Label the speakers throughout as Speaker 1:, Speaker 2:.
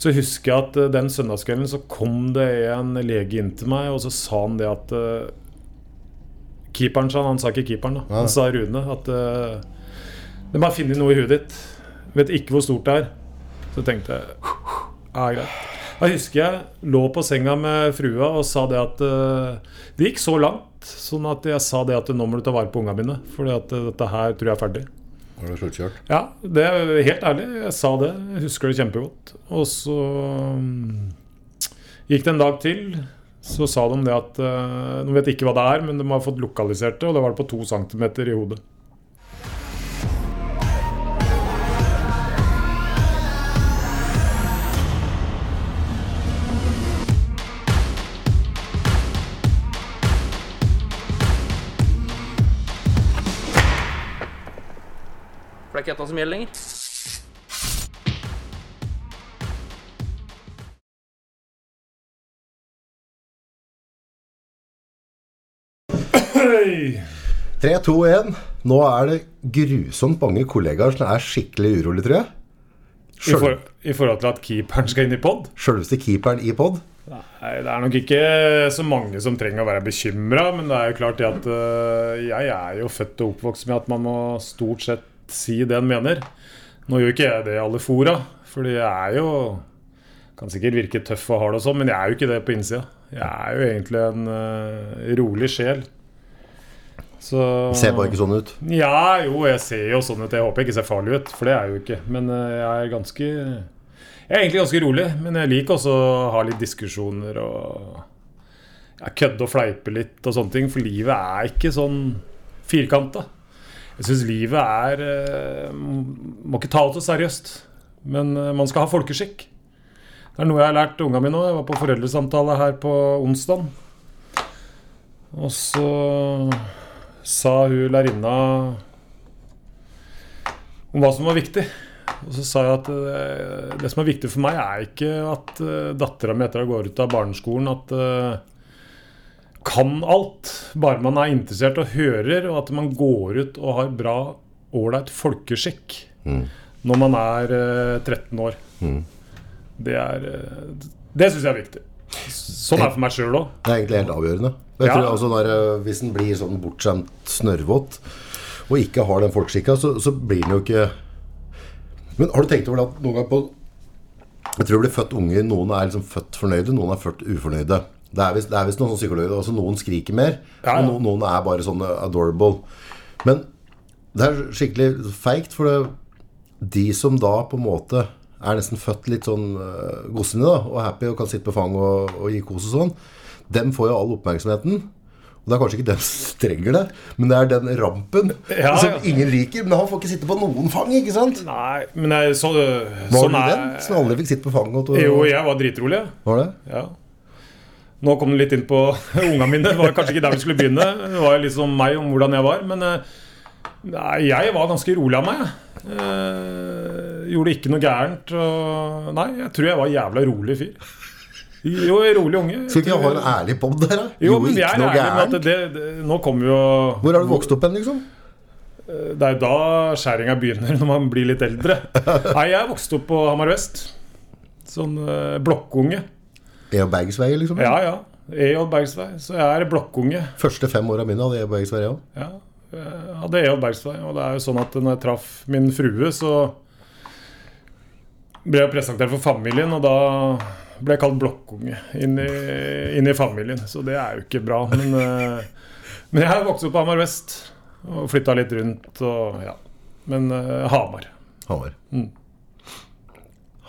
Speaker 1: Så husker jeg at eh, den søndagskvelden så kom det en lege inn til meg, og så sa han det at eh, Keeperen sa han, han sa ikke keeperen, da.
Speaker 2: Nei.
Speaker 1: Han sa Rune at eh, De har funnet noe i huet ditt. Vet ikke hvor stort det er. Så tenkte jeg Ja, greit. Da husker jeg lå på senga med frua og sa det at eh, Det gikk så langt sånn at jeg sa det at nå må du ta vare på ungene mine, for dette her tror jeg er ferdig.
Speaker 2: Var det sluttkjørt?
Speaker 1: Ja, det er helt ærlig. Jeg sa det. Jeg husker det kjempegodt. Og så mm, gikk det en dag til. Så sa de det at eh, Nå vet jeg ikke hva det er, men de har fått lokalisert det, og det var det på to centimeter i hodet.
Speaker 3: For det er ikke dette som gjelder lenger.
Speaker 1: Hei!
Speaker 2: 3, 2, 1. Nå er det grusomt mange kollegaer som er skikkelig urolig, tror jeg.
Speaker 1: I, for,
Speaker 2: Sjøl,
Speaker 1: I forhold til at keeperen skal inn i pod?
Speaker 2: sjølveste keeperen i pod.
Speaker 1: Nei, det er nok ikke så mange som trenger å være bekymra, men det er jo klart det at øh, jeg er jo født og oppvokst med at man må stort sett si det en mener. Nå gjør ikke jeg det i alle fora, fordi jeg er jo Kan sikkert virke tøff og hard og sånn, men jeg er jo ikke det på innsida. Jeg er jo egentlig en øh, rolig sjel. Så
Speaker 2: Ser bare ikke sånn ut.
Speaker 1: Ja, jo, jeg ser jo sånn ut. Jeg håper jeg ikke ser farlig ut, for det er jeg jo ikke. Men øh, jeg er ganske Jeg er egentlig ganske rolig, men jeg liker også å ha litt diskusjoner og ja, kødde og fleipe litt og sånne ting. For livet er ikke sånn firkanta. Jeg syns livet er eh, Må ikke ta det så seriøst. Men eh, man skal ha folkeskikk. Det er noe jeg har lært unga mine nå. Jeg var på foreldresamtale her på onsdag. Og så sa hun lærerinna om hva som var viktig. Og så sa jeg at eh, det som er viktig for meg, er ikke at uh, dattera mi etter å ha gått ut av barneskolen, at eh, kan alt, bare man er interessert og hører, og at man går ut og har bra, ålreit folkeskikk
Speaker 2: Mm.
Speaker 1: når man er eh, 13 år. Det er eh, Det syns jeg er viktig. Sånn er det for meg sjøl òg.
Speaker 2: Det er egentlig helt avgjørende. Jeg
Speaker 1: Ja.
Speaker 2: tror, altså, når, eh, hvis en blir sånn bortskjemt snørrvåt og ikke har den folkskikka, så, så blir den jo ikke Men har du tenkt over det at noen gang på Jeg tror det blir født unger. Noen er liksom født fornøyde, noen er født ufornøyde. Det er visst det er visst noen sånn psykologer. Altså, noen skriker mer,
Speaker 1: Ja,
Speaker 2: og
Speaker 1: ja.
Speaker 2: noen, noen er bare sånn adorable. Men det er skikkelig feigt, for det, de som da på en måte er nesten født litt sånn uh, gossene da, og happy og kan sitte på fang og, og gi kos og sånn, dem får jo all oppmerksomheten. Og det er kanskje ikke den som trenger det, men det er den rampen
Speaker 1: Ja,
Speaker 2: som
Speaker 1: ja.
Speaker 2: ingen liker. Men han får ikke sitte på noen fang, ikke sant?
Speaker 1: Nei, men jeg, så,
Speaker 2: Var
Speaker 1: sånn
Speaker 2: du
Speaker 1: er
Speaker 2: den som aldri fikk sitte på fang? Og,
Speaker 1: Jo, jeg var dritrolig. jeg.
Speaker 2: Var det?
Speaker 1: Ja. Nå kom du litt inn på unga mine. Det var kanskje ikke der vi skulle begynne. Det var litt sånn meg om hvordan jeg var. Men eh, nei, jeg var ganske rolig av meg. jeg. Eh, gjorde ikke noe gærent. Og, nei, jeg tror jeg var jævla rolig fyr. Jo, rolig unge.
Speaker 2: Skal ikke jeg ha en ærlig pop der, da?
Speaker 1: Jo, men jeg
Speaker 2: ikke
Speaker 1: er
Speaker 2: noe
Speaker 1: ærlig med
Speaker 2: gærent.
Speaker 1: at det, det, nå kommer jo
Speaker 2: Hvor har du vokst opp hen, liksom?
Speaker 1: Det er jo da skjæringa begynner, når man blir litt eldre. Nei, jeg vokste opp på Hamar vest. Sånn eh, blokkunge.
Speaker 2: E- og Bergsvei, liksom?
Speaker 1: Ja, ja. EJ Bergsvei. Så jeg er blokkunge.
Speaker 2: Første fem åra mine hadde E- og Bergsvei, jeg òg.
Speaker 1: Ja, jeg hadde EJ Bergsvei, og det er jo sånn at når jeg traff min frue, så ble jeg presentert for familien, og da ble jeg kalt blokkunge inn i, inn i familien. Så det er jo ikke bra. Men, eh, men jeg vokste opp på Hamar vest og flytta litt rundt og ja. Men eh, Hamar.
Speaker 2: Hamar.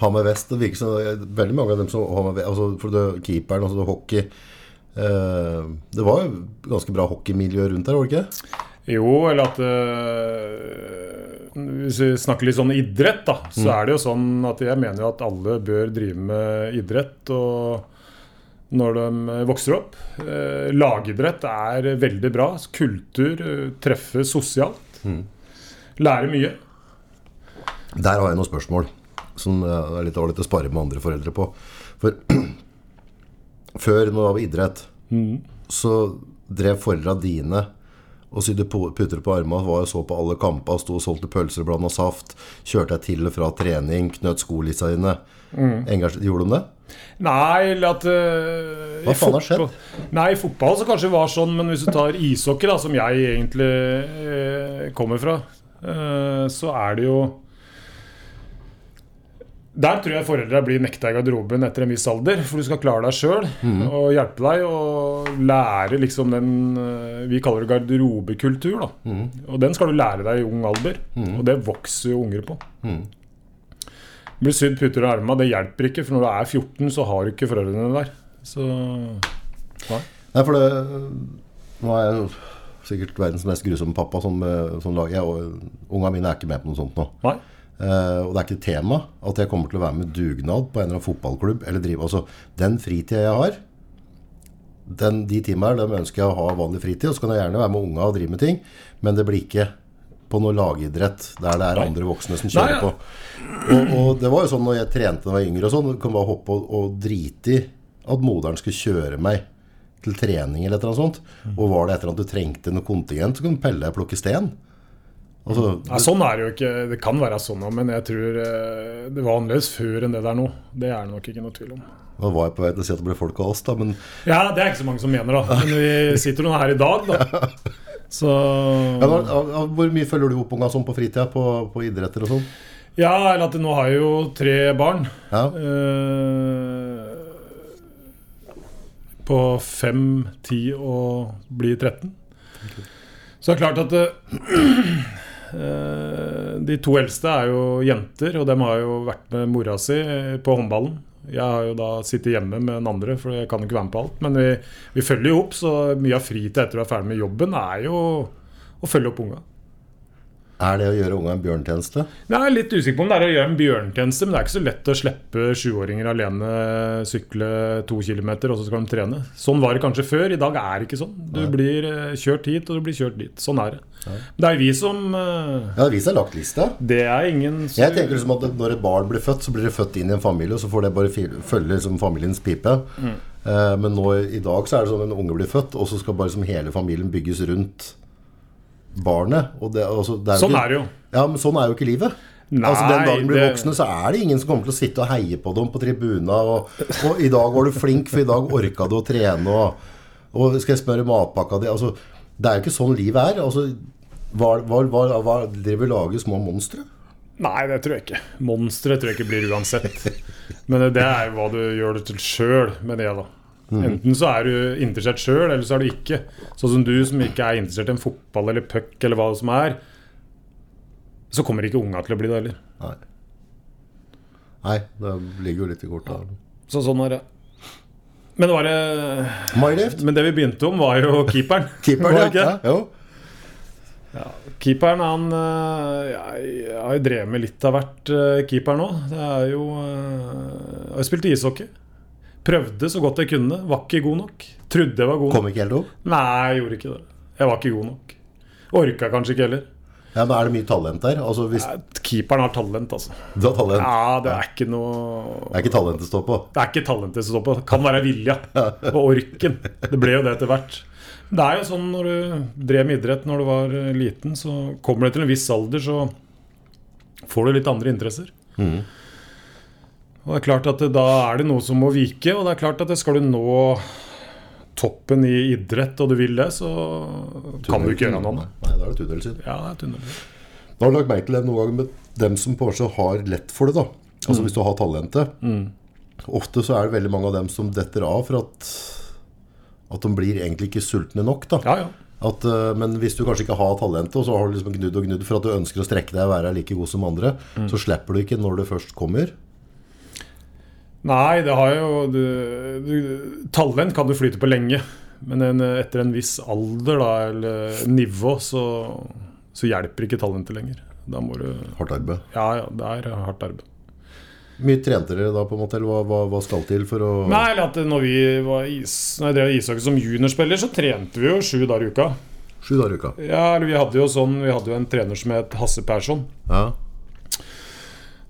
Speaker 2: Hamar Vest. Det virker som veldig mange av dem som Hamar Vest, altså for det, Keeperen, altså det, hockey eh, Det var jo ganske bra hockeymiljø rundt der, var det ikke?
Speaker 1: Jo, eller at eh, Hvis vi snakker litt sånn idrett, da, så er det jo sånn at jeg mener jo at alle bør drive med idrett. Og når de vokser opp. Eh, lagidrett er veldig bra. Kultur. eh, Treffe sosialt. Lære mye.
Speaker 2: Der har jeg noen spørsmål som eh, er litt ålreit å spare med andre foreldre på. For før, når det var idrett, så drev foreldra dine og sydde po- puter på armene, var og så på alle kampene, sto og solgte pølser og blanda saft, kjørte deg til og fra trening, knøt skolissa dine. Engasj- Gjorde de det?
Speaker 1: Nei, eller at eh,
Speaker 2: Hva
Speaker 1: i
Speaker 2: faen har skjedd?
Speaker 1: fotball- Nei, i fotball så kanskje det var sånn, men hvis du tar ishockey, da, som jeg egentlig eh, kommer fra, eh, så er det jo Der tror jeg foreldra blir nekta i garderoben etter en viss alder, for du skal klare deg sjøl
Speaker 2: Mhm.
Speaker 1: og hjelpe deg og lære liksom den eh, Vi kaller det garderobekultur, da.
Speaker 2: Mhm.
Speaker 1: Og den skal du lære deg i ung alder, og det vokser jo unger på. Blir sydd puter i armene, det hjelper ikke, for når du er 14, så har du ikke foreldrene der. Så
Speaker 2: Nei, for det Nå er jeg jo sikkert verdens mest grusomme pappa som, eh, som lager jeg, og unga mine er ikke med på noe sånt nå.
Speaker 1: nei.
Speaker 2: Eh, og det er ikke tema at jeg kommer til å være med dugnad på en eller annen fotballklubb. Eller drive, altså, den fritida jeg har, den, de timene her, dem ønsker jeg å ha vanlig fritid. Og så kan jeg gjerne være med unga og drive med ting, men det blir ikke på noe lagidrett der det er
Speaker 1: Nei.
Speaker 2: andre voksne som
Speaker 1: Nei,
Speaker 2: kjører
Speaker 1: ja.
Speaker 2: på. Og, og det var jo sånn når jeg trente da jeg var yngre, og sånn, du kan bare hoppe og, og drite i at moderen skulle kjøre meg til trening eller et eller annet sånt. Og var det et eller annet du trengte noe kontingent, så kunne du pelle deg og plukke sten. Altså,
Speaker 1: nei, sånn er det jo ikke. Det kan være sånn, men jeg tror eh, det var annerledes før enn det det er nå. Det er det nok ikke noe tvil om.
Speaker 2: Nå var jeg på vei til å si at det ble folk av oss, da, men
Speaker 1: Ja, det er ikke så mange som mener, da. Men vi sitter nå her i dag, da. Så
Speaker 2: ja, da, av- av- Hvor mye følger du opp unga sånn på fritida, på, på idretter og sånn?
Speaker 1: Ja, eller at nå har jeg jo tre barn.
Speaker 2: Ja.
Speaker 1: Eh, på 5, 10 og blir 13. Så det er klart at eh, de to eldste er jo jenter, og dem har jo vært med mora si eh, på håndballen. Jeg har jo da sittet hjemme med den andre, for jeg kan jo ikke være med på alt. Men vi, vi følger jo opp, så mye av fritida etter å være ferdig med jobben er jo å følge opp unga.
Speaker 2: Er det å gjøre unga en bjørntjeneste?
Speaker 1: Jeg er litt usikker på om det er å gjøre en bjørntjeneste, men det er ikke så lett å slippe sjuåringer alene sykle to kilometer, og så skal de trene. Sånn var det kanskje før. I dag er det ikke sånn. Du blir eh, kjørt hit, og du blir kjørt dit. Sånn er det. Men det er vi som eh,
Speaker 2: Ja, vi har lagt lista.
Speaker 1: Det er ingen som-
Speaker 2: Jeg tenker liksom at når et barn blir født, så blir det født inn i en familie, og så får det bare fi- følge liksom familiens pipe.
Speaker 1: Mm.
Speaker 2: Eh, men nå i dag så er det sånn en unge blir født, og så skal bare liksom hele familien bygges rundt barnet. Og det, altså, det
Speaker 1: Sånn
Speaker 2: ikke-
Speaker 1: er det jo.
Speaker 2: Ja, men sånn er jo ikke livet.
Speaker 1: Nei,
Speaker 2: altså Den dagen du blir
Speaker 1: det-
Speaker 2: voksne, så er det ingen som kommer til å sitte og heie på dem på tribuna. Og, og 'i dag var du flink, for i dag orka du å trene', og, og 'skal jeg smøre matpakka di'? Altså, det er jo ikke sånn livet er. Altså, hva, hva, hva, hva driver laget små monstre?
Speaker 1: Nei, det tror jeg ikke. Monstre tror jeg ikke blir uansett. Men det er jo hva du gjør det til sjøl med det, da. Enten så er du interessert sjøl, eller så er du ikke. Sånn som du som ikke er interessert i en fotball eller puck eller hva det som er, så kommer ikke unga til å bli det heller.
Speaker 2: Nei. Nei, det ligger jo litt i kortet.
Speaker 1: Så sånn er det. Men det, var det,
Speaker 2: Mylift.
Speaker 1: men det vi begynte om, var jo keeperen.
Speaker 2: Keeper,
Speaker 1: Var
Speaker 2: ja.
Speaker 1: det ikke?
Speaker 2: ja. Jo.
Speaker 1: Keeperen, han øh, Jeg jeg har jo drevet med litt av hvert øh, keeper nå. Det er jo øh, Jeg har spilt ishockey. Prøvde så godt jeg kunne. Var ikke god nok. Trodde jeg var god nok.
Speaker 2: Kom ikke helt opp.
Speaker 1: Nei, jeg gjorde ikke det. Jeg var ikke god nok. Orka kanskje ikke heller.
Speaker 2: Ja, men er det mye talent der? Altså, hvis
Speaker 1: Nei, Keeperen har talent, altså.
Speaker 2: du har talent.
Speaker 1: Ja, det er ikke noe
Speaker 2: Det er ikke talentet å stå på.
Speaker 1: Det er ikke talentet som står på. Det kan være vilja og orken. Det ble jo det etter hvert. Men Det er jo sånn når du drev med idrett når du var eh, liten, så kommer du til en viss alder, så får du litt andre interesser. Og det er klart at det, da er det noe som må vike, og det er klart at det skal du nå toppen i idrett og du vil det, så kan du ikke gjøre noe annet.
Speaker 2: Nei, da er det tunnel sin.
Speaker 1: Ja, det er tunnel.
Speaker 2: Da har du lagt merke til det noen ganger med dem som kanskje har lett for det, da. Altså
Speaker 1: Mm.
Speaker 2: hvis du har talentet. Ofte så er det veldig mange av dem som detter av for at, at de blir egentlig ikke sultne nok, da.
Speaker 1: Ja, ja.
Speaker 2: At, eh, men hvis du kanskje ikke har talentet, og så har du liksom gnudd og gnudd for at du ønsker å strekke deg og være like god som andre,
Speaker 1: Mm.
Speaker 2: så slipper du ikke når du først kommer.
Speaker 1: Nei, det har jo du, du, Talent kan du flyte på lenge. Men en, etter en viss alder da, eller nivå, så, så hjelper ikke talentet lenger. Da må du
Speaker 2: Hardt arbeid.
Speaker 1: Ja, ja, det er hardt arbeid.
Speaker 2: mye trente dere da, på en måte? Eller hva, hva, hva skal til for å
Speaker 1: Nei, eller at når, vi var is, når jeg drev ishockey som juniorspiller, så trente vi jo sju dager i uka.
Speaker 2: Sju dager i uka.
Speaker 1: Ja, eller Vi hadde jo sånn, vi hadde jo en trener som het Hasse Persson.
Speaker 2: Ja.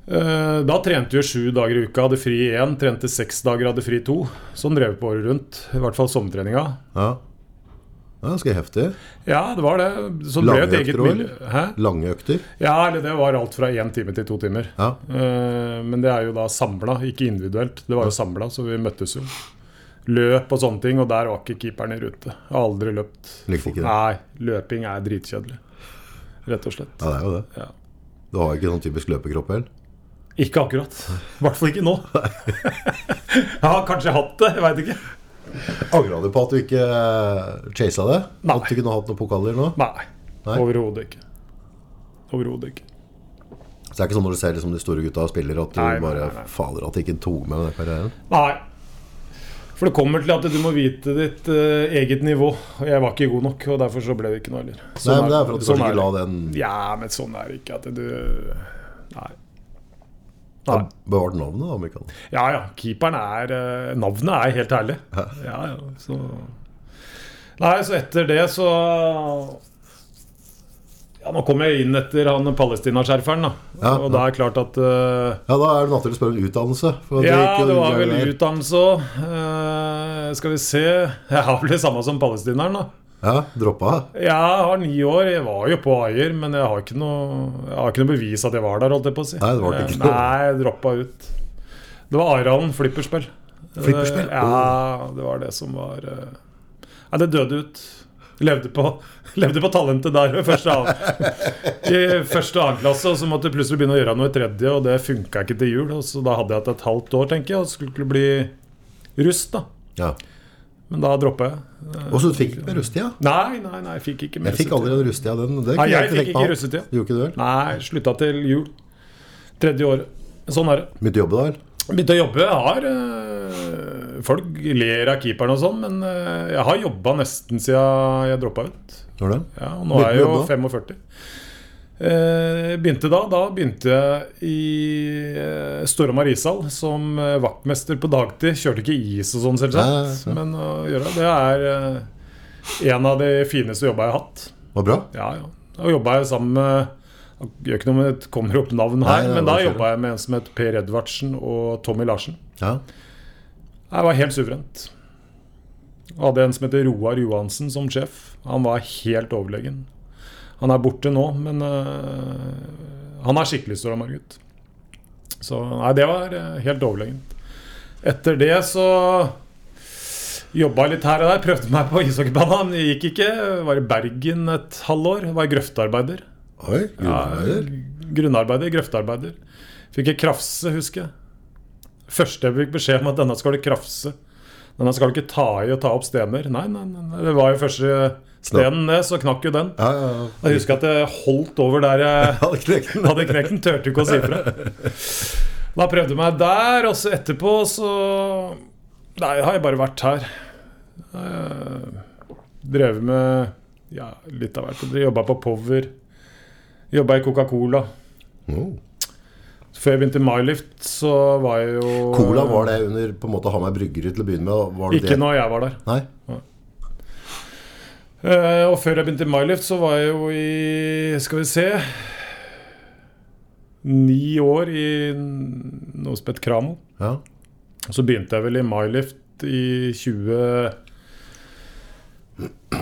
Speaker 1: Eh, Da trente vi sju dager i uka, hadde fri én, trente seks dager, hadde fri to. Sånn drev vi på året rundt. I hvert fall sommertreninga.
Speaker 2: ja. Det er ganske heftig.
Speaker 1: Ja, det var det. Så det ble jo et
Speaker 2: Lange
Speaker 1: eget
Speaker 2: økter også,
Speaker 1: miljø. Hæ?
Speaker 2: Lange økter.
Speaker 1: Ja, eller det var alt fra én time til to timer.
Speaker 2: Ja.
Speaker 1: Eh, Men det er jo da samla, ikke individuelt. Det var jo samla, så vi møttes jo. Løp og sånne ting, og der var ikke keeperen i rute. Har Aldri løpt.
Speaker 2: Likte ikke det.
Speaker 1: Nei, løping er dritkjedelig. Rett og slett.
Speaker 2: ja, det er jo det.
Speaker 1: Ja.
Speaker 2: Du har jo ikke sånn typisk løpekropp heller.
Speaker 1: Ikke akkurat. I hvert fall ikke nå. Jeg har kanskje hatt det, jeg veit ikke.
Speaker 2: Angra du på at du ikke eh, chasa det?
Speaker 1: Nei.
Speaker 2: At du kunne hatt noen pokaler nå?
Speaker 1: Nei.
Speaker 2: Nei.
Speaker 1: Overhodet ikke. Overhodet ikke.
Speaker 2: Så det er ikke sånn når du ser liksom, de store gutta spiller, at du
Speaker 1: Nei, nei,
Speaker 2: bare
Speaker 1: nei, nei.
Speaker 2: Fader, at de ikke tok med den karrieren.
Speaker 1: Nei. For det kommer til at du må vite ditt eh, eget nivå. Og jeg var ikke god nok, og derfor så ble det ikke noe heller.
Speaker 2: Nei, men det er for at du
Speaker 1: sånn er
Speaker 2: kanskje ikke la
Speaker 1: det.
Speaker 2: den
Speaker 1: Ja, men sånn er det ikke at du Nei.
Speaker 2: ja.
Speaker 1: Nei.
Speaker 2: bevart navnet, da, Mikael.
Speaker 1: Ja ja, keeperen er eh, Navnet er helt ærlig. Ja, ja, så Nei, så etter det så Ja, nå kom jeg inn etter han Palestina-skjerferen, da.
Speaker 2: Ja,
Speaker 1: og
Speaker 2: ja.
Speaker 1: da er det klart at eh,
Speaker 2: Ja, da er det naturlig å spørre om utdannelse. For at du
Speaker 1: Ja,
Speaker 2: ikke-
Speaker 1: det var vel
Speaker 2: der.
Speaker 1: utdannelse òg. Eh, skal vi se Jeg har vel det samme som palestineren, da.
Speaker 2: Ja, droppa.
Speaker 1: Jeg har ni år. Jeg var jo på Ayer, men jeg har ikke noe, jeg har ikke noe bevis at jeg var der, holdt jeg på å si.
Speaker 2: Nei, det var det
Speaker 1: Eh,
Speaker 2: ikke.
Speaker 1: Nei, jeg droppa ut. Det var Aralen flipperspill.
Speaker 2: Flipperspill?
Speaker 1: Eh, Ja, det var det som var eh, Nei, det døde ut. Levde på, levde på talentet der ved første av, i første og annen klasse. Og så måtte jeg plutselig begynne å gjøre noe i tredje, og det funka ikke til jul. Og så da hadde jeg hatt et halvt år, tenker jeg, og skulle bli russ, da.
Speaker 2: Ja.
Speaker 1: Men da droppa jeg. Eh,
Speaker 2: Og så du fikk ikke rusttida.
Speaker 1: Nei, nei, nei, jeg fikk ikke mer
Speaker 2: Jeg fikk aldri en rusttida. Den, det
Speaker 1: Nei,
Speaker 2: kunne
Speaker 1: jeg fikk
Speaker 2: tenkt
Speaker 1: ikke
Speaker 2: meg.
Speaker 1: russetida.
Speaker 2: Gjorde ikke du vel?
Speaker 1: Nei, slutta til jul. Tredje året. Sånn er det.
Speaker 2: Begynte å jobbe da, vel?
Speaker 1: Begynte å jobbe. Jeg har eh, Folk ler av keeperen og sånn, men eh, jeg har jobba nesten siden jeg droppa ut.
Speaker 2: Gjorde det?
Speaker 1: Ja, og nå er jeg jo
Speaker 2: Begynte
Speaker 1: 45. Eh, begynte da Da begynte jeg i eh, Storhamar ishall som eh, vaktmester på dagtid. Kjørte ikke is og sånn, selvsagt,
Speaker 2: Nei,
Speaker 1: men å gjøre det er eh, en av de fineste jobba jeg har hatt.
Speaker 2: Var bra?
Speaker 1: Ja, ja. Da jobba jeg sammen med det Gjør ikke noe om det kommer opp navn her,
Speaker 2: Nei, nei,
Speaker 1: men da
Speaker 2: bare kjør.
Speaker 1: jobba jeg med en som het Per Edvardsen og Tommy Larsen.
Speaker 2: Ja.
Speaker 1: Det var helt suverent. Og hadde en som heter Roar Johansen som sjef. Han var helt overlegen. Han er borte nå, men øh, han er skikkelig Storhamar-gutt. Så nei, det var øh, helt overlegent. Etter det så jobba jeg litt her og der. Prøvde meg på ishockeybanen. Det gikk ikke. Var i Bergen et halvår. Var grøftearbeider.
Speaker 2: Oi, grunnarbeider.
Speaker 1: Grunnarbeider, grøftearbeider. Fikk jeg krafse, husker jeg. Første jeg fikk beskjed om at denne skal du krafse. Denne skal du ikke ta i og ta opp stener. Nei, nei, nei, nei. Det var jo første stenen ned, så knakk jo den.
Speaker 2: Ja, ja, ja.
Speaker 1: Jeg husker at jeg holdt over der jeg
Speaker 2: Hadde knekt den.
Speaker 1: hadde knekt den. Turte ikke å si fra. Da prøvde jeg meg der, og så etterpå så Nei, har jeg bare vært her. Eh, Drevet med ja, litt av hvert. Jobba på Power. Jobba i Coca-Cola.
Speaker 2: Mm.
Speaker 1: Før jeg begynte i MyLift, så var jeg jo
Speaker 2: Cola var det under på en måte Hamar bryggeri til å begynne med? Var det
Speaker 1: Ikke
Speaker 2: det?
Speaker 1: når jeg var der.
Speaker 2: Nei?
Speaker 1: Eh, og før jeg begynte i MyLift, så var jeg jo i Skal vi se Ni år i n- noe som het Kramo.
Speaker 2: Ja.
Speaker 1: Og så begynte jeg vel i MyLift i 20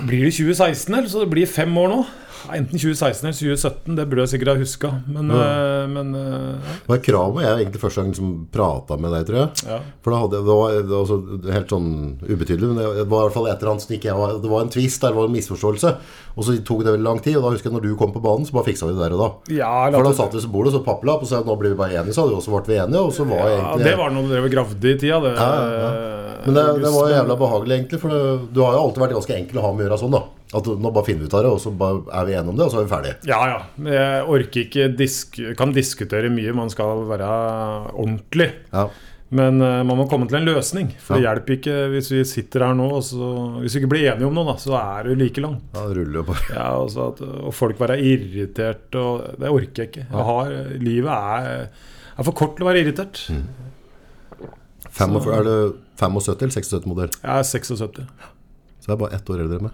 Speaker 1: Blir det 2016, eller? Så det blir fem år nå. Nei, Enten 2016 eller 2017. Det burde jeg sikkert ha huska. Men, eh, men eh,
Speaker 2: Det var Kramer jeg egentlig første gang som prata med deg, tror jeg.
Speaker 1: ja.
Speaker 2: For da hadde jeg, det var, det var også helt sånn ubetydelig, men det var i hvert fall et eller annet som ikke jeg var Det var en tvist, der var en misforståelse. Og så tok det veldig lang tid, og da husker jeg når du kom på banen, så bare fiksa vi det der og da.
Speaker 1: Ja, eller
Speaker 2: For da
Speaker 1: at-
Speaker 2: satt vi ved bordet og så pappelapp, og så sa jeg, nå blir vi bare enige, så hadde vi også vært enige, og så var jeg
Speaker 1: ja,
Speaker 2: egentlig
Speaker 1: det var noe du drev og gravde i tida. Det,
Speaker 2: Ja, Men det, det var jo jævla behagelig, egentlig. For det, du har jo alltid vært ganske enkel å ha med å gjøre sånn, da. At du- nå bare finner vi ut av det, og så bare er vi enige om det, og så er vi ferdige.
Speaker 1: Ja, ja. Men Jeg orker ikke disk Kan diskutere mye, man skal være ordentlig.
Speaker 2: Ja.
Speaker 1: Men eh, man må komme til en løsning. For det
Speaker 2: Ja.
Speaker 1: hjelper ikke hvis vi sitter her nå og så, Hvis vi ikke blir enige om noe, da, så er det jo like langt.
Speaker 2: ja det ruller jo bare.
Speaker 1: Ja, altså at, og folk være irritert og Det orker jeg ikke. Jeg har, livet er, er for kort til å være irritert.
Speaker 2: Fem og- er det 75 eller 76 modell?
Speaker 1: Jeg er 76.
Speaker 2: Så jeg er bare ett år eldre enn meg.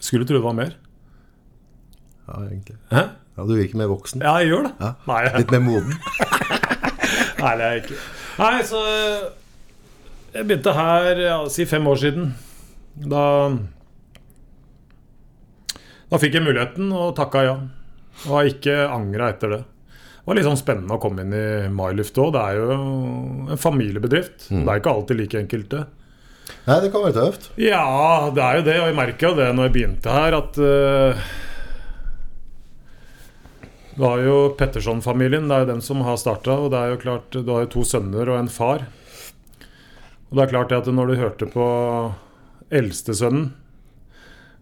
Speaker 1: Skulle tro det var mer.
Speaker 2: Ja, egentlig.
Speaker 1: Hæ?
Speaker 2: Ja, du virker mer voksen.
Speaker 1: Ja, jeg gjør det.
Speaker 2: Ja.
Speaker 1: Nei,
Speaker 2: Litt mer moden.
Speaker 1: Nei, det er jeg ikke. Nei, så eh, Jeg begynte her ja, si fem år siden. Da Da fikk jeg muligheten og takka ja. Og har ikke angra etter det. Det var litt sånn spennende å komme inn i Mylift òg. Det er jo en familiebedrift. Det er ikke alltid like enkelt, det.
Speaker 2: Nei, det kan være tøft.
Speaker 1: Ja, det er jo det, og jeg merka jo det når jeg begynte her, at eh, Du har jo Petterson-familien, det er jo den som har starta, og det er jo klart Du har jo to sønner og en far. Og det er klart det at når du hørte på eldstesønnen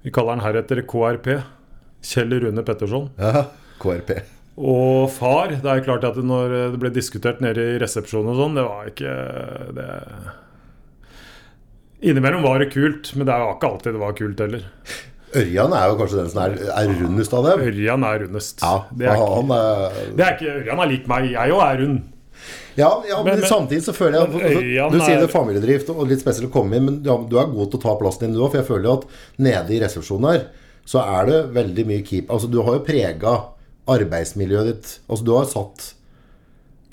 Speaker 1: Vi kaller han heretter KRP. Kjell Rune Petterson.
Speaker 2: Ja, KRP.
Speaker 1: Og far, det er jo klart at når det ble diskutert nede i resepsjonen og sånn, det var ikke det Innimellom var det kult, men det var ikke alltid det var kult heller.
Speaker 2: Ørjan er jo kanskje den som er, er rundest av dem.
Speaker 1: Ørjan er rundest.
Speaker 2: Ja,
Speaker 1: det er ikke,
Speaker 2: han er
Speaker 1: det er ikke Ørjan er lik meg. Jeg òg er rund.
Speaker 2: Ja, ja men,
Speaker 1: Men- men-
Speaker 2: samtidig så føler jeg
Speaker 1: men
Speaker 2: altså,
Speaker 1: Ørjan
Speaker 2: Du sier
Speaker 1: er-
Speaker 2: det er familiedrift og litt spesielt å komme inn, men ja, men du er god til å ta plassen din du òg. For jeg føler jo at nede i resepsjonen her så er det veldig mye keep Altså, du har jo prega arbeidsmiljøet ditt. Altså, du har satt,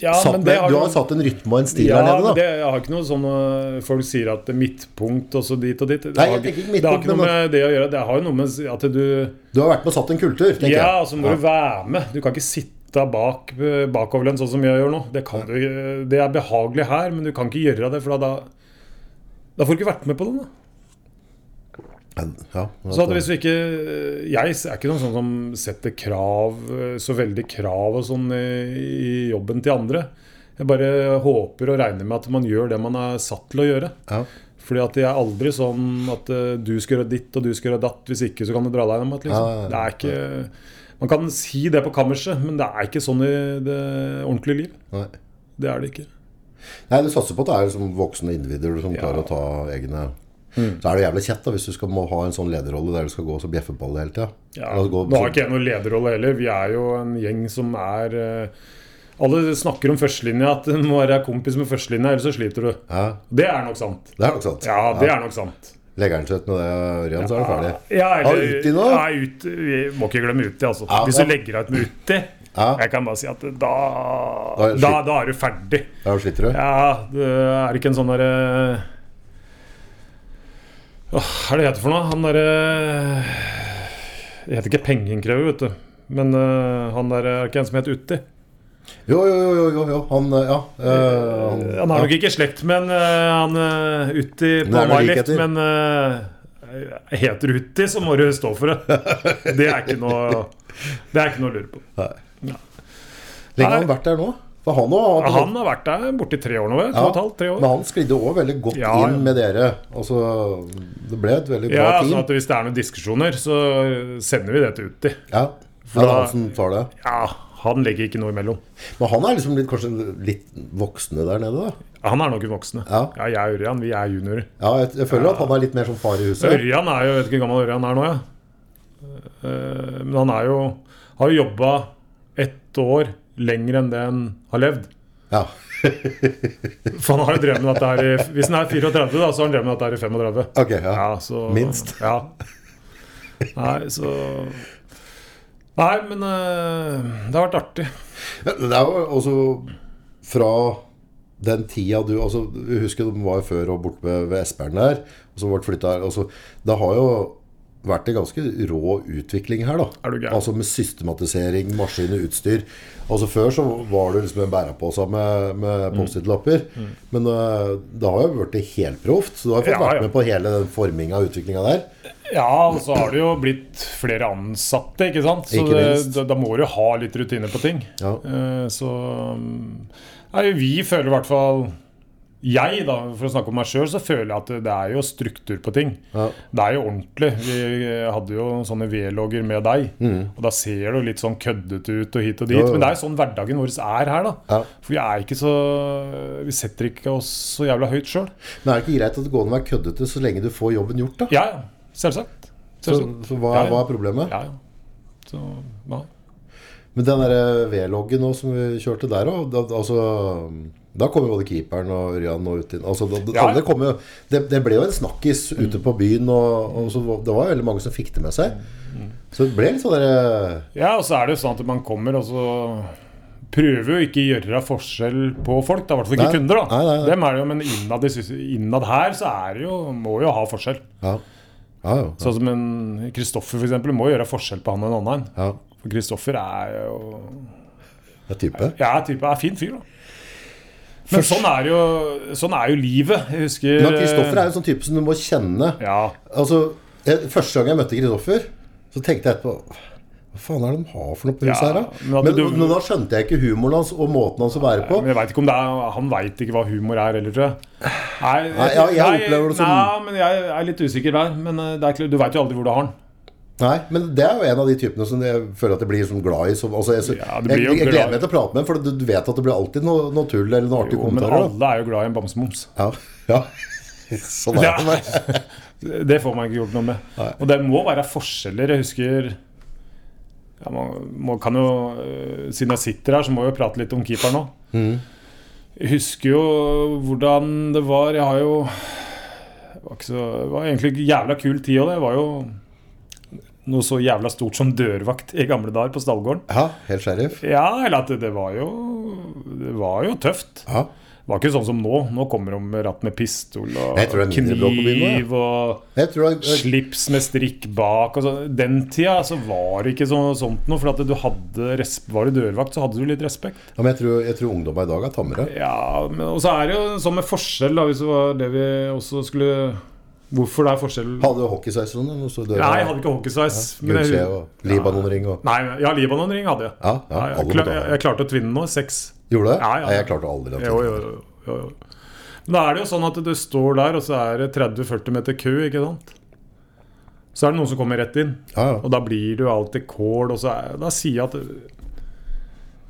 Speaker 1: Ja,
Speaker 2: satt,
Speaker 1: men
Speaker 2: ned, du har
Speaker 1: noe-
Speaker 2: satt en rytme og en stil
Speaker 1: ja,
Speaker 2: her nede, da.
Speaker 1: Det, jeg har ikke noe sånn øh, Folk sier at det er midtpunkt og så dit og dit. Det
Speaker 2: Nei,
Speaker 1: har,
Speaker 2: jeg tenker ikke
Speaker 1: det har
Speaker 2: midtpunkt,
Speaker 1: ikke noe
Speaker 2: men-
Speaker 1: med det å gjøre. Det har jo noe med at du
Speaker 2: Du har vært med og satt en kultur, tenker
Speaker 1: Ja,
Speaker 2: jeg.
Speaker 1: altså må du være med. Du kan ikke sitte bak, bakoverlent sånn som jeg gjør nå. Det, kan du, det er behagelig her, men du kan ikke gjøre det, for da, da, da får du ikke vært med på det. da.
Speaker 2: Ja, ja,
Speaker 1: Så at hvis du ikke Jeg er ikke noen sånn som setter krav, så veldig krav og sånn i, i jobben til andre. Jeg bare håper og regner med at man gjør det man er satt til å gjøre.
Speaker 2: ja.
Speaker 1: Fordi at jeg er aldri sånn at eh, du skal gjøre ditt og du skal gjøre datt. Hvis ikke så kan du dra deg hjem igjen. Liksom.
Speaker 2: Ja, ja, ja.
Speaker 1: Det er ikke Man kan si det på kammerset, men det er ikke sånn i det ordentlige liv.
Speaker 2: Nei.
Speaker 1: Det er det ikke.
Speaker 2: Nei, du satser på at det er liksom voksne individer som klarer å ta egne
Speaker 1: Mm.
Speaker 2: Så er det jævlig kjett da hvis du skal må ha en sånn lederrolle der du skal gå og så bjeffe på alle hele tida.
Speaker 1: Ja,
Speaker 2: Eller gå-
Speaker 1: nå har ikke jeg noen lederrolle heller. Vi er jo en gjeng som er eh, Alle snakker om førstelinja, at du må være kompis med førstelinja, ellers så sliter du.
Speaker 2: ja,
Speaker 1: Det er nok sant.
Speaker 2: det er nok sant.
Speaker 1: Ja, det er nok sant.
Speaker 2: Legger han seg ut med det, Ørjan, så er det ferdig.
Speaker 1: Ja,
Speaker 2: Ja, uti nå?
Speaker 1: Ja, ut, vi må ikke glemme uti, altså.
Speaker 2: Ja,
Speaker 1: Hvis du
Speaker 2: ja.
Speaker 1: legger deg ut med uti,
Speaker 2: Ja.
Speaker 1: jeg kan bare si at da
Speaker 2: Da er det
Speaker 1: Da,
Speaker 2: slutt.
Speaker 1: da er du ferdig.
Speaker 2: Da sliter du.
Speaker 1: Ja, det er ikke en sånn derre Åh, Hva er det det heter for noe? Han derre Det heter ikke pengeinnkrever, vet du. Men øh, han der er ikke en som heter Utti.
Speaker 2: Jo, jo, jo, jo, jo, jo. han eh, Ja. eh, han,
Speaker 1: Han er nok ikke i slekt med en, øh, han øh, Utti
Speaker 2: Det
Speaker 1: på
Speaker 2: er noen
Speaker 1: Mylift,
Speaker 2: likheter.
Speaker 1: men øh, heter du Utti, så må du stå for det. Det er ikke noe Det er ikke noe å lure på.
Speaker 2: Lenge har han vært der nå? For han òg
Speaker 1: Han har vært der borti tre år nå, vel? To og et halvt, tre år.
Speaker 2: Men han sklidde òg veldig godt
Speaker 1: Ja, ja.
Speaker 2: inn med dere. Altså, det ble et veldig bra
Speaker 1: Ja,
Speaker 2: team.
Speaker 1: sånn at Hvis det er noen diskusjoner, så sender vi det til Utti.
Speaker 2: Ja, ja, det er
Speaker 1: da-
Speaker 2: han som tar det.
Speaker 1: Ja, han legger ikke noe imellom.
Speaker 2: Men han er liksom litt, kanskje litt voksne der nede, da.
Speaker 1: Han er nok en voksne.
Speaker 2: Ja.
Speaker 1: jeg og Ørjan, vi er juniorer.
Speaker 2: Ja, jeg, jeg føler at han er litt mer som far i huset.
Speaker 1: Ørjan er jo, jeg vet ikke hvor gammel Ørjan er nå, ja. Eh, Men han er jo har jo jobba ett år lenger enn det han har levd.
Speaker 2: Ja.
Speaker 1: For han har jo drevet med dette her i Hvis han er 34, da, så har han drevet med dette her i 35.
Speaker 2: Ok, ja.
Speaker 1: Ja, så,
Speaker 2: Minst.
Speaker 1: Ja. Nei, så Nei, men eh, det har vært artig.
Speaker 2: Ja, Det er jo også fra den tida du altså, Vi husker de var jo før og borte ved, ved Esperen der. Og så ble det flytta her. Altså, det har jo vært en ganske rå utvikling her, da.
Speaker 1: Er du gæren?
Speaker 2: Altså med systematisering, maskin og utstyr. Altså Før så var det liksom en bærepose med, med
Speaker 1: Mm.
Speaker 2: Post-It-lapper. Men eh, det har jo blitt helproft. Så du har jo fått
Speaker 1: Ja, ja.
Speaker 2: vært med på hele den forminga og utviklinga der.
Speaker 1: Ja, og så har det jo blitt flere ansatte, ikke sant. Så
Speaker 2: Ikke
Speaker 1: det,
Speaker 2: minst.
Speaker 1: da, da må du ha litt rutine på ting.
Speaker 2: Ja.
Speaker 1: Eh, så mm, nei, vi føler i hvert fall jeg, da, for å snakke om meg sjøl, så føler jeg at det- det er jo struktur på ting.
Speaker 2: Ja.
Speaker 1: Det er jo ordentlig. Vi eh, hadde jo sånne V-logger med deg.
Speaker 2: Mm.
Speaker 1: Og da ser det jo litt sånn køddete ut og hit og dit.
Speaker 2: Jo, jo.
Speaker 1: Men det er jo sånn hverdagen vår er her, da.
Speaker 2: Ja.
Speaker 1: For vi er ikke så Vi setter ikke oss så jævla høyt sjøl.
Speaker 2: Men er det ikke greit at det går an å være køddete så lenge du får jobben gjort, da?
Speaker 1: Ja, ja. Selvsagt.
Speaker 2: Så,
Speaker 1: Selvsagt.
Speaker 2: så hva,
Speaker 1: Ja, ja.
Speaker 2: hva er problemet?
Speaker 1: Ja, ja. Så, ja.
Speaker 2: Men den der eh, V-loggen nå som vi kjørte der òg, da, altså, da kom jo både keeperen og Ørjan og ut inn. Altså, da, da,
Speaker 1: Ja.
Speaker 2: alle kom jo, det, det ble jo en snakkis ute på byen, og, og så, var- det var jo veldig mange som fikk det med seg. Så det ble litt sånn der
Speaker 1: ja, og så er det jo sånn at man kommer og så prøver jo ikke å gjøre forskjell på folk. da, I hvert fall ikke
Speaker 2: Nei.
Speaker 1: kunder. da.
Speaker 2: Nei, nei, nei.
Speaker 1: Dem er det jo, Men innad, i sys- innad her så er det jo, må jo ha forskjell.
Speaker 2: ja, Ja, jo.
Speaker 1: Sånn som en Kristoffer, for eksempel, må gjøre forskjell på han og en annen.
Speaker 2: Ja,
Speaker 1: For Kristoffer er jo
Speaker 2: det er type.
Speaker 1: Ja, type, er fin fyr, da. Men sånn er jo, sånn er jo livet. Jeg husker
Speaker 2: Men Kristoffer er jo en sånn type som du må kjenne.
Speaker 1: Ja.
Speaker 2: Altså, jeg, Første gang jeg møtte Kristoffer, så tenkte jeg etterpå Hva faen er det de har for noe på huset
Speaker 1: Ja,
Speaker 2: her, da?
Speaker 1: men at
Speaker 2: Men,
Speaker 1: du-
Speaker 2: men da skjønte jeg ikke humoren hans og måten hans å være på.
Speaker 1: Men jeg vet ikke om det er, Han veit ikke hva humor er heller, tror jeg. Nei,
Speaker 2: Nei, jeg- jeg opplever det som-
Speaker 1: Nei, men jeg er litt usikker der. Men eh, det er, klart- du veit jo aldri hvor du har den.
Speaker 2: Nei, men det er jo en av de typene som jeg føler at jeg blir sånn glad i. Som, altså jeg,
Speaker 1: Ja, du blir
Speaker 2: jeg,
Speaker 1: jo
Speaker 2: jeg, gleder
Speaker 1: glad.
Speaker 2: meg til å prate med ham, for du du vet at det blir alltid noe, noe tull eller noe artig
Speaker 1: Jo, men
Speaker 2: kommentarer. da.
Speaker 1: alle er jo glad i en bamsemums.
Speaker 2: Ja. ja. Sånn er det.
Speaker 1: Ja. Det får man ikke gjort noe med. Og det må være forskjeller. Jeg husker ja, man, man kan jo, øh, Siden jeg sitter her, så må jeg jo prate litt om keeper nå. Jeg husker jo hvordan det var. Jeg har jo Det var, ikke så, det var egentlig ikke jævla kul tid òg, det. Det var jo noe så jævla stort som dørvakt i gamle dager på stallgården.
Speaker 2: Ja, helt sheriff.
Speaker 1: Ja, eller at det, det var jo Det var jo tøft.
Speaker 2: Ja.
Speaker 1: Det var ikke sånn som nå. Nå kommer de med ratt med pistol og
Speaker 2: Jeg tror det er mindre bråk på byen nå, ja.
Speaker 1: kniv og
Speaker 2: Jeg tror det er
Speaker 1: slips med strikk bak. Og så. Den tida så var det ikke så, sånt noe. For at du hadde res- var du dørvakt, så hadde du litt respekt.
Speaker 2: ja, men jeg tror, jeg tror ungdommer i dag er tammere.
Speaker 1: Ja, men, Og så er det jo sånn med forskjell, da, hvis det var det vi også skulle Hvorfor det er forskjell Nei,
Speaker 2: Hadde jo hockeysveiseren og så døde
Speaker 1: jeg hadde ikke hockeysveis. men
Speaker 2: Gullskje
Speaker 1: jeg-
Speaker 2: og Libanon-ring og
Speaker 1: Nei, men- ja, Libanon-ring hadde jeg.
Speaker 2: Ja, ja,
Speaker 1: jeg,
Speaker 2: alle
Speaker 1: kla-
Speaker 2: måtte ha
Speaker 1: jeg,
Speaker 2: det.
Speaker 1: jeg klarte å tvinne nå. Seks.
Speaker 2: Gjorde du det?
Speaker 1: Ja, ja.
Speaker 2: Nei, jeg klarte aldri den
Speaker 1: Jo,
Speaker 2: tiden.
Speaker 1: jo, jo, jo, jo. Men da er det jo sånn at du står der, og så er det 30-40 meter kø, ikke sant? Så er det noen som kommer rett inn.
Speaker 2: Ja,
Speaker 1: Og
Speaker 2: ja.
Speaker 1: da blir du alltid kål. Og så er, da sier jeg at øh,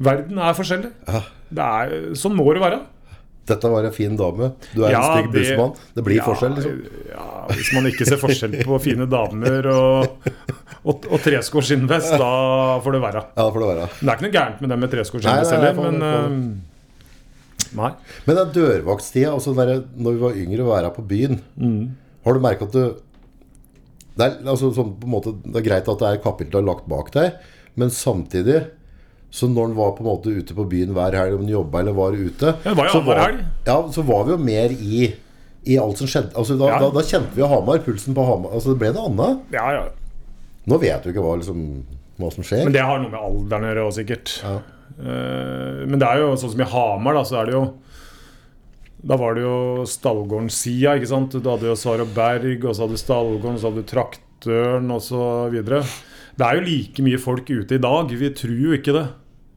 Speaker 1: verden er forskjellig.
Speaker 2: Ja.
Speaker 1: Det er, sånn må det være.
Speaker 2: Dette var en fin dame. Du er
Speaker 1: Ja,
Speaker 2: en stygg
Speaker 1: det-
Speaker 2: bussmann. Det blir
Speaker 1: Ja,
Speaker 2: forskjell, liksom.
Speaker 1: Ja, hvis man ikke ser forskjell på fine damer og, og, og treskår skinnvest, da får det være.
Speaker 2: Ja, det får det være.
Speaker 1: Men Det er ikke noe gærent med det med treskår
Speaker 2: Nei,
Speaker 1: skinnvest
Speaker 2: nei, nei,
Speaker 1: heller,
Speaker 2: får-
Speaker 1: men øh, Nei.
Speaker 2: Men den dørvaktstida, altså den derre når vi var yngre og være på byen
Speaker 1: Mm.
Speaker 2: Har du merka at du det er, altså, sånn, på en måte, det er greit at det er et kapittel du har lagt bak deg, men samtidig så når en var på en måte ute på byen hver helg, om en jobba eller var ute
Speaker 1: Ja, det var jo
Speaker 2: så,
Speaker 1: annenhver helg.
Speaker 2: ja, så var vi jo mer i, i alt som skjedde. Altså, da,
Speaker 1: Ja.
Speaker 2: da, da kjente vi jo Hamar, pulsen på Hamar. Altså, det ble noe annet.
Speaker 1: Ja, ja.
Speaker 2: Nå vet du ikke hva, liksom, hva som skjer.
Speaker 1: Men det har noe med alderen å gjøre òg, sikkert.
Speaker 2: Ja.
Speaker 1: Eh, men det er jo sånn som i Hamar, da, så er det jo Da var det jo Stallgården-sida, ikke sant. Du hadde jo Sara Berg, og så hadde du Stallgården, og så hadde du Traktøren, og så videre. Det er jo like mye folk ute i dag. Vi tror jo ikke det.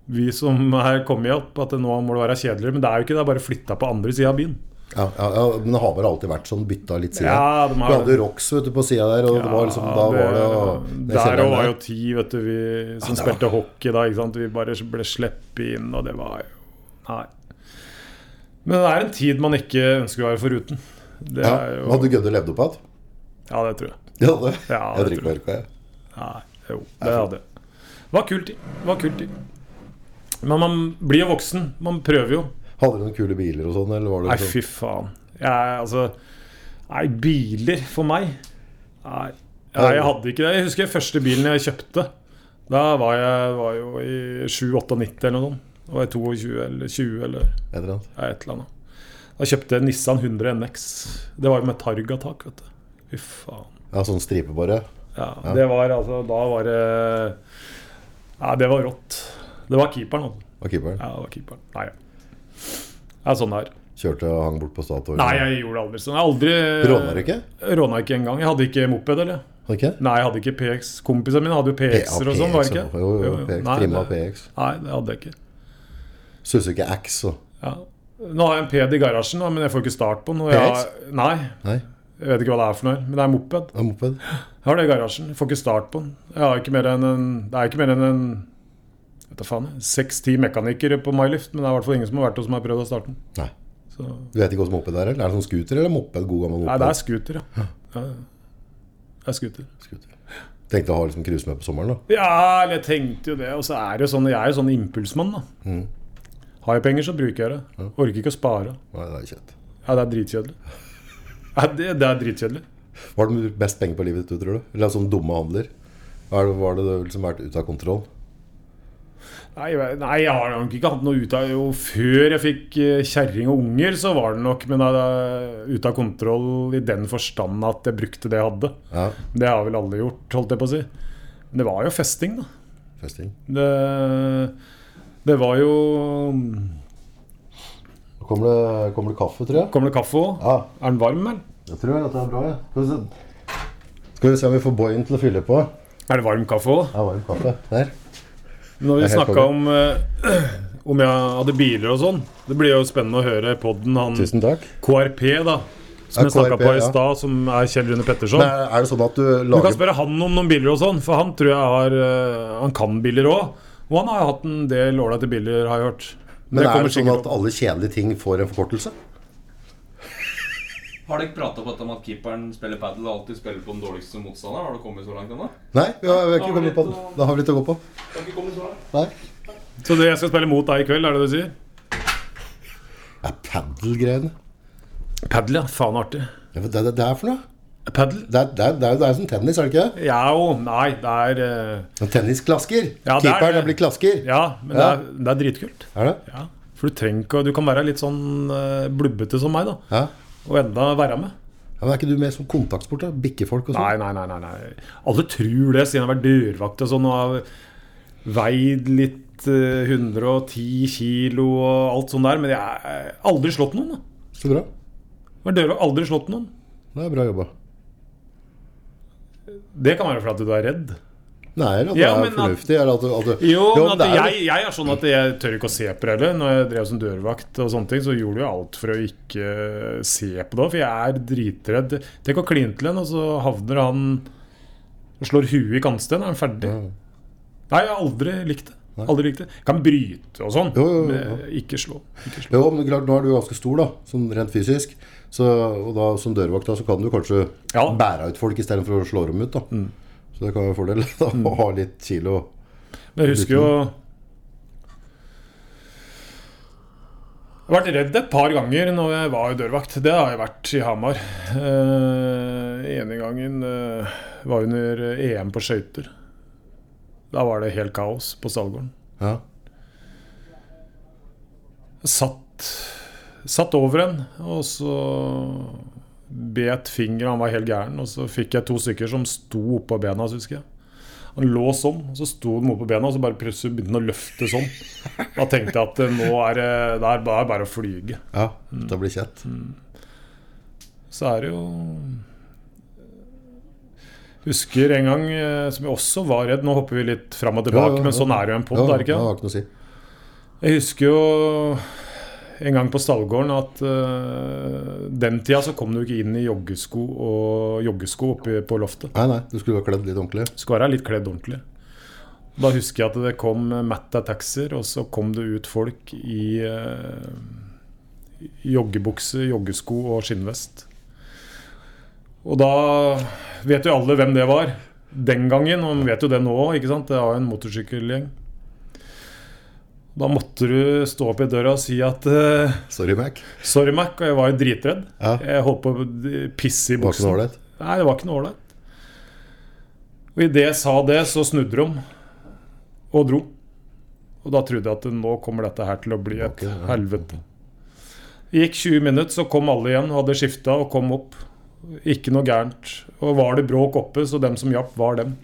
Speaker 1: Vi som er kommet opp, at det nå må det være kjedeligere. Men det er jo ikke det. Det er bare flytta på andre sida av byen.
Speaker 2: Ja, ja, ja, men Hamar har alltid vært sånn, bytta litt side.
Speaker 1: Ja, de har-
Speaker 2: Vi hadde Rox vet du, på sida der, og det var liksom, da var det, og, det
Speaker 1: Der
Speaker 2: kjelleren
Speaker 1: òg var
Speaker 2: der.
Speaker 1: jo ti vet du, vi, som spilte hockey da. Ikke sant? Vi bare ble sluppet inn, og det var jo Nei. Men det er en tid man ikke ønsker å være foruten. Det
Speaker 2: ja,
Speaker 1: er jo
Speaker 2: Hadde Gødde levd opp igjen?
Speaker 1: Ja, det tror jeg.
Speaker 2: Ja, det.
Speaker 1: Ja,
Speaker 2: jeg
Speaker 1: det
Speaker 2: drikker ikke jeg.
Speaker 1: Nei, jo, det hadde jeg. Det var kult. Det var kult. Men man blir jo voksen. Man prøver jo.
Speaker 2: Hadde dere noen kule biler og sånn, eller var det
Speaker 1: Nei,
Speaker 2: sånn?
Speaker 1: fy faen. Jeg, altså Nei, biler for meg Nei, nei jeg hadde ikke det. Jeg husker første bilen jeg kjøpte. Da var jeg var jo i 97-98 eller noe sånt. Da var jeg 22 eller 20 eller nei,
Speaker 2: Et eller annet.
Speaker 1: et eller annet. Da kjøpte jeg Nissan 100 NX. Det var jo med Targa-tak, vet du. Fy faen.
Speaker 2: Ja, sånn stripe bare.
Speaker 1: Ja, det var altså Da var det Nei, det var rått. Det var keeperen, altså.
Speaker 2: Og keeperen
Speaker 1: Ja, det var keeperen. Nei, ja. Det er sånn det er.
Speaker 2: kjørte og hang bort på Statoil.
Speaker 1: Nei, jeg gjorde aldri sånn. Jeg har aldri
Speaker 2: Råna dere ikke?
Speaker 1: Råna ikke engang. Jeg hadde ikke moped, eller?
Speaker 2: Ikke?
Speaker 1: Nei, jeg hadde ikke PX. Kompisene mine hadde jo PX-er og sånn, var det ikke?
Speaker 2: Jo, jo, jo, PX,
Speaker 1: Nei,
Speaker 2: trimma
Speaker 1: det-
Speaker 2: PX.
Speaker 1: Nei, det hadde jeg ikke.
Speaker 2: Suzuki Ax og
Speaker 1: Ja. Nå har jeg en PED i garasjen, da, men jeg får ikke start på den. og jeg har- Nei,
Speaker 2: Nei,
Speaker 1: jeg vet ikke hva det er for noe, men det er moped.
Speaker 2: det er moped.
Speaker 1: Jeg har det i garasjen, jeg får ikke start på den. Jeg har ikke mer enn en, det er ikke mer enn en vet da faen, seks-ti mekanikere på Mylift, men det er i hvert fall ingen som har vært hos meg og prøvd å starte den.
Speaker 2: Nei.
Speaker 1: Så,
Speaker 2: Du vet ikke hva som moped er? eller? Er det sånn scooter eller moped? God gammel moped?
Speaker 1: nei, det er scooter, ja. ja. ja. Det er scooter.
Speaker 2: scooter. Tenkte å ha liksom cruise med på sommeren, da.
Speaker 1: Ja, eller jeg tenkte jo det. Og så er det jo sånn, jeg er jo sånn impulsmann, da. Har jeg penger, så bruker jeg det. Orker ikke å spare.
Speaker 2: Nei, det er kjent.
Speaker 1: Ja, det er dritkjedelig. Ja, det, det er dritkjedelig.
Speaker 2: Hva har du brukt mest penger på i livet ditt, tror du? Eller sånn dumme handler? Hva er det, hva er det du har liksom vært ute av kontroll?
Speaker 1: Nei, jeg- nei, jeg har nok ikke hatt noe ut av Jo, før jeg fikk eh, kjerring og unger, så var det nok Men da, ute av kontroll i den forstand at jeg brukte det jeg hadde.
Speaker 2: Ja,
Speaker 1: Det har vel alle gjort, holdt jeg på å si. Men det var jo festing, da.
Speaker 2: festing.
Speaker 1: Det, det var jo mm,
Speaker 2: Nå kommer det, kommer det kaffe, tror jeg.
Speaker 1: Kommer det kaffe òg?
Speaker 2: Ja,
Speaker 1: Er den varm, eller?
Speaker 2: jeg tror at det er bra, jeg. Skal vi se, Skal vi se om vi får boyen til å fylle på.
Speaker 1: Er det varm kaffe òg?
Speaker 2: Ja, varm kaffe. Der.
Speaker 1: Når vi
Speaker 2: Det er helt
Speaker 1: snakka om eh, om jeg hadde biler og sånn Det blir jo spennende å høre podden han
Speaker 2: Tusen takk.
Speaker 1: KRP, da. Som
Speaker 2: Ja,
Speaker 1: jeg snakka
Speaker 2: KRP,
Speaker 1: på i
Speaker 2: ja.
Speaker 1: stad, som er Kjell Rune Petterson.
Speaker 2: Men er, er det sånn at du
Speaker 1: Du kan
Speaker 2: lager
Speaker 1: spørre han om noen biler og sånn, for han tror jeg har eh, Han kan biler òg. Og han har hatt en del ålreite biler, har jeg hørt.
Speaker 2: Men er
Speaker 1: kommer
Speaker 2: det sånn
Speaker 1: sikkert
Speaker 2: at
Speaker 1: opp.
Speaker 2: alle kjedelige ting får en forkortelse?
Speaker 3: Har dere prata på dette med at keeperen spiller padel og alltid spiller på den dårligste motstanderen? Har du kommet så langt ennå?
Speaker 2: Nei, vi har, vi har ikke
Speaker 3: Da har
Speaker 2: kommet
Speaker 3: vi
Speaker 2: på
Speaker 3: litt
Speaker 2: det.
Speaker 3: å-
Speaker 2: Da har vi litt å gå på.
Speaker 3: Har ikke kommet så langt.
Speaker 2: Nei.
Speaker 1: Så det jeg skal spille mot deg i kveld, er det det du sier?
Speaker 2: Ja, padel-greiene.
Speaker 1: Padel, ja. Faen artig.
Speaker 2: Ja, men Det, det, det er for noe.
Speaker 1: Padel?
Speaker 2: Det er, det, er, det, er, det er som tennis, er det ikke det?
Speaker 1: Ja og nei, det er eh,
Speaker 2: Men Tennis klasker.
Speaker 1: Ja, det er
Speaker 2: Keeperen
Speaker 1: det.
Speaker 2: er blitt klasker.
Speaker 1: Ja, men Det,
Speaker 2: Ja.
Speaker 1: er, det er dritkult.
Speaker 2: Er det?
Speaker 1: Ja. For du trenger ikke å- Du kan være litt sånn eh, blubbete som meg, da.
Speaker 2: Ja.
Speaker 1: Og enda være med.
Speaker 2: ja, men Er ikke du med som kontaktsport? da? Bikkefolk og
Speaker 1: Nei,
Speaker 2: sånn?
Speaker 1: nei, nei, nei, nei. Alle tror det, siden jeg har vært dørvakt og sånn og har veid litt eh, 110 kilo og alt sånt der. Men jeg har aldri slått noen. da.
Speaker 2: Så bra.
Speaker 1: Vært dørvakt, aldri slått noen.
Speaker 2: Det er bra jobba.
Speaker 1: Det kan være fordi du er redd.
Speaker 2: Nei, eller at
Speaker 1: Ja,
Speaker 2: det
Speaker 1: men
Speaker 2: er
Speaker 1: at-
Speaker 2: fornuftig. Eller at du, at du...
Speaker 1: Jo, men
Speaker 2: altså. det
Speaker 1: at
Speaker 2: er
Speaker 1: jeg, jeg er sånn at jeg tør ikke å se på det heller. Når jeg drev som dørvakt, og sånne ting, så gjorde jeg alt for å ikke eh, se på det. For jeg er dritredd. Tenk å kline til en, og så havner han og slår huet i kantsteinen. Er han ferdig?
Speaker 2: Ja.
Speaker 1: Nei, jeg har aldri likt det. Aldri likt det. Kan bryte og sånn,
Speaker 2: Jo, jo, jo,
Speaker 1: men ikke slå. Ikke slå.
Speaker 2: Jo, men klart, nå er du ganske stor, da, sånn rent fysisk. Så, og da, som dørvakt da, så kan du kanskje
Speaker 1: Ja. Mm.
Speaker 2: bære ut folk istedenfor å slå dem ut. da. Så det kan være en fordel da, å ha litt kilo.
Speaker 1: Men jeg husker jo Jeg har vært redd et par ganger når jeg var dørvakt. Det har jeg vært i Hamar. Eh, ene gangen eh, var under EM på skøyter. Da var det helt kaos på stallgården.
Speaker 2: Ja.
Speaker 1: Jeg satt, satt over en, og så bet fingeren. Han var helt gæren. Og så fikk jeg to stykker som sto oppå bena hans, husker jeg. Han lå sånn, og så sto de oppå bena, og så bare plutselig begynte han å løfte sånn. Da tenkte jeg at eh, nå er det det er bare, bare å flyge.
Speaker 2: ja.
Speaker 1: Mm.
Speaker 2: Det blir kjett.
Speaker 1: Så er det jo Husker en gang eh, som jeg også var redd Nå hopper vi litt fram og tilbake,
Speaker 2: Ja, ja,
Speaker 1: men
Speaker 2: ja.
Speaker 1: sånn er det jo en pop, er det ikke?
Speaker 2: det har ikke noe å si.
Speaker 1: Jeg husker jo en gang på stallgården at eh, den tida så kom du ikke inn i joggesko og joggesko oppe på loftet.
Speaker 2: Nei, nei, du skulle ha kledd litt ordentlig.
Speaker 1: Du skulle være litt kledd ordentlig. Da husker jeg at det kom Matta Taxier, og så kom det ut folk i eh, joggebukse, joggesko og skinnvest. Og da vet jo alle hvem det var den gangen, og de vet jo det nå òg, ikke sant? Det var jo en motorsykkelgjeng. Da måtte du stå opp i døra og si at eh,
Speaker 2: Sorry, Mac.
Speaker 1: 'sorry, Mac', og jeg var jo dritredd.
Speaker 2: Ja.
Speaker 1: Jeg holdt på å pisse i Eh,
Speaker 2: Det var ikke
Speaker 1: buksen.
Speaker 2: noe ålreit.
Speaker 1: Nei, det var ikke noe ålreit. Og idet jeg sa det, så snudde de om og dro. Og da trodde jeg at nå kommer dette her til å bli et
Speaker 2: Ok, ja.
Speaker 1: helvete. Det gikk 20 minutter, så kom alle igjen og hadde skifta og kom opp. Ikke noe gærent. Og var det bråk oppe, så dem som hjalp, var dem.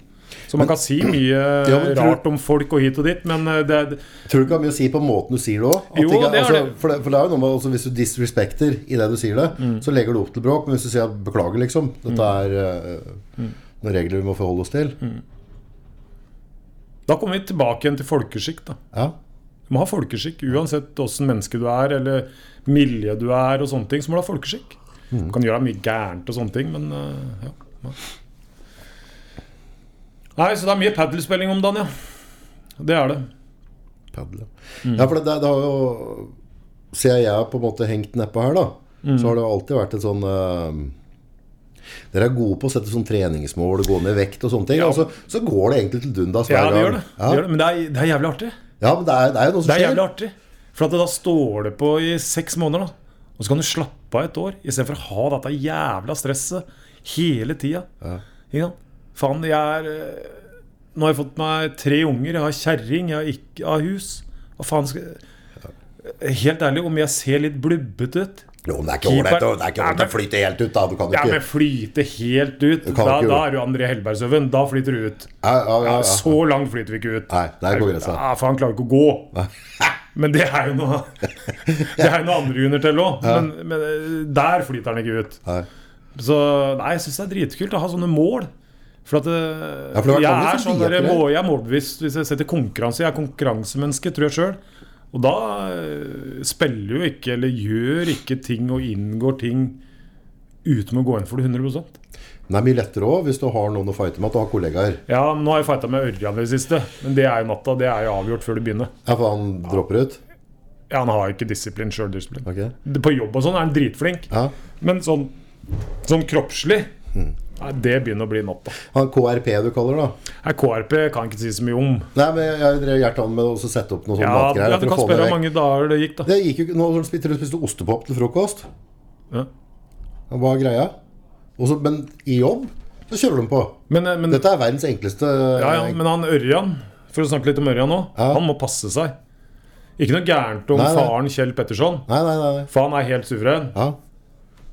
Speaker 1: Så man kan si mye
Speaker 2: Ja, men tror-
Speaker 1: rart om folk og hit og dit, men eh, det,
Speaker 2: Tror du ikke det har mye å si på måten du sier det òg?
Speaker 1: Jo, det har
Speaker 2: altså,
Speaker 1: det.
Speaker 2: for, det- for det er jo noe med altså, Hvis du disrespekter i det du sier det,
Speaker 1: Mm.
Speaker 2: så legger du opp til bråk. Men hvis du sier at 'beklager', liksom Dette er eh,
Speaker 1: Mm.
Speaker 2: noen regler vi må forholde oss til.
Speaker 1: da kommer vi tilbake igjen til folkeskikk, da.
Speaker 2: Ja.
Speaker 1: Du må ha folkeskikk. Uansett åssen menneske du er, eller miljø du er, og sånne ting, så må du ha folkeskikk. Du kan gjøre deg mye gærent og sånne ting, men eh, ja. Nei, så det er mye padelspilling om dagen, ja. Det er det.
Speaker 2: Padel, ja.
Speaker 1: Mm.
Speaker 2: Ja, for det, det, det har jo Siden jeg har på en måte hengt nedpå her, da,
Speaker 1: Mm.
Speaker 2: så har det jo alltid vært et sånn eh, Dere er gode på å sette sånn treningsmål, gå ned i vekt og sånne ting.
Speaker 1: Ja.
Speaker 2: Og så, så går det egentlig til dundas
Speaker 1: Ja, det
Speaker 2: hver gang.
Speaker 1: gjør det. det, gjør det. Men det er, det er jævlig artig.
Speaker 2: Ja. ja, men det er, det er jo noe som
Speaker 1: Det er
Speaker 2: skjer.
Speaker 1: jævlig artig. For at da står det på i seks måneder, da. Og så kan du slappe av et år, istedenfor å ha dette jævla stresset hele tida. Ikke sant? Faen, jeg er eh, Nå har jeg fått meg tre unger, jeg har kjerring, jeg har ikke jeg har hus. Hva faen skal Helt ærlig, om jeg ser litt blubbete ut
Speaker 2: Jo, men det er ikke ålreit å- det er ikke
Speaker 1: Ja,
Speaker 2: ålreit
Speaker 1: men-
Speaker 2: å flyte helt ut, da. Du kan jo
Speaker 1: Ja,
Speaker 2: ikke
Speaker 1: men flyte helt ut,
Speaker 2: kan
Speaker 1: da,
Speaker 2: ikke
Speaker 1: da
Speaker 2: gjøre.
Speaker 1: er du André Hellbergsøven. Da flyter du ut.
Speaker 2: Ja, ja, ja, ja.
Speaker 1: Så langt flyter vi ikke ut.
Speaker 2: Nei, der går grensa.
Speaker 1: Ja, for han klarer ikke å gå. Men det er jo noe Det er jo noe andre grunner til òg. Men, men eh, der flyter han ikke ut.
Speaker 2: Nei.
Speaker 1: Så nei, jeg syns det er dritkult å ha sånne mål. For at eh,
Speaker 2: Ja, for det har vært
Speaker 1: jeg,
Speaker 2: mange
Speaker 1: er
Speaker 2: som
Speaker 1: sånn
Speaker 2: blir
Speaker 1: der,
Speaker 2: etter det.
Speaker 1: må, jeg er målbevisst hvis jeg setter konkurranse. Jeg er konkurransemenneske, tror jeg sjøl. Og da eh, spiller jo ikke eller gjør ikke ting og inngår ting uten å gå inn for det 100
Speaker 2: Men det er mye lettere òg hvis du har noen å fighte med, at du har kollegaer.
Speaker 1: Ja, men Nå har jeg fighta med Ørjan i det siste, men det er jo natta. Det er jo avgjort før det begynner.
Speaker 2: Ja, for han dropper ut.
Speaker 1: Ja, Han har jo ikke disiplin, sjøldisiplin.
Speaker 2: Ok.
Speaker 1: På jobb og sånn er han dritflink,
Speaker 2: Ja.
Speaker 1: men sånn, sånn kroppslig
Speaker 2: Mm.
Speaker 1: Nei, Det begynner å bli natta.
Speaker 2: Han KRP du kaller det, da.
Speaker 1: Nei, KRP kan jeg ikke si så mye om.
Speaker 2: Nei, men jeg- jeg drev hjertet an med å også sette opp noe sånn
Speaker 1: Ja,
Speaker 2: matgreier.
Speaker 1: ja, du
Speaker 2: for å
Speaker 1: kan
Speaker 2: få
Speaker 1: spørre
Speaker 2: det
Speaker 1: hvor
Speaker 2: vekk.
Speaker 1: mange dager det gikk, da.
Speaker 2: Det gikk jo ikke Nå spiste du spiste ostepop til frokost.
Speaker 1: Ja.
Speaker 2: Hva er greia? Og så- men i jobb så kjører de på.
Speaker 1: Men, eh, men,
Speaker 2: Dette er verdens enkleste eh,
Speaker 1: ja, ja, men han Ørjan, for å snakke litt om Ørjan nå,
Speaker 2: Ja.
Speaker 1: han må passe seg. Ikke noe gærent om
Speaker 2: Nei, nei.
Speaker 1: faren Kjell Petterson,
Speaker 2: Nei, nei, nei.
Speaker 1: for han er helt suveren.
Speaker 2: Ja.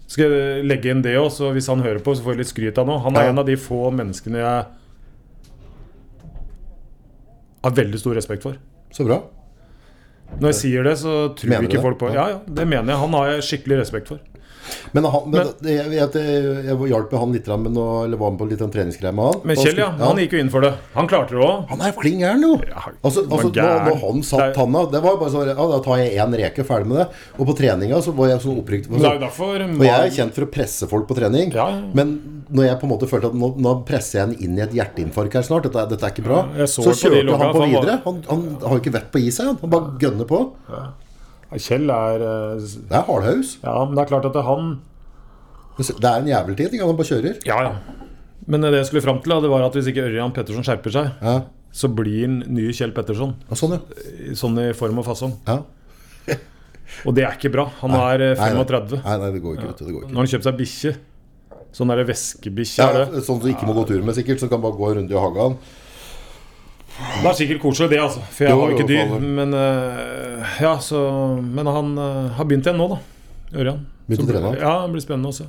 Speaker 1: Skal jeg legge inn det også, så hvis han hører på, så får jeg litt skryt av nå. Han er
Speaker 2: Ja.
Speaker 1: en av de få menneskene jeg har veldig stor respekt for.
Speaker 2: Så bra.
Speaker 1: Når jeg sier det, så tror
Speaker 2: Mener du
Speaker 1: ikke
Speaker 2: det?
Speaker 1: folk på Ja, ja, det mener jeg. Han har jeg skikkelig respekt for.
Speaker 2: Men, han, men,
Speaker 1: Men-
Speaker 2: det- jeg, vet- jeg, jeg hjalp jo han litt grann med noe, eller var med på litt sånn treningsgreie med han.
Speaker 1: Men
Speaker 2: Han
Speaker 1: Kjell, ja.
Speaker 2: skulle-
Speaker 1: Han gikk jo inn for det. Han klarte det òg.
Speaker 2: Han er flink gæren, jo! Altså,
Speaker 1: han var
Speaker 2: altså når,
Speaker 1: gæren.
Speaker 2: når han satt
Speaker 1: Det er-
Speaker 2: tanna Det var jo bare sånn Ja, da tar jeg én reke, ferdig med det. Og på treninga så var jeg sånn opprykt.
Speaker 1: Det er jo derfor
Speaker 2: Og jeg er kjent for å presse folk på trening.
Speaker 1: Ja, ja.
Speaker 2: Men når jeg på en måte følte at nå, nå presser jeg han inn i et hjerteinfarkt her snart, dette, er- dette er ikke bra,
Speaker 1: Ja, jeg så det
Speaker 2: så
Speaker 1: på de
Speaker 2: kjørte han
Speaker 1: logga,
Speaker 2: på
Speaker 1: for han var-
Speaker 2: videre. Han, han har jo ikke vett på i seg, han. Han bare gønner på.
Speaker 1: Kjell er eh,
Speaker 2: Det er hardhaus.
Speaker 1: Ja, men det er klart at det er han
Speaker 2: Det er en jævel tid. ikke? Han bare kjører.
Speaker 1: Ja, ja. Men det jeg skulle fram til, da, det var at hvis ikke Ørjan Petterson skjerper seg,
Speaker 2: Ja,
Speaker 1: så blir han ny Kjell Petterson.
Speaker 2: Ja, sånn, ja.
Speaker 1: i- Sånn i form og fasong.
Speaker 2: ja.
Speaker 1: Og det er ikke bra. Han er eh,
Speaker 2: Nei, nei.
Speaker 1: 35.
Speaker 2: Nei, nei, det går ikke. Vet du, det går ikke.
Speaker 1: Når han kjøper seg bikkje, sånn derre væskebikkje
Speaker 2: Ja,
Speaker 1: er det.
Speaker 2: sånn som du ikke må gå tur med, sikkert. Så du kan bare gå en runde i hagen.
Speaker 1: Det er sikkert koselig, det, altså. For jeg
Speaker 2: Jo,
Speaker 1: har jo ikke
Speaker 2: jo,
Speaker 1: dyr.
Speaker 2: fader.
Speaker 1: Men, eh, ja, så, men han eh, har begynt igjen nå, da. Ørjan.
Speaker 2: Begynte
Speaker 1: Så
Speaker 2: å trene
Speaker 1: blir-
Speaker 2: alt?
Speaker 1: Ja, det blir spennende å se.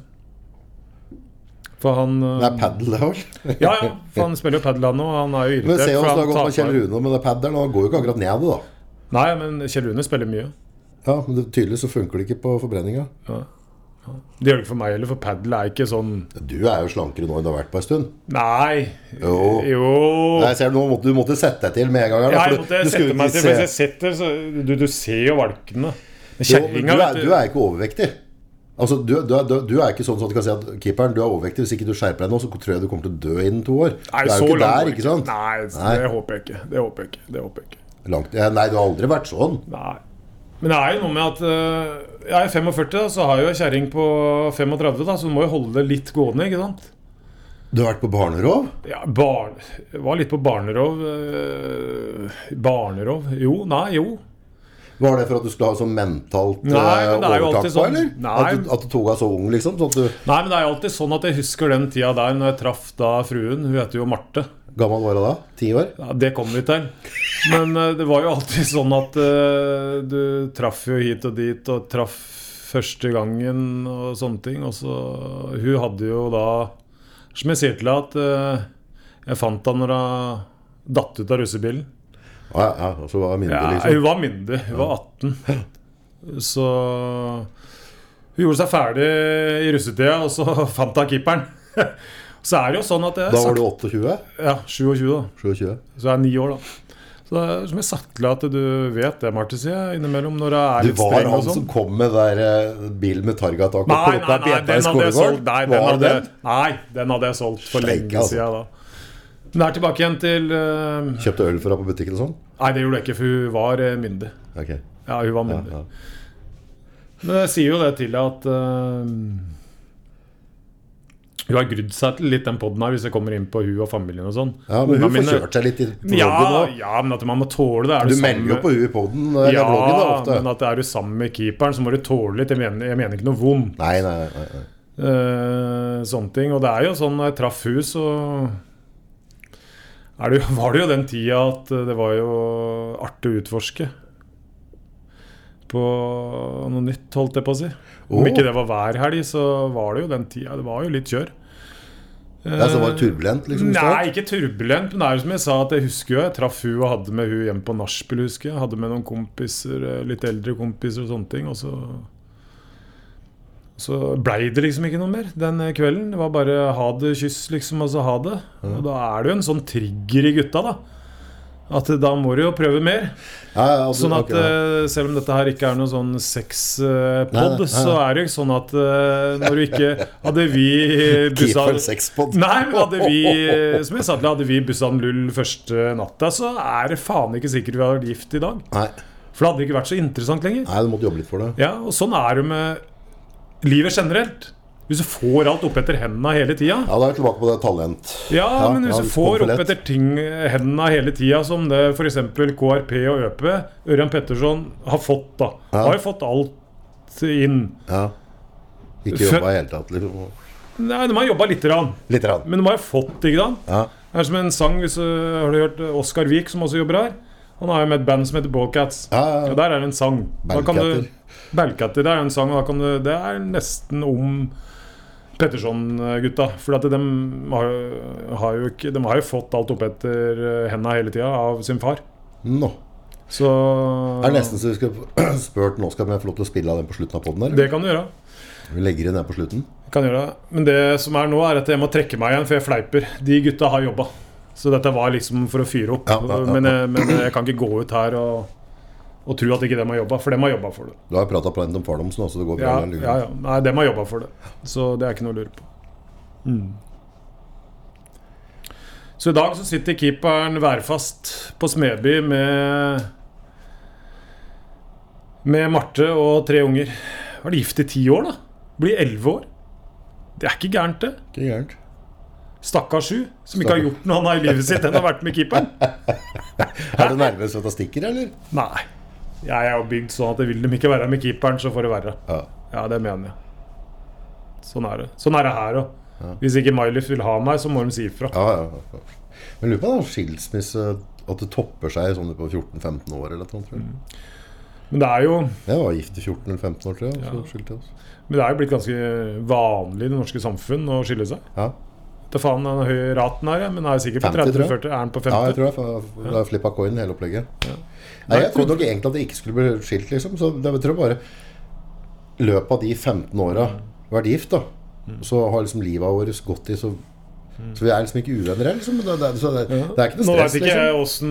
Speaker 1: For han eh,
Speaker 2: Det er padel, det òg.
Speaker 1: Ja, ja. For han spiller jo padel han nå. og Han er jo
Speaker 2: Men
Speaker 1: irritert. for
Speaker 2: se hvordan det har
Speaker 1: han
Speaker 2: gått med Kjell
Speaker 1: taper.
Speaker 2: Rune med det padelen. Han går jo ikke akkurat ned, da.
Speaker 1: Nei, men Kjell Rune spiller mye.
Speaker 2: Ja, men det, Tydelig så funker det ikke på forbrenninga.
Speaker 1: Det gjør det ikke for meg heller, for padel er ikke sånn
Speaker 2: Du er jo slankere nå enn du har vært på en stund.
Speaker 1: Nei.
Speaker 2: Jo.
Speaker 1: Jo.
Speaker 2: Nei, ser du, nå måtte, du måtte sette deg til med en gang. her,
Speaker 1: Ja,
Speaker 2: da, for
Speaker 1: jeg
Speaker 2: du-
Speaker 1: måtte
Speaker 2: du skulle
Speaker 1: sette meg
Speaker 2: ikke
Speaker 1: til. for Hvis
Speaker 2: se-
Speaker 1: jeg setter, så Du, du ser jo valkene. Men
Speaker 2: Jo, men
Speaker 1: Kjerringa,
Speaker 2: du,
Speaker 1: vet
Speaker 2: er, du er ikke overvektig. Altså, du, du, er- du, du er ikke sånn at du kan si at keeperen, du er overvektig. Hvis ikke du skjerper deg nå, så tror jeg du kommer til å dø innen to år.
Speaker 1: Nei,
Speaker 2: du er
Speaker 1: så langt
Speaker 2: jo ikke
Speaker 1: går
Speaker 2: der,
Speaker 1: jeg
Speaker 2: ikke sant?
Speaker 1: Nei,
Speaker 2: Nei.
Speaker 1: det håper jeg ikke. Det håper jeg ikke. Det håper jeg ikke.
Speaker 2: Langt, ja, nei, du har aldri vært sånn.
Speaker 1: Nei. Men det er jo noe med at eh, jeg er 45, da, så har jeg jo ei kjerring på 35, da, så du må jo holde det litt gående, ikke sant?
Speaker 2: Du har vært på barnerov?
Speaker 1: Ja, barn... Jeg var litt på barnerov. eh, barnerov? Jo, nei, jo.
Speaker 2: Var det for at du skulle ha sånn mentalt
Speaker 1: Nei,
Speaker 2: eh,
Speaker 1: men det er jo
Speaker 2: overtak
Speaker 1: alltid
Speaker 2: på,
Speaker 1: sånn.
Speaker 2: eller?
Speaker 1: Nei.
Speaker 2: At, du, at du tok deg så ung, liksom? Sånn at du
Speaker 1: Nei, men det er jo alltid sånn at jeg husker den tida der når jeg traff da fruen. Hun heter jo Marte.
Speaker 2: gammel var du da? Ti år?
Speaker 1: Ja, det kommer vi til. Men eh, det var jo alltid sånn at eh, du traff jo hit og dit, og traff første gangen og sånne ting. Og så Hun hadde jo da Som jeg sier til deg, at eh, jeg fant henne når hun datt ut av russebilen.
Speaker 2: Ja, ja, ja, så var jeg mindre,
Speaker 1: Ja,
Speaker 2: liksom.
Speaker 1: hun var mindre. Hun var 18. Så hun gjorde seg ferdig i russetida, og så fant hun keeperen. Så er det jo sånn at jeg
Speaker 2: Da var du 28?
Speaker 1: Ja, 27, da.
Speaker 2: 27?
Speaker 1: Så jeg er ni år, da. Så det er som jeg sagt til deg, at du vet det, Marte, sier jeg innimellom når jeg er
Speaker 2: Du
Speaker 1: litt
Speaker 2: var
Speaker 1: streng og
Speaker 2: han som
Speaker 1: sånn.
Speaker 2: kom med der eh, bilen med Targa-tak og
Speaker 1: Nei,
Speaker 2: plukka
Speaker 1: nei, nei,
Speaker 2: Peter i
Speaker 1: den hadde jeg solgt.
Speaker 2: skolegården?
Speaker 1: Nei, den
Speaker 2: Var
Speaker 1: hadde,
Speaker 2: det den?
Speaker 1: nei, den hadde jeg solgt for
Speaker 2: Steike,
Speaker 1: lenge
Speaker 2: altså.
Speaker 1: siden da. Men det er tilbake igjen til eh,
Speaker 2: Kjøpte øl for deg på butikken og sånn?
Speaker 1: Nei, det gjorde jeg ikke, for hun var eh, myndig.
Speaker 2: Ok.
Speaker 1: Ja, hun var
Speaker 2: Ja,
Speaker 1: myndig.
Speaker 2: ja.
Speaker 1: Men jeg sier jo det til deg at eh, Hun har grudd seg til litt den poden her, hvis jeg kommer inn på hun og familien og sånn.
Speaker 2: Ja, men
Speaker 1: Ungene
Speaker 2: hun får
Speaker 1: mine-
Speaker 2: kjørt seg litt i vloggen
Speaker 1: ja,
Speaker 2: nå.
Speaker 1: ja, men at man må tåle det. Er
Speaker 2: Du
Speaker 1: det samme-
Speaker 2: melder jo på hun i poden eller
Speaker 1: Ja,
Speaker 2: vloggen da, ofte.
Speaker 1: men at er du sammen med keeperen, så må du tåle litt. Jeg mener, jeg mener ikke noe vondt.
Speaker 2: Nei, nei, nei, nei.
Speaker 1: Eh, sånne ting. Og det er jo sånn når jeg traff hus, så er det, jo- var det jo den tida at eh, det var jo artig å utforske. På noe nytt, holdt jeg på å si. Om
Speaker 2: Åh.
Speaker 1: ikke det var hver helg, så var det jo den tida. Det var jo litt kjør.
Speaker 2: Ja, så var det turbulent, liksom? i
Speaker 1: Nei,
Speaker 2: start?
Speaker 1: ikke turbulent, men det er jo som jeg sa at jeg husker jo, jeg traff hun og hadde med hun hjemme på nachspiel, husker jeg. Hadde med noen kompiser, eh, litt eldre kompiser og sånne ting. Og så, så blei det liksom ikke noe mer den kvelden. Det var bare ha det, kyss, liksom, og så ha det. Og da er det jo en sånn trigger i gutta, da. At da må du jo prøve mer.
Speaker 2: Ja, ja, altså,
Speaker 1: Sånn at
Speaker 2: ok, ja.
Speaker 1: eh, selv om dette her ikke er noen sånn
Speaker 2: Nei, nei,
Speaker 1: sexpod,
Speaker 2: nei,
Speaker 1: så
Speaker 2: nei.
Speaker 1: er det jo sånn at eh, når du ikke Hadde vi eh,
Speaker 2: Keep
Speaker 1: bussa
Speaker 2: for sexpod.
Speaker 1: Nei, men hadde vi eh, Som jeg sa til deg, hadde vi bussa en lull første natta, så er det faen ikke sikkert vi hadde vært gift i dag.
Speaker 2: Nei,
Speaker 1: For det hadde ikke vært så interessant lenger.
Speaker 2: nei, du måtte jobbe litt for det.
Speaker 1: Ja, Og sånn er det med livet generelt. Hvis du får alt oppetter henda hele tida
Speaker 2: Ja, da er vi tilbake på det talent.
Speaker 1: ja, men hvis
Speaker 2: ja,
Speaker 1: du
Speaker 2: litt
Speaker 1: får opp
Speaker 2: konfirmert.
Speaker 1: etter ting henda hele tida, som det f.eks. KRP og ØP, Ørjan Petterson, har fått, da.
Speaker 2: Ja.
Speaker 1: Har jo fått alt inn.
Speaker 2: Ja. Ikke
Speaker 1: Før-
Speaker 2: jobba i det hele tatt. Liksom.
Speaker 1: Nei, de har jobba lite grann,
Speaker 2: Litt. Rann.
Speaker 1: men de har jo fått, ikke sant?
Speaker 2: Ja.
Speaker 1: Det er som en sang, hvis du har du hørt Oskar Wiik, som også jobber her. Han har jo med et band som heter Ballcats.
Speaker 2: Ja, ja, ja.
Speaker 1: Og der er det en sang. Da kan du-
Speaker 2: Ballcatter.
Speaker 1: Ballcatter. Det er en sang, og da kan du Det er nesten om Petterson-gutta. For at de har, jo- har jo ikke De har jo fått alt oppetter eh, henda hele tida av sin far.
Speaker 2: Nå.
Speaker 1: Så
Speaker 2: Det er nesten så vi skulle spurt nå skal vi få lov til å spille av den på slutten av poden. eller?
Speaker 1: Det kan du gjøre.
Speaker 2: Vi legger inn den på slutten.
Speaker 1: Kan gjøre det. Men det som er nå, er at jeg må trekke meg igjen, for jeg fleiper. De gutta har jobba. Så dette var liksom for å fyre opp.
Speaker 2: Ja, ja, ja,
Speaker 1: Men, jeg, men jeg kan ikke gå ut her og, og tro at ikke dem har jobba, for dem har jobba for det.
Speaker 2: Du har jo prata plenty om fardommen, så det går bra.
Speaker 1: Ja,
Speaker 2: eller?
Speaker 1: ja, ja. Nei, dem har jobba for det. Så det er ikke noe å lure på. Mm. Så i dag så sitter keeperen værfast på Smeby med Med Marte og tre unger. Var de gift i ti år, da? Blir elleve år. Det er ikke gærent, det.
Speaker 2: Ikke gærent.
Speaker 1: Stakkars sju, som ikke har gjort noe annet i livet sitt enn å ha vært med keeperen.
Speaker 2: Er du nervøs for at det stikker, eller?
Speaker 1: Nei. Jeg er jo bygd sånn at vil de ikke være med keeperen, så får det være.
Speaker 2: Ja.
Speaker 1: Ja, det mener jeg. Sånn er det. Sånn er det her òg. Hvis ikke Mylif vil ha meg, så må de si ifra.
Speaker 2: ja, ja, ja. Men lurer på om det er skilsmisse At det topper seg sånn på 14-15 år eller noe. tror jeg.
Speaker 1: Mm. Men det er jo
Speaker 2: Jeg var gift i 14 eller 15 år, tror jeg. Og så skilte jeg oss.
Speaker 1: men det er jo blitt ganske vanlig i det norske samfunn å skille seg.
Speaker 2: Ja.
Speaker 1: Ta faen den høye raten her, ja, men er sikkert på
Speaker 2: 50, tror jeg.
Speaker 1: 30-40. Er den på
Speaker 2: ja,
Speaker 1: 50?
Speaker 2: jeg tror jeg fa- det er flippa coin, hele opplegget. Nei, jeg trodde nok egentlig at det ikke skulle bli skilt, liksom. Så det jeg tror bare løpet av de 15 åra vært gift, da,
Speaker 1: Mm.
Speaker 2: så har liksom livet vårt gått i så Så vi er liksom ikke uvenner her, liksom. Det, det, så det, det er ikke
Speaker 1: Nå
Speaker 2: noe
Speaker 1: veit
Speaker 2: stress,
Speaker 1: ikke jeg
Speaker 2: liksom.
Speaker 1: åssen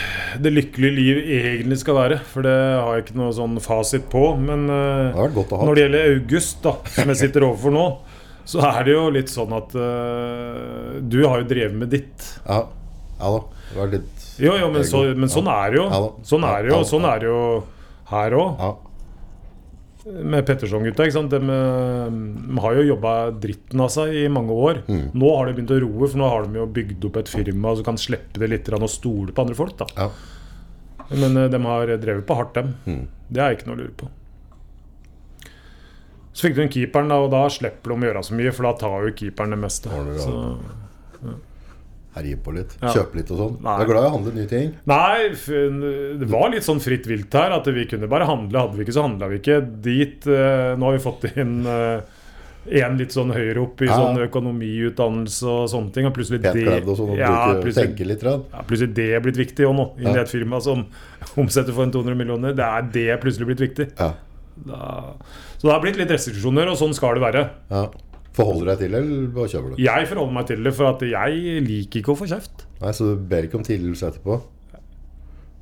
Speaker 1: eh, det lykkelige liv egentlig skal være, for det har jeg ikke noe sånn fasit på. Men eh,
Speaker 2: Det har vært godt å ha.
Speaker 1: Når det gjelder august, da, som jeg sitter overfor nå, så er det jo litt sånn at eh, Du har jo drevet med ditt.
Speaker 2: Ja, ja da. Det var litt
Speaker 1: Jo, jo, men, så, men sånn er det jo.
Speaker 2: Ja da.
Speaker 1: Sånn er det jo, sånn er det jo her òg.
Speaker 2: Ja.
Speaker 1: Med Petterson-gutta. ikke sant? De, eh, de har jo jobba dritten av seg i mange år.
Speaker 2: Mm.
Speaker 1: Nå har de begynt å roe, for nå har de jo bygd opp et firma som kan slippe det litt grann og stole på andre folk. da.
Speaker 2: ja.
Speaker 1: Men eh, de har drevet på hardt, dem.
Speaker 2: Mm.
Speaker 1: Det er ikke noe å lure på. Så fikk du en keeperen, da, og da slipper de å gjøre så mye, for da tar jo keeperen det meste.
Speaker 2: Ordner det, ja.
Speaker 1: Så,
Speaker 2: herje på litt,
Speaker 1: Ja.
Speaker 2: kjøpe litt og sånn.
Speaker 1: Nei.
Speaker 2: Jeg er glad i å handle nye ting.
Speaker 1: nei, f- det var litt sånn fritt vilt her, at vi kunne bare handle. Hadde vi ikke, så handla vi ikke. Dit eh, Nå har vi fått inn eh, en litt sånn høyere opp i
Speaker 2: Ja.
Speaker 1: sånn økonomiutdannelse og sånne ting, og plutselig
Speaker 2: Pent
Speaker 1: det
Speaker 2: kledd og sånn, og
Speaker 1: ja,
Speaker 2: bruke,
Speaker 1: plutselig,
Speaker 2: tenke litt. Rann.
Speaker 1: ja, plutselig det er blitt viktig òg nå, inn i
Speaker 2: Ja.
Speaker 1: et firma som omsetter for en 200 millioner. Det er det er plutselig blitt viktig.
Speaker 2: Ja.
Speaker 1: Da. Så det har blitt litt restriksjoner, og sånn skal det være.
Speaker 2: ja. Forholder du deg til det, eller bare kjøper du?
Speaker 1: Jeg forholder meg til det, for at jeg liker ikke å få kjeft.
Speaker 2: Nei, Så du ber ikke om tilgivelse etterpå?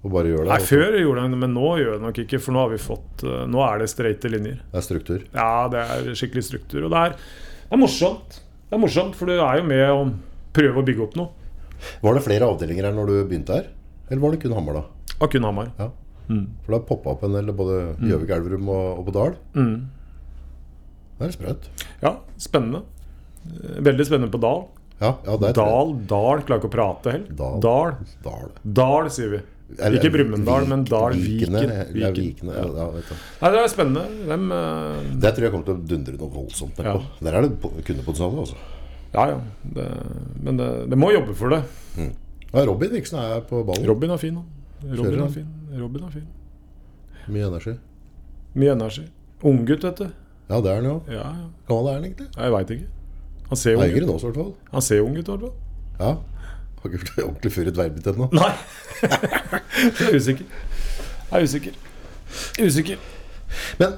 Speaker 2: Og bare gjør det?
Speaker 1: Nei,
Speaker 2: altså.
Speaker 1: Før gjorde jeg det, men nå gjør jeg det nok ikke, for nå har vi fått eh, Nå er det streite linjer.
Speaker 2: Det er struktur.
Speaker 1: Ja, det er skikkelig struktur. Og det er, det er morsomt. Det er morsomt, for du er jo med å prøve å bygge opp noe.
Speaker 2: Var det flere avdelinger her når du begynte her? Eller var det kun Hamar, da?
Speaker 1: Av kun Hamar.
Speaker 2: Ja. For det har poppa opp en del både
Speaker 1: Mm.
Speaker 2: i Gjøvik, Elverum og, og på Dal. Det er sprøtt.
Speaker 1: Ja, spennende. Eh, Veldig spennende på Dal.
Speaker 2: Ja, ja, det er
Speaker 1: Dal, Dal, klarer ikke å prate heller.
Speaker 2: Dal.
Speaker 1: Dal,
Speaker 2: Dal.
Speaker 1: Dal sier vi.
Speaker 2: Eller-
Speaker 1: ikke Brumunddal, men Dal.
Speaker 2: Vikene,
Speaker 1: Viken.
Speaker 2: det er
Speaker 1: Viken.
Speaker 2: Vikene, ja, ja, vet du.
Speaker 1: Nei, det er spennende. Dem, eh,
Speaker 2: Det tror jeg kommer til å dundre noe voldsomt nedpå. Der er det på- kundepotensial, altså.
Speaker 1: Ja, ja. Det, men det, det må jobbe for det.
Speaker 2: Ja, Robin Viksen er på ballen.
Speaker 1: Robin er fin. han. Robin
Speaker 2: Kjører
Speaker 1: er fin. Robin er fin.
Speaker 2: Mye energi.
Speaker 1: Mye energi. Unggutt, vet du.
Speaker 2: Ja, det er han jo.
Speaker 1: Ja, ja.
Speaker 2: Gammel er han egentlig.
Speaker 1: Jeg veit ikke. Han ser ung
Speaker 2: Er yngre
Speaker 1: ut.
Speaker 2: nå, i hvert fall.
Speaker 1: Han ser ung ut, i hvert fall.
Speaker 2: Ja. Har ikke vært ordentlig før i dvergbit ennå.
Speaker 1: Nei. jeg er usikker. Jeg er usikker. Usikker.
Speaker 2: Men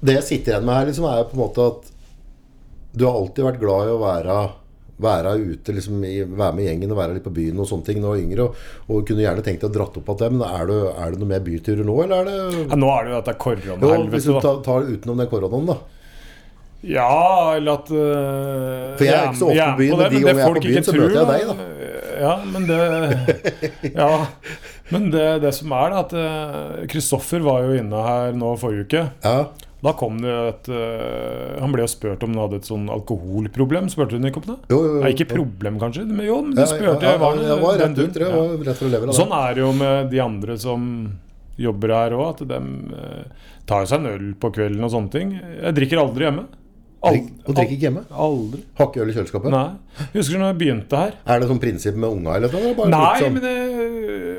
Speaker 2: det jeg sitter igjen med her, liksom, er jo på en måte at du har alltid vært glad i å være, være ute, liksom, i, være med gjengen og være litt på byen og sånne ting når du var yngre. Og, og kunne gjerne tenkt deg å dratt opp igjen det, men er det, er det noe mer byturer nå, eller er det
Speaker 1: Ja, nå er det jo at det er
Speaker 2: jo, Hvis du
Speaker 1: koronahelvete, da.
Speaker 2: tar, tar det utenom den koronaen, da.
Speaker 1: Ja, eller at øh,
Speaker 2: For jeg er ikke så ofte på byen, men de
Speaker 1: det
Speaker 2: gangene jeg er
Speaker 1: folk
Speaker 2: på byen,
Speaker 1: ikke
Speaker 2: så møter jeg
Speaker 1: tror, eh,
Speaker 2: deg,
Speaker 1: Ja, men det Ja. Men det, det som er, det at Kristoffer var jo inne her nå forrige uke.
Speaker 2: Ja.
Speaker 1: Da kom det et øh, Han ble jo spurt om han hadde et sånn alkoholproblem. Spurte du ikke om det?
Speaker 2: Jo, jo, jo.
Speaker 1: Nei, ikke problem, kanskje, men jo, men du
Speaker 2: Ja,
Speaker 1: spurte.
Speaker 2: ja, ja,
Speaker 1: var det-
Speaker 2: jeg var
Speaker 1: den
Speaker 2: rett ut,
Speaker 1: turen?
Speaker 2: jeg
Speaker 1: Ja.
Speaker 2: var rett fra leveren.
Speaker 1: Sånn er det jo med de andre som jobber her òg, at de tar seg en øl på kvelden og sånne ting. Jeg drikker aldri hjemme.
Speaker 2: Drikk, og drikker ikke hjemme?
Speaker 1: Aldri.
Speaker 2: Har ikke øl i kjøleskapet?
Speaker 1: Nei. Husker du når jeg begynte her?
Speaker 2: Er det sånn prinsipp med unga eller noe? eller bare litt
Speaker 1: Nei,
Speaker 2: sånn-
Speaker 1: men det,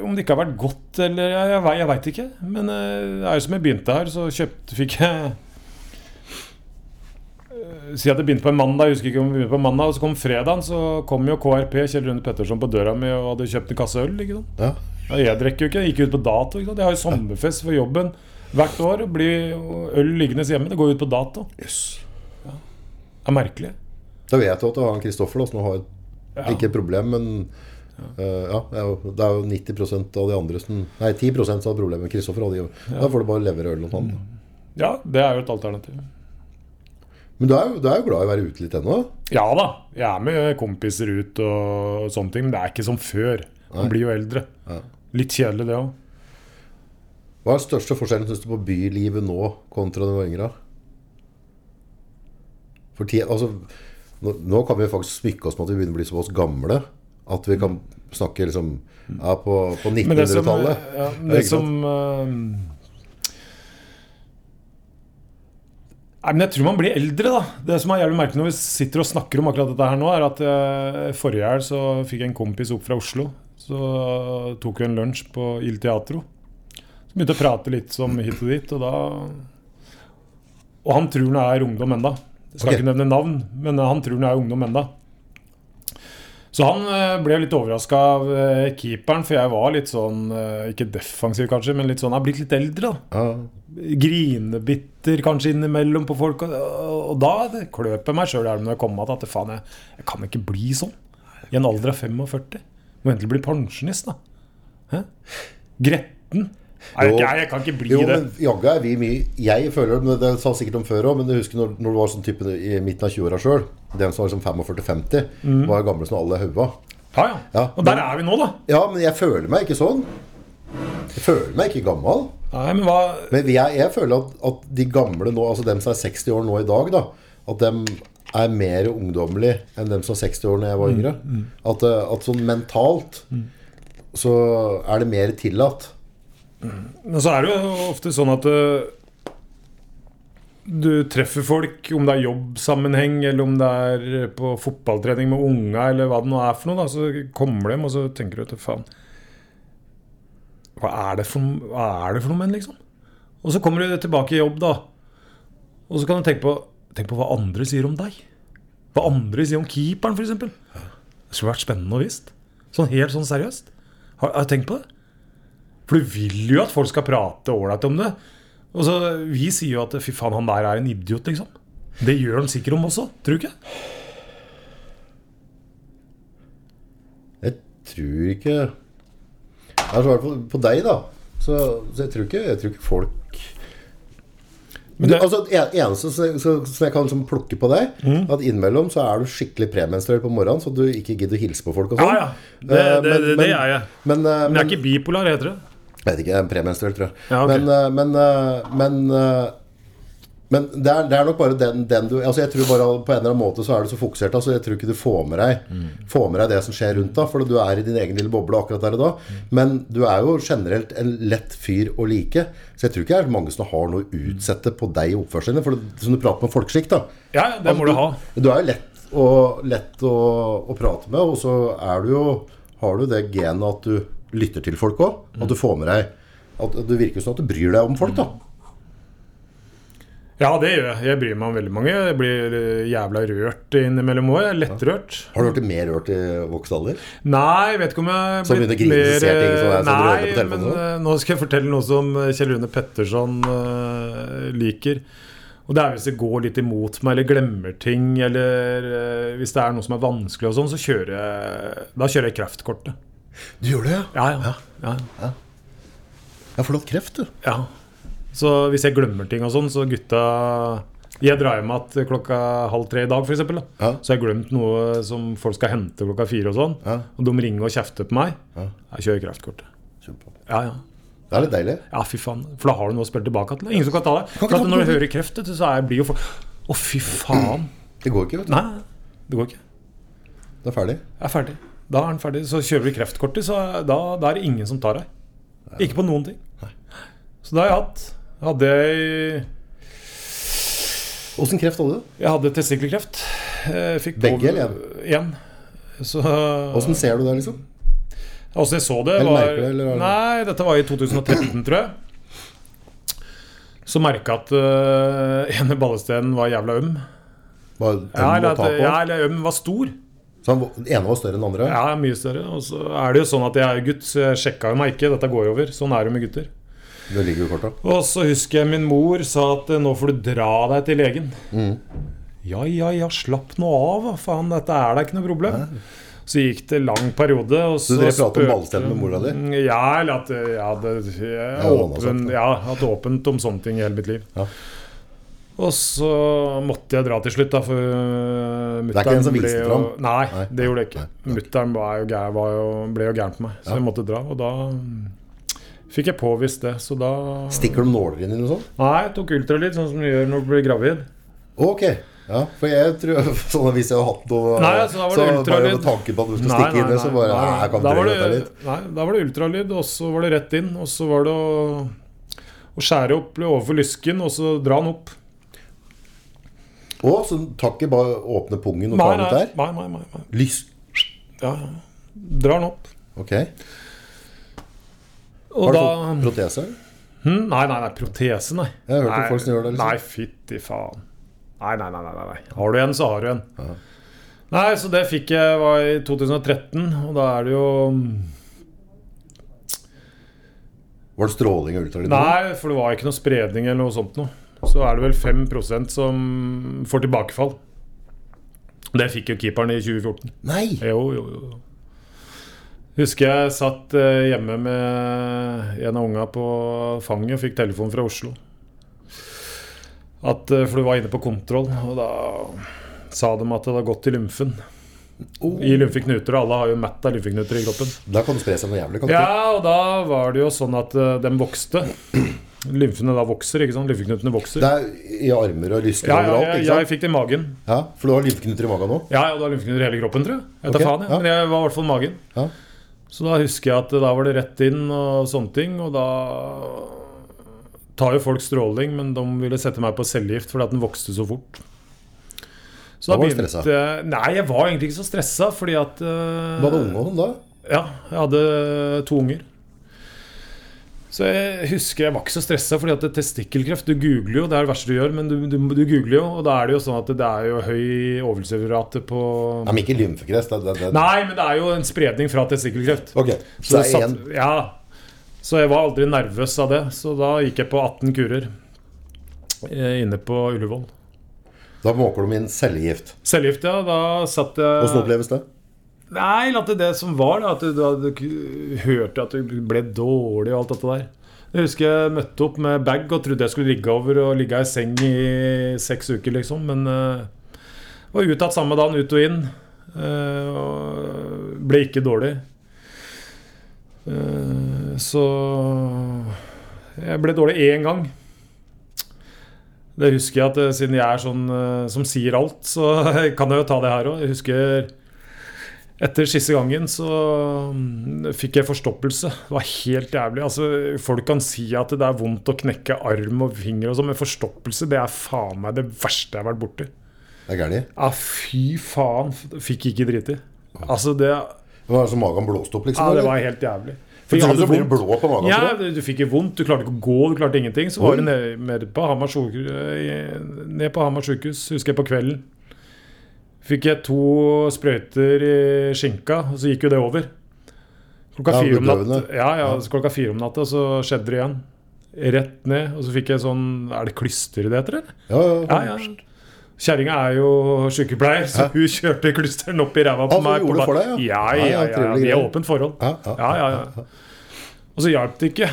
Speaker 1: om det ikke har vært godt eller Jeg, jeg, vei- jeg veit ikke. Men eh, det er jo som jeg begynte her, så kjøpte fikk jeg eh, Si at det begynte på en mandag, jeg husker ikke om det begynte på en mandag, og så kom fredagen, så kom jo KRP, Kjell Rune Petterson, på døra mi og hadde kjøpt en kasse øl. ikke sant?
Speaker 2: Ja.
Speaker 1: Ja, jeg drikker jo ikke. Jeg gikk ut på dato. Ikke sant? Jeg har jo sommerfest for jobben hvert år. og Blir øl liggende hjemme. Det går ut på dato.
Speaker 2: Yes.
Speaker 1: Det er merkelig.
Speaker 2: Da vet du at det var han Kristoffer da, som har et
Speaker 1: Ja.
Speaker 2: Ikke et problem, men eh, ja, det er jo, det er jo 90 av de andre som Nei, 10 som har problemer med Kristoffer. og de- Da får du bare levere øl og sånn.
Speaker 1: Ja, det er jo et alternativ.
Speaker 2: Men du er, jo, du er jo glad i å være ute litt ennå?
Speaker 1: Ja da, jeg er med kompiser ut og sånne ting, men det er ikke som før. Man blir jo eldre.
Speaker 2: Ja.
Speaker 1: Litt kjedelig, det òg.
Speaker 2: Hva er den største forskjellen synes du, på bylivet nå kontra da du var yngre? For ti, altså, nå, nå kan vi faktisk smykke oss med at vi begynner å bli såpass gamle at vi kan snakke liksom, ja, på, på
Speaker 1: Men det som,
Speaker 2: 1900-tallet.
Speaker 1: ja, men
Speaker 2: Det er
Speaker 1: det
Speaker 2: ikke
Speaker 1: som eh, Nei, men Jeg tror man blir eldre, da. Det som er jævlig merkelig når vi sitter og snakker om akkurat dette her nå, er at eh, forrige helg så fikk jeg en kompis opp fra Oslo. Så tok vi en lunsj på Il Teatro. Så begynte jeg å prate litt som hit og dit, og da Og han tror han er ungdom enda. Jeg skal
Speaker 2: Ok.
Speaker 1: ikke nevne navn, men han tror han er ungdom enda. Så han eh, ble litt overraska av eh, keeperen, for jeg var litt sånn eh, Ikke defensiv, kanskje, men litt sånn Jeg har blitt litt eldre, da.
Speaker 2: Ja.
Speaker 1: Grinebitter kanskje innimellom på folk. Og, og da kløp jeg meg sjøl i elven når jeg kom igjen at faen, jeg, jeg kan ikke bli sånn. I en alder av 45. Må endelig bli pensjonist, da. Hæ? Gretten. Nei,
Speaker 2: Jo.
Speaker 1: jeg, jeg kan ikke bli
Speaker 2: Jo,
Speaker 1: det.
Speaker 2: men jaggu er vi mye Jeg føler det, men det sa jeg sikkert om før òg, men jeg husker når, når du var sånn type i midten av 20-åra sjøl, dem som var liksom 45-50,
Speaker 1: Mm.
Speaker 2: var jo gamle som alle hauga.
Speaker 1: Ja, ja.
Speaker 2: Ja,
Speaker 1: og der er vi nå, da.
Speaker 2: Ja, men jeg føler meg ikke sånn. Jeg føler meg ikke gammel.
Speaker 1: Nei, men hva
Speaker 2: Men vi er, jeg føler at, at de gamle nå, altså dem som er 60 år nå i dag, da, at dem er mer ungdommelig enn dem som er 60 år da
Speaker 1: Mm,
Speaker 2: jeg var yngre. At, eh, at sånn mentalt så er det mer tillatt.
Speaker 1: Men så er det jo ofte sånn at øh, du treffer folk, om det er jobbsammenheng, eller om det er eh, på fotballtrening med unga, eller hva det nå er for noe, da, så kommer de, og så tenker du at faen hva er, det for, hva er det for noe med den, liksom? Og så kommer du tilbake i jobb, da. Og så kan du tenke på, tenk på hva andre sier om deg. Hva andre sier om keeperen, f.eks. Det skulle vært spennende å visst. Sånn helt sånn seriøst. Har, har du tenkt på det? For du vil jo at folk skal prate ålreit om det. Og så, Vi sier jo at 'fy faen, han der er en idiot', liksom. Det gjør han sikkert om også, tror du ikke?
Speaker 2: Jeg tror ikke Jeg har svart på, på deg, da. Så, så jeg, tror ikke, jeg tror ikke folk
Speaker 1: Men det-
Speaker 2: du, altså, det en- eneste som jeg, så, som jeg kan liksom plukke på deg,
Speaker 1: Mm.
Speaker 2: at innimellom så er du skikkelig premenstruell på morgenen, så du ikke gidder å hilse på folk og
Speaker 1: Ja,
Speaker 2: sånn.
Speaker 1: ja. Det, det,
Speaker 2: Eh, men-
Speaker 1: det, det
Speaker 2: men-
Speaker 1: er jeg.
Speaker 2: Men, eh,
Speaker 1: Men jeg er ikke bipolar, heter det.
Speaker 2: jeg vet ikke, jeg er premenstruell, tror jeg.
Speaker 1: Ja, ok.
Speaker 2: Men, eh, men, eh, men, eh, men det, er, det er nok bare den, den du altså Jeg tror bare på en eller annen måte så er du så fokusert, altså jeg tror ikke du får med deg
Speaker 1: Mm.
Speaker 2: Får med deg det som skjer rundt deg, for du er i din egen lille boble akkurat der og da.
Speaker 1: Mm.
Speaker 2: Men du er jo generelt en lett fyr å like, så jeg tror ikke det er mange som har noe å utsette på deg i oppførselen din. For det, som Altså, du prater med folkeskikk, da.
Speaker 1: Ja, ja, det må Altså, du ha.
Speaker 2: Du er jo lett og lett å, å prate med. Og så er du jo, har du det genet at du lytter til folk òg. At du får med deg at Det virker som at du bryr deg om folk, da.
Speaker 1: Ja, det gjør jeg. Jeg bryr meg om veldig mange. Jeg blir eh, jævla rørt innimellom òg. Jeg er Lettrørt.
Speaker 2: Har du hørt det mer rørt i voksen alder?
Speaker 1: Nei, jeg vet ikke om jeg
Speaker 2: Så begynner å grine,
Speaker 1: mer,
Speaker 2: ser ting som er sånn
Speaker 1: eh,
Speaker 2: røde på
Speaker 1: Nei,
Speaker 2: telefonen
Speaker 1: men eh, nå skal jeg fortelle noe som eh, Kjell Rune Petterson eh, liker. Og det er hvis det går litt imot meg, eller glemmer ting, eller eh, hvis det er noe som er vanskelig og sånn, så kjører jeg Da kjører jeg kreftkortet.
Speaker 2: Du gjør det,
Speaker 1: Ja, ja. ja,
Speaker 2: Ja, for du har hatt kreft, du.
Speaker 1: ja. Så hvis jeg glemmer ting og sånn, så gutta jeg drar hjem igjen klokka halv tre i dag, f.eks. Da.
Speaker 2: Ja.
Speaker 1: Så har jeg glemt noe som folk skal hente klokka fire. Og sånn
Speaker 2: Ja.
Speaker 1: Og de ringer og kjefter på meg.
Speaker 2: Ja.
Speaker 1: Jeg kjører kreftkortet.
Speaker 2: Kjempe.
Speaker 1: Ja, ja.
Speaker 2: Det er litt deilig.
Speaker 1: Ja, fy faen. For da har du noe å spille tilbake til. Ingen som kan ta det. For
Speaker 2: Kan ikke ta Mm.
Speaker 1: at når
Speaker 2: det.
Speaker 1: du hører kreft, vet du, så er, blir jo folk Å, fy faen.
Speaker 2: Det går ikke, vet du.
Speaker 1: Nei, det går ikke.
Speaker 2: Det er ferdig.
Speaker 1: Jeg er ferdig. Da er den ferdig. Så kjører du kreftkortet, så er- da, da er det ingen som tar deg. Ikke på noen ting. Så det har jeg hatt. Jeg hadde, jeg-
Speaker 2: Åssen kreft hadde du?
Speaker 1: jeg hadde testikkelkreft. Jeg Fikk
Speaker 2: Begge,
Speaker 1: over-
Speaker 2: eller
Speaker 1: Én. Så
Speaker 2: Åssen ser du det, liksom?
Speaker 1: Altså, jeg så det
Speaker 2: Eller
Speaker 1: var,
Speaker 2: merker du det, eller er det-
Speaker 1: Nei, dette var i 2013, tror jeg. Så merka at øh, ene ballestenen var jævla øm.
Speaker 2: Var øm
Speaker 1: Ja, eller
Speaker 2: å ta
Speaker 1: at,
Speaker 2: på?
Speaker 1: ja, eller øm var stor.
Speaker 2: Så han, den ene var større enn den andre?
Speaker 1: Ja, mye større. Og så er det jo sånn at jeg er jo gutt, så jeg sjekka jo meg ikke. Dette går jo over. Sånn er det jo med gutter.
Speaker 2: Det ligger jo i korta.
Speaker 1: Og så husker jeg min mor sa at eh, nå får du dra deg til legen.
Speaker 2: Mm.
Speaker 1: Ja, ja, ja, slapp nå av, hva faen. Dette er da ikke noe problem. Så gikk det lang periode. Og så
Speaker 2: Så dere prater
Speaker 1: spurte-
Speaker 2: om ballsteinen med mora di?
Speaker 1: Mm, Ja, eller at eh, jeg hadde jeg
Speaker 2: Ja, det var
Speaker 1: åpen,
Speaker 2: sant, da.
Speaker 1: ja, hatt åpent om sånne ting i hele mitt liv.
Speaker 2: Ja.
Speaker 1: Og så måtte jeg dra til slutt, da, for eh,
Speaker 2: Det er ikke den som viste fram?
Speaker 1: Nei,
Speaker 2: Nei.
Speaker 1: det gjorde jeg ikke.
Speaker 2: Nei, ok.
Speaker 1: Mutter'n var jo gær- var jo- ble jo gæren på meg, så jeg måtte dra. Og da mm, fikk jeg påvist det, så da
Speaker 2: Stikker de nåler inn i noe sånt?
Speaker 1: Nei, jeg tok ultralyd, sånn som du gjør når du blir gravid.
Speaker 2: Ok. Ja, for jeg tror sånn at Hvis jeg hadde hatt noe
Speaker 1: Nei, altså, da var det
Speaker 2: bare
Speaker 1: ultralyd.
Speaker 2: med tanken på at du skulle stikke inn det, så bare nei, jeg
Speaker 1: da,
Speaker 2: kan
Speaker 1: var
Speaker 2: drøye dette
Speaker 1: det,
Speaker 2: litt.
Speaker 1: nei, da var det ultralyd, og så var det rett inn. Og så var det å, å skjære opp overfor lysken, og så dra den opp.
Speaker 2: Å, så takket bare åpne pungen og
Speaker 1: Nei,
Speaker 2: ta den
Speaker 1: nei,
Speaker 2: ut der?
Speaker 1: nei, nei, nei, nei.
Speaker 2: Lys.
Speaker 1: Ja, ja. Drar den opp.
Speaker 2: Ok.
Speaker 1: Og
Speaker 2: Har du
Speaker 1: da
Speaker 2: fått protese?
Speaker 1: hm, Nei, nei, nei, protese, nei.
Speaker 2: Jeg har hørt om
Speaker 1: Nei,
Speaker 2: folk som gjør det, liksom.
Speaker 1: Nei, fytti faen. Nei, nei, nei, nei, nei, nei. Har du en, så har du en.
Speaker 2: Ja.
Speaker 1: Nei, så det fikk jeg var i 2013, og da er det jo
Speaker 2: Var det stråling og ultralyd?
Speaker 1: Nei, for det var ikke noe spredning eller noe sånt noe. Så er det vel 5 som får tilbakefall. Det fikk jo keeperen i 2014.
Speaker 2: Nei!
Speaker 1: Jo, jo, jo. Husker jeg satt eh, hjemme med en av unga på fanget og fikk telefon fra Oslo. At, eh, for du var inne på kontroll, og da sa de at det hadde gått i lymfen.
Speaker 2: Oh.
Speaker 1: I lymfeknuter, og alle har jo mett av lymfeknuter i kroppen.
Speaker 2: Da kan det spre seg noe jævlig. Kan det ikke?
Speaker 1: Ja, og da var det jo sånn at eh, den vokste. Lymfene da vokser, ikke sant? Lymfeknutene vokser.
Speaker 2: Det er i armer og lysker
Speaker 1: Ja, ja,
Speaker 2: overalt.
Speaker 1: jeg,
Speaker 2: ikke
Speaker 1: jeg
Speaker 2: sant?
Speaker 1: fikk det i magen.
Speaker 2: Ja, For du har lymfeknuter i magen nå?
Speaker 1: Ja, ja, du har lymfeknuter i hele kroppen, tror jeg. Jeg tar
Speaker 2: Ok,
Speaker 1: faen, jeg.
Speaker 2: ja.
Speaker 1: Men jeg var i hvert fall i magen.
Speaker 2: Ja.
Speaker 1: Så da husker jeg at eh, da var det rett inn og sånne ting, og da tar jo folk stråling, men de ville sette meg på cellegift fordi at den vokste så fort. Så
Speaker 2: Da var du stressa?
Speaker 1: jeg- Nei, jeg var egentlig ikke så stressa, fordi at eh,
Speaker 2: Du hadde unge og sånn da?
Speaker 1: Ja, jeg hadde to unger. Så jeg husker jeg var ikke så stressa, fordi at testikkelkreft Du googler jo, det er det verste du gjør, men du, du, du googler jo, og da er det jo sånn at det er jo høy overlevelserate på
Speaker 2: Nei, men ikke lymfekreft. Det, det, det.
Speaker 1: Nei, men det er jo en spredning fra testikkelkreft.
Speaker 2: Ok,
Speaker 1: Så,
Speaker 2: så det
Speaker 1: jeg
Speaker 2: er én
Speaker 1: satt, ja, så jeg var aldri nervøs av det, så da gikk jeg på 18 kurer eh, inne på Ullevål.
Speaker 2: Da måker de inn cellegift.
Speaker 1: Cellegift, ja. Da satt jeg
Speaker 2: Åssen oppleves det?
Speaker 1: Nei, at det, det som var, da, at du, du, du hørte at du ble dårlig og alt dette der. Jeg husker jeg møtte opp med bag og trodde jeg skulle ligge over og ligge i seng i seks uker, liksom. Men eh, var uttatt samme dagen, ut og inn. eh, og ble ikke dårlig. Eh, så jeg ble dårlig én gang. Det husker jeg at eh, siden jeg er sånn eh, som sier alt, så kan jeg jo ta det her òg. Jeg husker etter siste gangen så mm, fikk jeg forstoppelse. Det var helt jævlig. Altså, folk kan si at det er vondt å knekke arm og finger og sånn, men forstoppelse det er faen meg det verste jeg har vært borti.
Speaker 2: Ja, Det er gærent.
Speaker 1: Ja, fy faen. f- Fikk ikke driti. Altså, det Ja,
Speaker 2: Det var som magen blåste opp, liksom.
Speaker 1: det
Speaker 2: eller?
Speaker 1: var helt jævlig.
Speaker 2: For
Speaker 1: jeg
Speaker 2: tror
Speaker 1: hadde
Speaker 2: du blir
Speaker 1: vondt.
Speaker 2: blå på magen?
Speaker 1: Ja,
Speaker 2: tror du?
Speaker 1: du du fikk jo vondt, du klarte ikke å gå, du klarte ingenting. Så var
Speaker 2: altså, Oi.
Speaker 1: du nede, nede på Hamar sjuk- eh, ned på Hamar sjukehus, husker jeg, på kvelden. Fikk jeg to sprøyter i skinka, og så gikk jo det over. Klokka
Speaker 2: Ja,
Speaker 1: fire om natta
Speaker 2: bedøvende.
Speaker 1: ja, ja, så klokka fire om natta, så skjedde det igjen. Rett ned, og så fikk jeg sånn Er det klyster det heter, eller?
Speaker 2: Ja, ja, ja.
Speaker 1: Ja, ja. Kjerringa er jo sykepleier, så hun kjørte klysteren opp i ræva på
Speaker 2: Ah, så hun
Speaker 1: meg. på
Speaker 2: gjorde det for
Speaker 1: ba-
Speaker 2: deg,
Speaker 1: ja, ja,
Speaker 2: ja. Ja,
Speaker 1: ja,
Speaker 2: ja,
Speaker 1: ja,
Speaker 2: trivelig
Speaker 1: Vi har
Speaker 2: greie.
Speaker 1: åpent forhold.
Speaker 2: Ja, ja,
Speaker 1: Ja, ja, ja. Og så hjalp det ikke.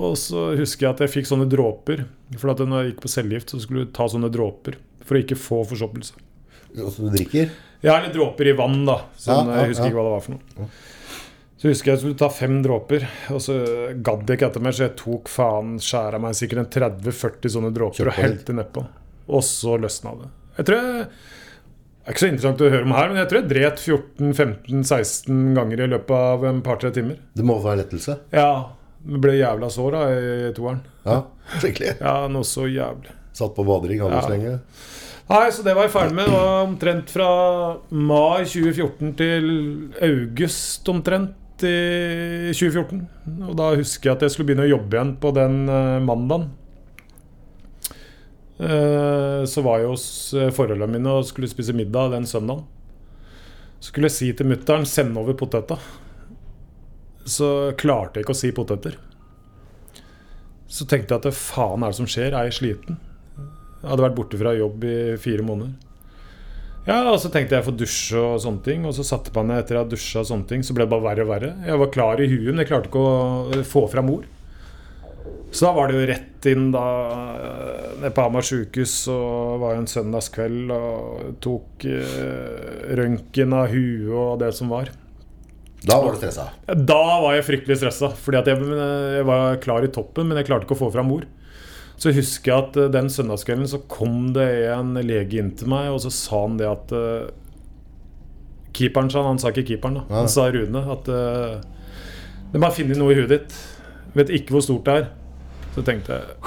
Speaker 1: Og så husker jeg at jeg fikk sånne dråper. For at når jeg gikk på cellegift, så skulle du ta sånne dråper for å ikke få forsoppelse.
Speaker 2: Og så du drikker?
Speaker 1: Ja, eller dråper i vann, da. Sånn,
Speaker 2: Ja, ja,
Speaker 1: jeg husker
Speaker 2: ja.
Speaker 1: ikke hva det var for noe. Så husker jeg jeg skulle ta fem dråper, og så gadd jeg ikke etter mer, så jeg tok faen skjæra meg sikkert en 30-40 sånne
Speaker 2: Kjør
Speaker 1: dråper og
Speaker 2: på litt.
Speaker 1: helte nedpå. Og så løsna det. Jeg tror jeg det er ikke så interessant å høre om her, men jeg tror jeg dret 14-15-16 ganger i løpet av et par-tre timer.
Speaker 2: Det må være en lettelse?
Speaker 1: Ja. men Ble jævla sår da i toeren.
Speaker 2: Ja, skikkelig.
Speaker 1: Ja, noe så jævlig.
Speaker 2: Satt på badering aldri så
Speaker 1: Ja.
Speaker 2: lenge.
Speaker 1: Nei, så det var jeg ferdig med. Det var omtrent fra mai 2014 til august omtrent i 2014. Og da husker jeg at jeg skulle begynne å jobbe igjen på den eh, mandagen. Eh, Så var jeg hos eh, forholdene mine og skulle spise middag den søndagen. Så skulle jeg si til mutter'n 'send over poteta'. Så klarte jeg ikke å si poteter. Så tenkte jeg at faen er det som skjer, er jeg sliten? Jeg hadde vært borte fra jobb i fire måneder. Ja, og så tenkte jeg jeg får dusje og sånne ting. Og så satte jeg meg ned etter jeg hadde dusja og sånne ting, så ble det bare verre og verre. Jeg var klar i huet, men jeg klarte ikke å få fra mor. Så da var det jo rett inn da eh, ned på Hamar sjukehus, og var jo en søndagskveld og tok eh, røntgen av huet og det som var.
Speaker 2: Da var du stressa.
Speaker 1: Da var jeg fryktelig stressa, fordi at jeg, jeg var klar i toppen, men jeg klarte ikke å få fra mor. Så husker jeg at eh, den søndagskvelden så kom det en lege inn til meg, og så sa han det at eh, Keeperen sa han, han sa ikke keeperen, da.
Speaker 2: Nei.
Speaker 1: Han sa Rune at eh, De har funnet noe i huet ditt. Vet ikke hvor stort det er. Så tenkte jeg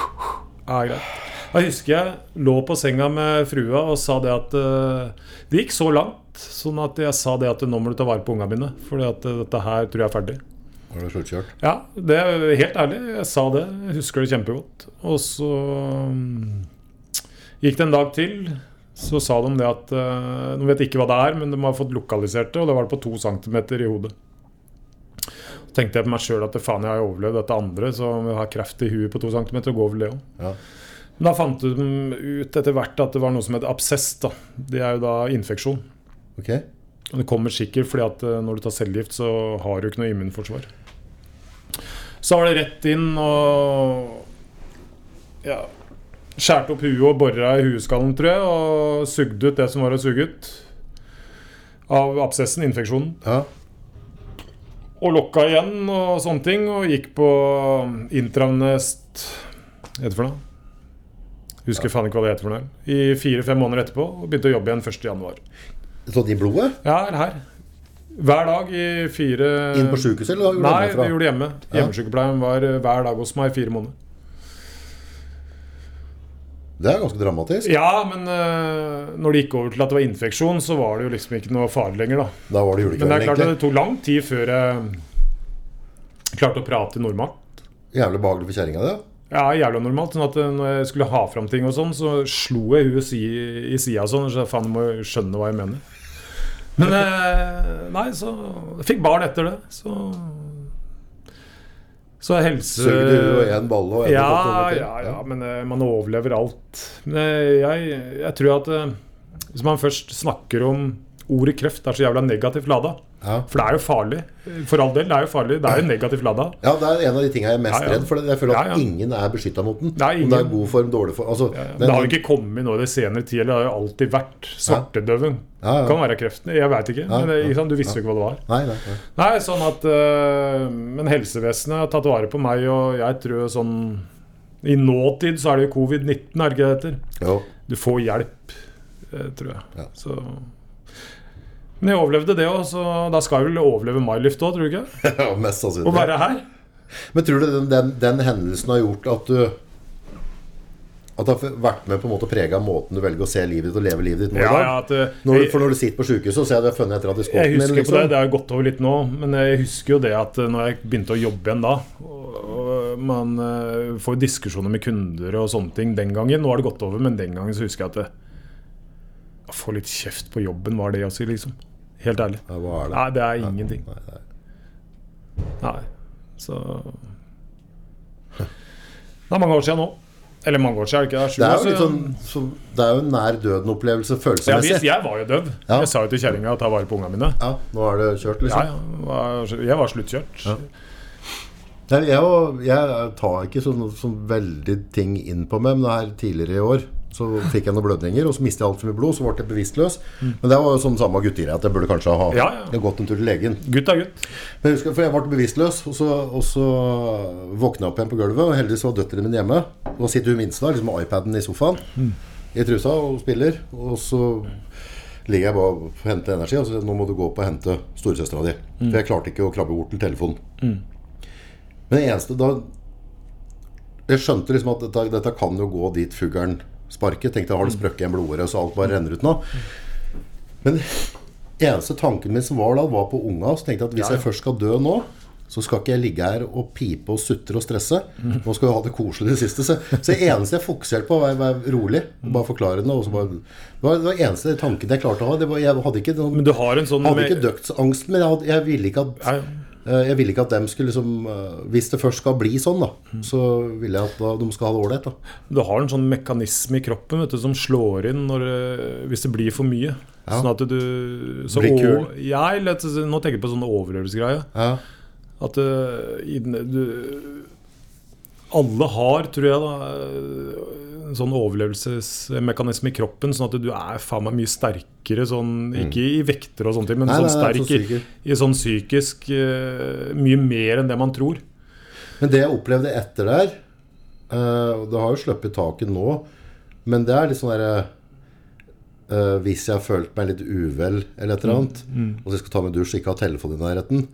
Speaker 1: ja, greit. Da husker jeg lå på senga med frua og sa det at eh, Det gikk så langt sånn at jeg sa det at nå må du ta vare på unga mine, for dette her tror jeg er ferdig.
Speaker 2: Var du sluttkjørt?
Speaker 1: Ja, det er helt ærlig. Jeg sa det. Jeg husker det kjempegodt. Og så mm, gikk det en dag til. Så sa de det at eh, De vet ikke hva det er, men de har fått lokalisert det, og det var det på to centimeter i hodet. Så tenkte jeg på meg sjøl at faen, jeg har jo overlevd dette andre, så om jeg har kreft i huet på to centimeter, går vel det òg.
Speaker 2: Ja.
Speaker 1: Men da fant de ut etter hvert at det var noe som het absess. da. Det er jo da infeksjon.
Speaker 2: Ok.
Speaker 1: Og det kommer sikkert fordi at eh, når du tar cellegift, så har du ikke noe immunforsvar. Så var det rett inn og ja, skjærte opp huet og bora i hueskallen, tror jeg, og sugde ut det som var å suge ut av absessen, infeksjonen.
Speaker 2: Ja.
Speaker 1: Og lokka igjen og sånne ting, og gikk på intranest Hva heter det for noe? Husker faen ikke hva det heter for noe. I fire-fem måneder etterpå, og begynte å jobbe igjen 1. januar.
Speaker 2: Sånn i blodet?
Speaker 1: Ja, eller her. Hver dag i fire
Speaker 2: Inn på sjukehuset, eller?
Speaker 1: Eh, Nei,
Speaker 2: Nei,
Speaker 1: det gjorde det hjemme.
Speaker 2: Ja.
Speaker 1: Hjemmesykepleien var eh, hver dag hos meg i fire måneder.
Speaker 2: Det er ganske dramatisk.
Speaker 1: Ja, men eh, når det gikk over til at det var infeksjon, så var det jo liksom ikke noe farlig lenger, da.
Speaker 2: Da var det
Speaker 1: Men
Speaker 2: julekvelden,
Speaker 1: det er klart at
Speaker 2: egentlig.
Speaker 1: det tok lang tid før jeg klarte å prate normalt.
Speaker 2: Jævlig behagelig for kjerringa, det.
Speaker 1: Ja, jævla normalt. Sånn at eh, når jeg skulle ha fram ting og sånn, så slo jeg huet si, i sida sånn. Så jeg, faen, du må jo skjønne hva jeg mener. Men eh, nei, så jeg fikk barn etter det. Så så helse...
Speaker 2: Sugde du og en balle og en
Speaker 1: Ja,
Speaker 2: og sånt,
Speaker 1: ja, ja, men eh, man overlever alt. Men eh, jeg, jeg tror at eh, hvis man først snakker om ordet kreft, det er så jævla negativt lada.
Speaker 2: Ja.
Speaker 1: For det er jo farlig. For all del, det er jo farlig. Det er jo negativt lada.
Speaker 2: Ja, det er en av de tingene jeg er mest
Speaker 1: Ja, ja.
Speaker 2: redd for. Jeg føler at
Speaker 1: Ja, ja.
Speaker 2: ingen er beskytta mot den.
Speaker 1: Det er
Speaker 2: Om det er
Speaker 1: ingen.
Speaker 2: god form, dårlig form altså,
Speaker 1: Ja,
Speaker 2: den-
Speaker 1: Det har jo ikke kommet nå i det senere tid. eller Det har jo alltid vært svartedøven.
Speaker 2: Ja, ja.
Speaker 1: Kan være kreften. Jeg veit ikke. Men det,
Speaker 2: ja,
Speaker 1: ikke sant? Du visste jo ikke hva det var.
Speaker 2: Nei, nei, nei.
Speaker 1: Nei, sånn at øh, Men helsevesenet har tatt vare på meg, og jeg tror sånn I nåtid så er det jo covid-19, er det ikke det heter?
Speaker 2: Jo.
Speaker 1: Du får hjelp, eh, tror jeg.
Speaker 2: Ja.
Speaker 1: Så Men jeg overlevde det òg, så da skal jeg vel overleve my lift òg, tror du ikke?
Speaker 2: Ja, mest
Speaker 1: Å
Speaker 2: sannsynlig.
Speaker 1: være her?
Speaker 2: Men tror du den, den, den hendelsen har gjort at du At det har vært med på en måte prega måten du velger å se livet ditt og leve livet ditt nå i
Speaker 1: Ja,
Speaker 2: dag.
Speaker 1: ja, at, eh,
Speaker 2: når du,
Speaker 1: jeg-
Speaker 2: for når du sitter på sjukehuset og ser at du har funnet etter at de skåret
Speaker 1: Jeg husker
Speaker 2: liksom.
Speaker 1: på det, det har jo gått over litt nå, men jeg husker jo det at eh, når jeg begynte å jobbe igjen da og, og Man eh, får jo diskusjoner med kunder og sånne ting den gangen. Nå har det gått over, men den gangen så husker jeg at det, Å få litt kjeft på jobben, var det å si, liksom. Helt ærlig.
Speaker 2: Ja, hva er det?
Speaker 1: Nei, det er ingenting.
Speaker 2: Nei, nei.
Speaker 1: Nei, så Det er mange år siden nå. Eller mange år siden, er det ikke?
Speaker 2: Det er jo
Speaker 1: Sju år
Speaker 2: litt sånn så, Det er jo en nær døden-opplevelse
Speaker 1: Altså- ja, visst,
Speaker 2: følelsesmessig.
Speaker 1: jeg var jo døv.
Speaker 2: Ja.
Speaker 1: Jeg sa jo til kjerringa 'ta vare på ungene mine'.
Speaker 2: Ja, nå er det kjørt,
Speaker 1: Ja,
Speaker 2: liksom.
Speaker 1: ja, var- jeg var sluttkjørt.
Speaker 2: Jeg, jeg, var- jeg tar ikke sånn, sånn veldig ting inn på meg, men det her tidligere i år så fikk jeg noen blødninger, og så mistet jeg altfor mye blod, så ble jeg bevisstløs. Men det var jo sånn samme guttegreie, at jeg burde kanskje ha
Speaker 1: Mm. Ja, ja.
Speaker 2: jeg har gått en tur til legen.
Speaker 1: Gutt er gutt.
Speaker 2: Men jeg husker, for jeg ble bevisstløs, og så, og så våkna jeg opp igjen på gulvet. Og heldigvis var døtrene mine hjemme. Og da sitter hun minste der liksom med iPaden i sofaen i trusa og spiller. Og så ligger jeg bare og henter energi, og så sier jeg, nå må du gå opp og hente storesøstera di. For jeg klarte ikke å krabbe bort til telefonen. Men det eneste da Jeg skjønte liksom at dette, dette kan jo gå dit fuglen sparket. Tenkte jeg
Speaker 1: Mm.
Speaker 2: har det sprøkket en blodåre, så alt bare renner ut nå. Men eneste tanken min som var da, var på unga. Så tenkte jeg at hvis
Speaker 1: ja.
Speaker 2: jeg først skal dø nå, så skal ikke jeg ligge her og pipe og sutre og stresse.
Speaker 1: Mm.
Speaker 2: Nå skal vi ha det koselig i det siste. Så, så det eneste jeg fokuserte på, var å være rolig.
Speaker 1: Mm.
Speaker 2: Bare forklare det. Og så bare, det var det var eneste tanken jeg klarte å ha. Det var, jeg hadde ikke, noen,
Speaker 1: Men du har en sånn
Speaker 2: hadde ikke dødsangst, men jeg, hadde, jeg ville ikke at
Speaker 1: Ja, ja.
Speaker 2: eh, jeg ville ikke at dem skulle liksom eh, Hvis det først skal bli sånn,
Speaker 1: Mm.
Speaker 2: da, så ville jeg at da, de skal ha det ålreit. da.
Speaker 1: Du har en sånn mekanisme i kroppen vet du, som slår inn når, eh, hvis det blir for mye.
Speaker 2: Ja.
Speaker 1: Sånn at du så
Speaker 2: Blir
Speaker 1: å-
Speaker 2: kul.
Speaker 1: Ja, eller at- nå tenker jeg på sånne overlevelsesgreier.
Speaker 2: Ja.
Speaker 1: At eh, i den- du Alle har, tror jeg, da eh, en sånn overlevelsesmekanisme i kroppen. Sånn at du er faen meg mye sterkere sånn Ikke i vekter og sånne ting, men
Speaker 2: Mm. Nei,
Speaker 1: sånn
Speaker 2: nei, nei,
Speaker 1: sterk
Speaker 2: sånn
Speaker 1: i,
Speaker 2: psykisk.
Speaker 1: i sånn psykisk eh, Mye mer enn det man tror.
Speaker 2: Men det jeg opplevde etter der eh, Og det har jo sluppet taket nå Men det er litt sånn der eh, Hvis jeg har følt meg litt uvel Eller
Speaker 1: Mm.
Speaker 2: et eller annet Og så jeg skal ta meg en dusj, ikke ha telefonen i nærheten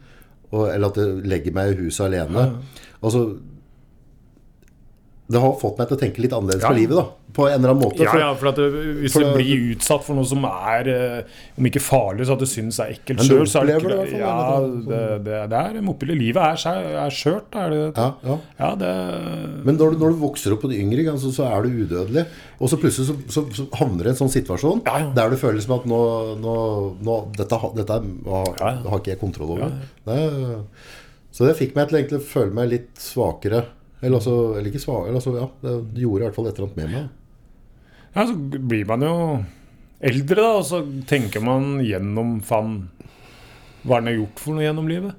Speaker 2: og, Eller at jeg legger meg i huset alene Altså Det har fått meg til å tenke litt annerledes
Speaker 1: Ja.
Speaker 2: på livet da På en eller annen måte
Speaker 1: Ja,
Speaker 2: for-
Speaker 1: ja, for at det, Hvis
Speaker 2: for
Speaker 1: du
Speaker 2: det-
Speaker 1: blir utsatt for noe som er eh, Om ikke farlig, så at du syns er ekkelt
Speaker 2: Men du
Speaker 1: sjøl, så er det ikke
Speaker 2: opplever det i hvert fall,
Speaker 1: Ja, det, det, det er motbillig. Livet er, skjø- er skjørt. Er det,
Speaker 2: ja, ja.
Speaker 1: ja, det
Speaker 2: Men når du, når du vokser opp på de yngre, altså, så er du udødelig. Og så plutselig så, så, så havner du i en sånn situasjon
Speaker 1: Ja, ja.
Speaker 2: der du føler som at nå, nå, nå Dette, ha- dette har,
Speaker 1: Ja, ja.
Speaker 2: har ikke jeg kontroll over. Det, så det fikk meg til egentlig å føle meg litt svakere. Eller, altså, eller ikke svakere altså, ja, Det gjorde i hvert fall et eller annet med meg.
Speaker 1: Ja, så blir man jo eldre, da, og så tenker man gjennom faen Hva er det han har gjort for noe gjennom livet?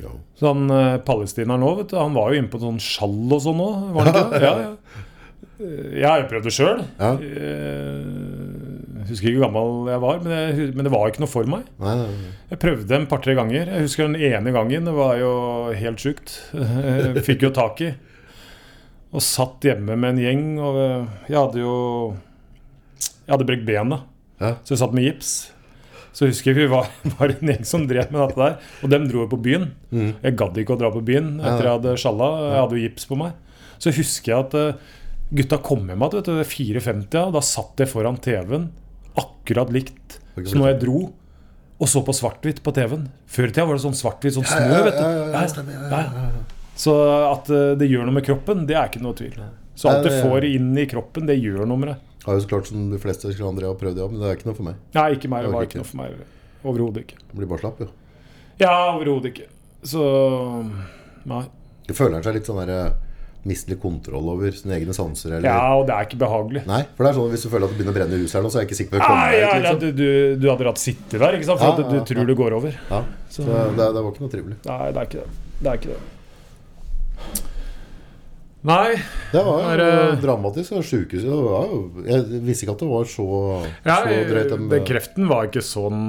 Speaker 2: Ja.
Speaker 1: Så han eh, palestineren òg, vet du. Han var jo inne på sånn skjall og sånn òg, var han ikke det? Ja, ja. Eh, Jeg har jo prøvd det sjøl.
Speaker 2: Ja.
Speaker 1: Eh, Husker ikke hvor gammel jeg var, men, jeg, men det var ikke noe for meg.
Speaker 2: Nei, nei, nei.
Speaker 1: Jeg prøvde en par-tre ganger. Jeg husker den ene gangen. Det var jo helt sjukt. Eh, Fikk jo tak i. Og satt hjemme med en gjeng. Og eh, jeg hadde jo Jeg hadde brekt benet,
Speaker 2: Ja.
Speaker 1: så jeg satt med gips. Så husker jeg vi var, var en gjeng som drev med dette der. Og dem dro jo på byen. Jeg gadd ikke å dra på byen etter jeg hadde sjalla. Jeg hadde jo gips på meg. Så husker jeg at eh, gutta kom hjem igjen, vet du. 4.50, ja, og da satt jeg foran TV-en akkurat likt som når jeg dro. Og så på svart-hvitt på TV-en. Før i tida var det sånn svart-hvitt, sånn snø, vet du. Ja, ja. Så at eh, det gjør noe med kroppen, det er ikke noe tvil. Så alt
Speaker 2: Nei,
Speaker 1: det
Speaker 2: det-
Speaker 1: får inn i kroppen, det gjør noe med det.
Speaker 2: Har jo så klart som de fleste skulle andre har prøvd, ja, men det er ikke noe for meg.
Speaker 1: Nei, ikke meg. Det var
Speaker 2: Orker
Speaker 1: ikke noe for meg. Overhodet ikke.
Speaker 2: Jeg blir bare slapp, jo.
Speaker 1: Ja, overhodet ikke. Så Nei.
Speaker 2: Jeg føler seg litt sånn der eh, Mister litt kontroll over sine egne sanser. Eller,
Speaker 1: Ja, og det er ikke behagelig.
Speaker 2: Nei, for det er sånn at hvis du føler at det begynner å brenne i huset her nå, så er jeg ikke sikker på å komme
Speaker 1: Nei, Ah,
Speaker 2: meg
Speaker 1: ja,
Speaker 2: ut.
Speaker 1: ja,
Speaker 2: Liksom.
Speaker 1: du, du, du hadde hatt sitte der, ikke sant? For
Speaker 2: Ja,
Speaker 1: at du
Speaker 2: ja, ja.
Speaker 1: tror det går over.
Speaker 2: Ja, så det, det var ikke noe trivelig.
Speaker 1: Nei, det er ikke det. Det er ikke det. Nei.
Speaker 2: Det var jo
Speaker 1: Det er, eh,
Speaker 2: dramatisk. Og sjukehuset det var jo Jeg visste ikke at det var så,
Speaker 1: Ja,
Speaker 2: så drøyt. om-
Speaker 1: den kreften var ikke sånn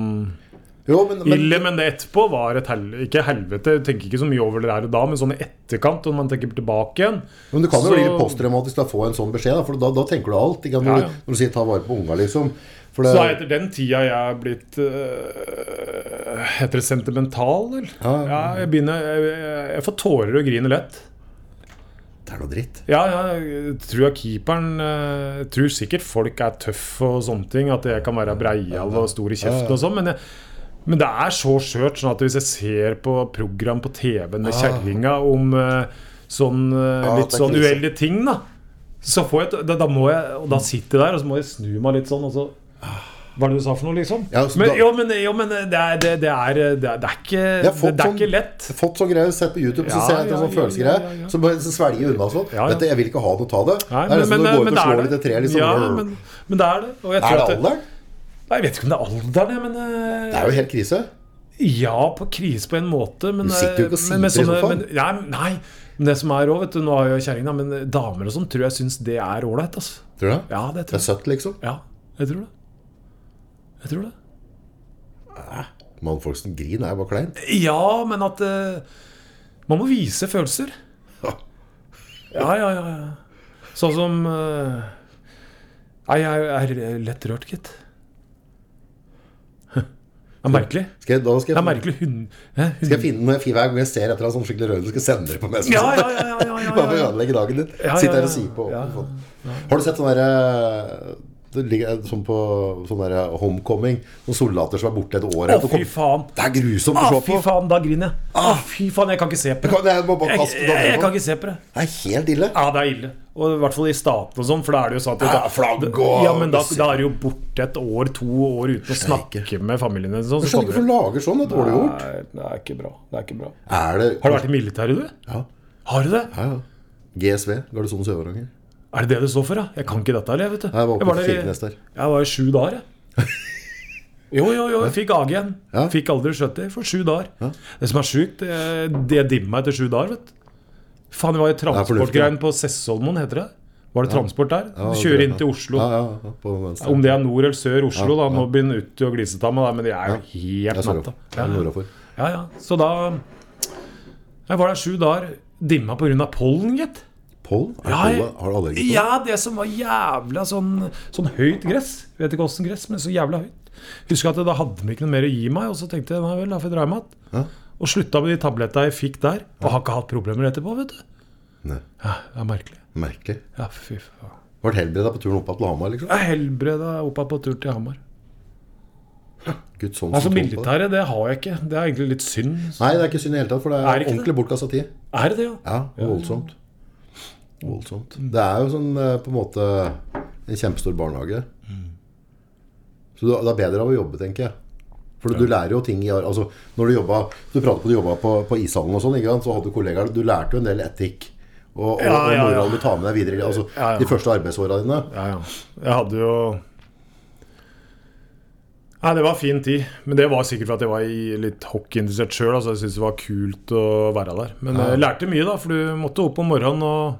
Speaker 2: jo, men, men,
Speaker 1: Ille, men det etterpå var et hel ikke helvete. Jeg tenker ikke så mye over det der og da, men sånn i etterkant, når man tenker tilbake igjen
Speaker 2: men du kan jo
Speaker 1: så-
Speaker 2: bli litt posttraumatisk av å få en sånn beskjed, da, for da, da tenker du alt. Ikke? sant?
Speaker 1: Ja,
Speaker 2: Når,
Speaker 1: ja.
Speaker 2: du- når du sier 'ta vare på unga', liksom. For
Speaker 1: Så
Speaker 2: det,
Speaker 1: er etter den tida jeg er blitt øh, Heter det sentimental, vel?
Speaker 2: Ja, ja.
Speaker 1: jeg begynner jeg, jeg- jeg får tårer og griner lett.
Speaker 2: dette er noe dritt.
Speaker 1: Ja, ja, jeg tror jeg keeperen eh, Tror sikkert folk er tøff og sånne ting. At jeg kan være breial og stor i
Speaker 2: Ja,
Speaker 1: kjeften
Speaker 2: ja.
Speaker 1: og sånn. Men, jeg- men det er så skjørt sånn at hvis jeg ser på program på TV-en med kjerringa om eh, sånn eh,
Speaker 2: Ja,
Speaker 1: litt
Speaker 2: Ah. det er
Speaker 1: sånn
Speaker 2: krise.
Speaker 1: uheldige ting, da. Så får jeg, et- da, da må jeg Og da sitter jeg der, og så må jeg snu meg litt sånn, og så hva er det du sa for noe, liksom?
Speaker 2: Ja, så
Speaker 1: men,
Speaker 2: da-
Speaker 1: jo, men, jo, men det er, det, det er, det er, det er, ikke,
Speaker 2: Jeg har fått
Speaker 1: det er
Speaker 2: sånn-
Speaker 1: ikke lett.
Speaker 2: Fått sånn greier, sett på YouTube, så
Speaker 1: Ja,
Speaker 2: ser jeg etter
Speaker 1: ja,
Speaker 2: sånn
Speaker 1: ja,
Speaker 2: følelsesgreier.
Speaker 1: ja, ja, ja.
Speaker 2: Så bare svelger jeg unna sånn.
Speaker 1: Ja, ja.
Speaker 2: Dette, jeg vil ikke ha noe av det.
Speaker 1: Nei,
Speaker 2: det er nesten som å gå ut og
Speaker 1: det er
Speaker 2: slå
Speaker 1: det.
Speaker 2: litt i tre. Liksom.
Speaker 1: Ja, men, men det er det. Og jeg tror
Speaker 2: er det
Speaker 1: at
Speaker 2: alderen?
Speaker 1: Nei, Jeg vet ikke om det er alderen, jeg, men
Speaker 2: Det er jo helt krise.
Speaker 1: eh, Ja, på krise på en måte. Men,
Speaker 2: Du sitter jo ikke
Speaker 1: eh,
Speaker 2: og
Speaker 1: men- men
Speaker 2: sitter i
Speaker 1: sånne-
Speaker 2: sofaen.
Speaker 1: men- Nei, nei. Men det som er òg, vet du, nå har jeg kjerring, da, men damer og sånn tror jeg syns det er ålreit. Altså.
Speaker 2: Tror du det?
Speaker 1: Ja, det
Speaker 2: Det
Speaker 1: tror
Speaker 2: er
Speaker 1: jeg.
Speaker 2: søtt, liksom.
Speaker 1: Ja, jeg tror det. Jeg tror det.
Speaker 2: Mannfolk som griner, er bare kleint.
Speaker 1: Ja, men at eh, Man må vise følelser. Ja, ja, ja. ja. Sånn som eh, Nei, jeg er lett rørt, gitt. Det er merkelig.
Speaker 2: Skal jeg, da
Speaker 1: Det
Speaker 2: skal
Speaker 1: er
Speaker 2: jeg,
Speaker 1: merkelig hund... Hæ? Hund-
Speaker 2: skal jeg finne når jeg, Hver gang jeg ser etter en sånn skikkelig rød, skal jeg sende det på mest.
Speaker 1: Ja, ja, ja, ja, ja,
Speaker 2: Bare for å
Speaker 1: ja, ja.
Speaker 2: ødelegge dagen din.
Speaker 1: Ja,
Speaker 2: Sitt
Speaker 1: ja,
Speaker 2: her
Speaker 1: ja.
Speaker 2: og si på.
Speaker 1: Ja.
Speaker 2: Har du sett sånn derre det ligger sånn på sånn der homecoming. Noen soldater som er borte et år.
Speaker 1: Å,
Speaker 2: etter-
Speaker 1: fy faen.
Speaker 2: Det er grusomt
Speaker 1: Å,
Speaker 2: å se
Speaker 1: fy
Speaker 2: på. Ah.
Speaker 1: faen, da griner jeg. Å, fy faen, jeg kan ikke se på det.
Speaker 2: Kan jeg bare
Speaker 1: Jeg,
Speaker 2: kaste
Speaker 1: jeg,
Speaker 2: det andre
Speaker 1: jeg
Speaker 2: på?
Speaker 1: kan ikke se på det.
Speaker 2: Det er helt ille.
Speaker 1: Ja, det er ille. Og i hvert fall i staten og sånn, for da er det jo sånn at
Speaker 2: Ja, flagg og-
Speaker 1: Ja, men da, da er det jo borte et år, to år uten å snakke med familien din. Sånn,
Speaker 2: Jeg
Speaker 1: så kommer
Speaker 2: skjønner ikke hvorfor
Speaker 1: det.
Speaker 2: du lager sånn. Det er dårlig gjort.
Speaker 1: Nei, det er ikke bra. Det er ikke bra.
Speaker 2: Er det
Speaker 1: Har du vært i militæret, du?
Speaker 2: Ja.
Speaker 1: Har du det?
Speaker 2: ja, ja. GSV, Garnisonen Sør-Varanger.
Speaker 1: Er det det du står for, ja? Jeg kan ikke dette her, jeg, vet du.
Speaker 2: Jeg var oppe på
Speaker 1: der i-
Speaker 2: Kirkenes der.
Speaker 1: Jeg var i sju dager, jeg. Jo, jo, jo, jeg fikk AG igjen.
Speaker 2: Ja.
Speaker 1: Fikk aldri 70 for sju dager. Det som er sjukt, det, det dimmer meg etter sju dager, vet du. Faen, jeg var i
Speaker 2: fornuftig, ja.
Speaker 1: transportgreien på Sessolmoen, heter det. Var det transport der? Du
Speaker 2: det
Speaker 1: kjører
Speaker 2: er
Speaker 1: inn
Speaker 2: det.
Speaker 1: til Oslo.
Speaker 2: Ja, ja, ja, på venstre.
Speaker 1: Om det er nord eller sør Oslo, da.
Speaker 2: Ja,
Speaker 1: Nå begynner Utti og Glisetamme, men de er jo
Speaker 2: Jeg
Speaker 1: helt
Speaker 2: ser det.
Speaker 1: natta.
Speaker 2: Det er nordafor.
Speaker 1: Ja, ja. Så da Jeg var der sju dager. Dimma pga. pollen, gitt.
Speaker 2: Pollen? Er det
Speaker 1: Ja, jeg-
Speaker 2: pollen? Har du allergi på det?
Speaker 1: Ja, det som var jævla sånn, sånn høyt gress. Jeg vet ikke åssen gress, men så jævla høyt. Husker at da hadde de ikke noe mer å gi meg, og så tenkte jeg nei vel, da får jeg dra hjem igjen.
Speaker 2: Ja.
Speaker 1: Og slutta med de tablettene jeg fikk der. Og har ikke hatt problemer etterpå, vet du.
Speaker 2: Nei,
Speaker 1: Ja, det er merkelig.
Speaker 2: merkelig.
Speaker 1: Ja, fy faen.
Speaker 2: Ble helbreda på turen opp til Hamar, liksom.
Speaker 1: Jeg er helbreda oppa på tur til Hamar.
Speaker 2: Gud, sånn
Speaker 1: Altså,
Speaker 2: symptom på det.
Speaker 1: militæret, det har jeg ikke. Det er egentlig litt synd.
Speaker 2: Nei, det er ikke synd i hele tatt, for det er,
Speaker 1: Er det ikke
Speaker 2: ordentlig bortkasta tid.
Speaker 1: Er det det, ja?
Speaker 2: Ja, og voldsomt. Voldsomt. Det er jo sånn eh, på en måte en kjempestor barnehage. Så du- det er bedre av å jobbe, tenker jeg. For du lærer jo ting i ar- altså, Når du jobba Du pratet på at du jobba på, på ishallen og sånn, ikke sant? så hadde du kollegaer Du lærte jo en del etikk og, og,
Speaker 1: Ja,
Speaker 2: og
Speaker 1: ja, ja.
Speaker 2: moral du tar med deg videre altså,
Speaker 1: Ja, ja.
Speaker 2: de første arbeidsåra dine.
Speaker 1: Ja, ja. Jeg hadde jo Nei, det var fin tid. Men det var sikkert for at jeg var i litt hockeyinteressert sjøl. Altså, jeg syntes det var kult å være der. Men jeg lærte mye, da, for du måtte opp om morgenen og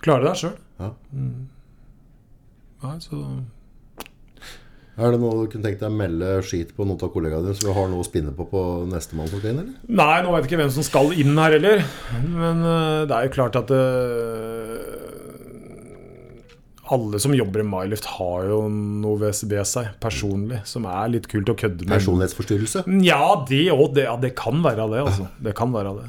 Speaker 1: klare deg sjøl.
Speaker 2: Ja.
Speaker 1: Nei, så
Speaker 2: Er det noe du kunne tenkt deg å melde skit på noen av kollegaene dine, så du har noe å spinne på på nestemann som skal inn, eller?
Speaker 1: Nei, nå vet jeg ikke hvem som skal inn her heller. Men eh, det er jo klart at eh, alle som jobber i Mylift, har jo noe ved ved seg personlig som er litt kult å kødde med.
Speaker 2: Personlighetsforstyrrelse?
Speaker 1: Ja, det òg. Det, ja, det kan være det, altså. Det kan være det.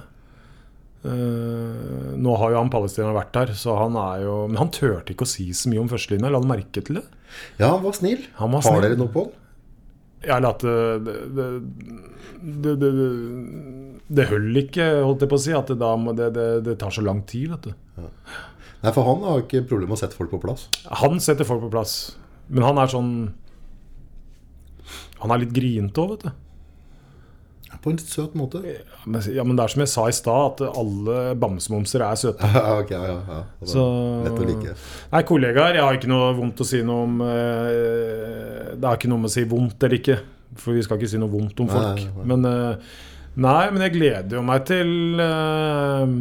Speaker 1: Eh, nå har jo han palestineren vært der, så han er jo Men han turte ikke å si så mye om førstelinja. La du merke til det?
Speaker 2: Ja, han var snill.
Speaker 1: Han var
Speaker 2: Har
Speaker 1: snill.
Speaker 2: dere noe på han?
Speaker 1: Eller at eh, det Det, det, det, det, det høll ikke, holdt jeg på å si. At det, da må, det, det, det tar så lang tid, vet du.
Speaker 2: Nei, for han har ikke problemer med å sette folk på plass.
Speaker 1: Han setter folk på plass. Men han er sånn Han er litt grinete òg, vet du.
Speaker 2: På en litt søt måte.
Speaker 1: Ja, men, ja, men det er som jeg sa i stad, at alle bamsemomser er søte.
Speaker 2: Ja, ok, ja, ja, ja. Det er
Speaker 1: Så-
Speaker 2: Lett å like.
Speaker 1: Nei, kollegaer, jeg har ikke noe vondt å si noe om eh, Det er ikke noe med å si vondt eller ikke, for vi skal ikke si noe vondt om folk.
Speaker 2: Nei, nei.
Speaker 1: Men eh, Nei, men jeg gleder jo meg til eh,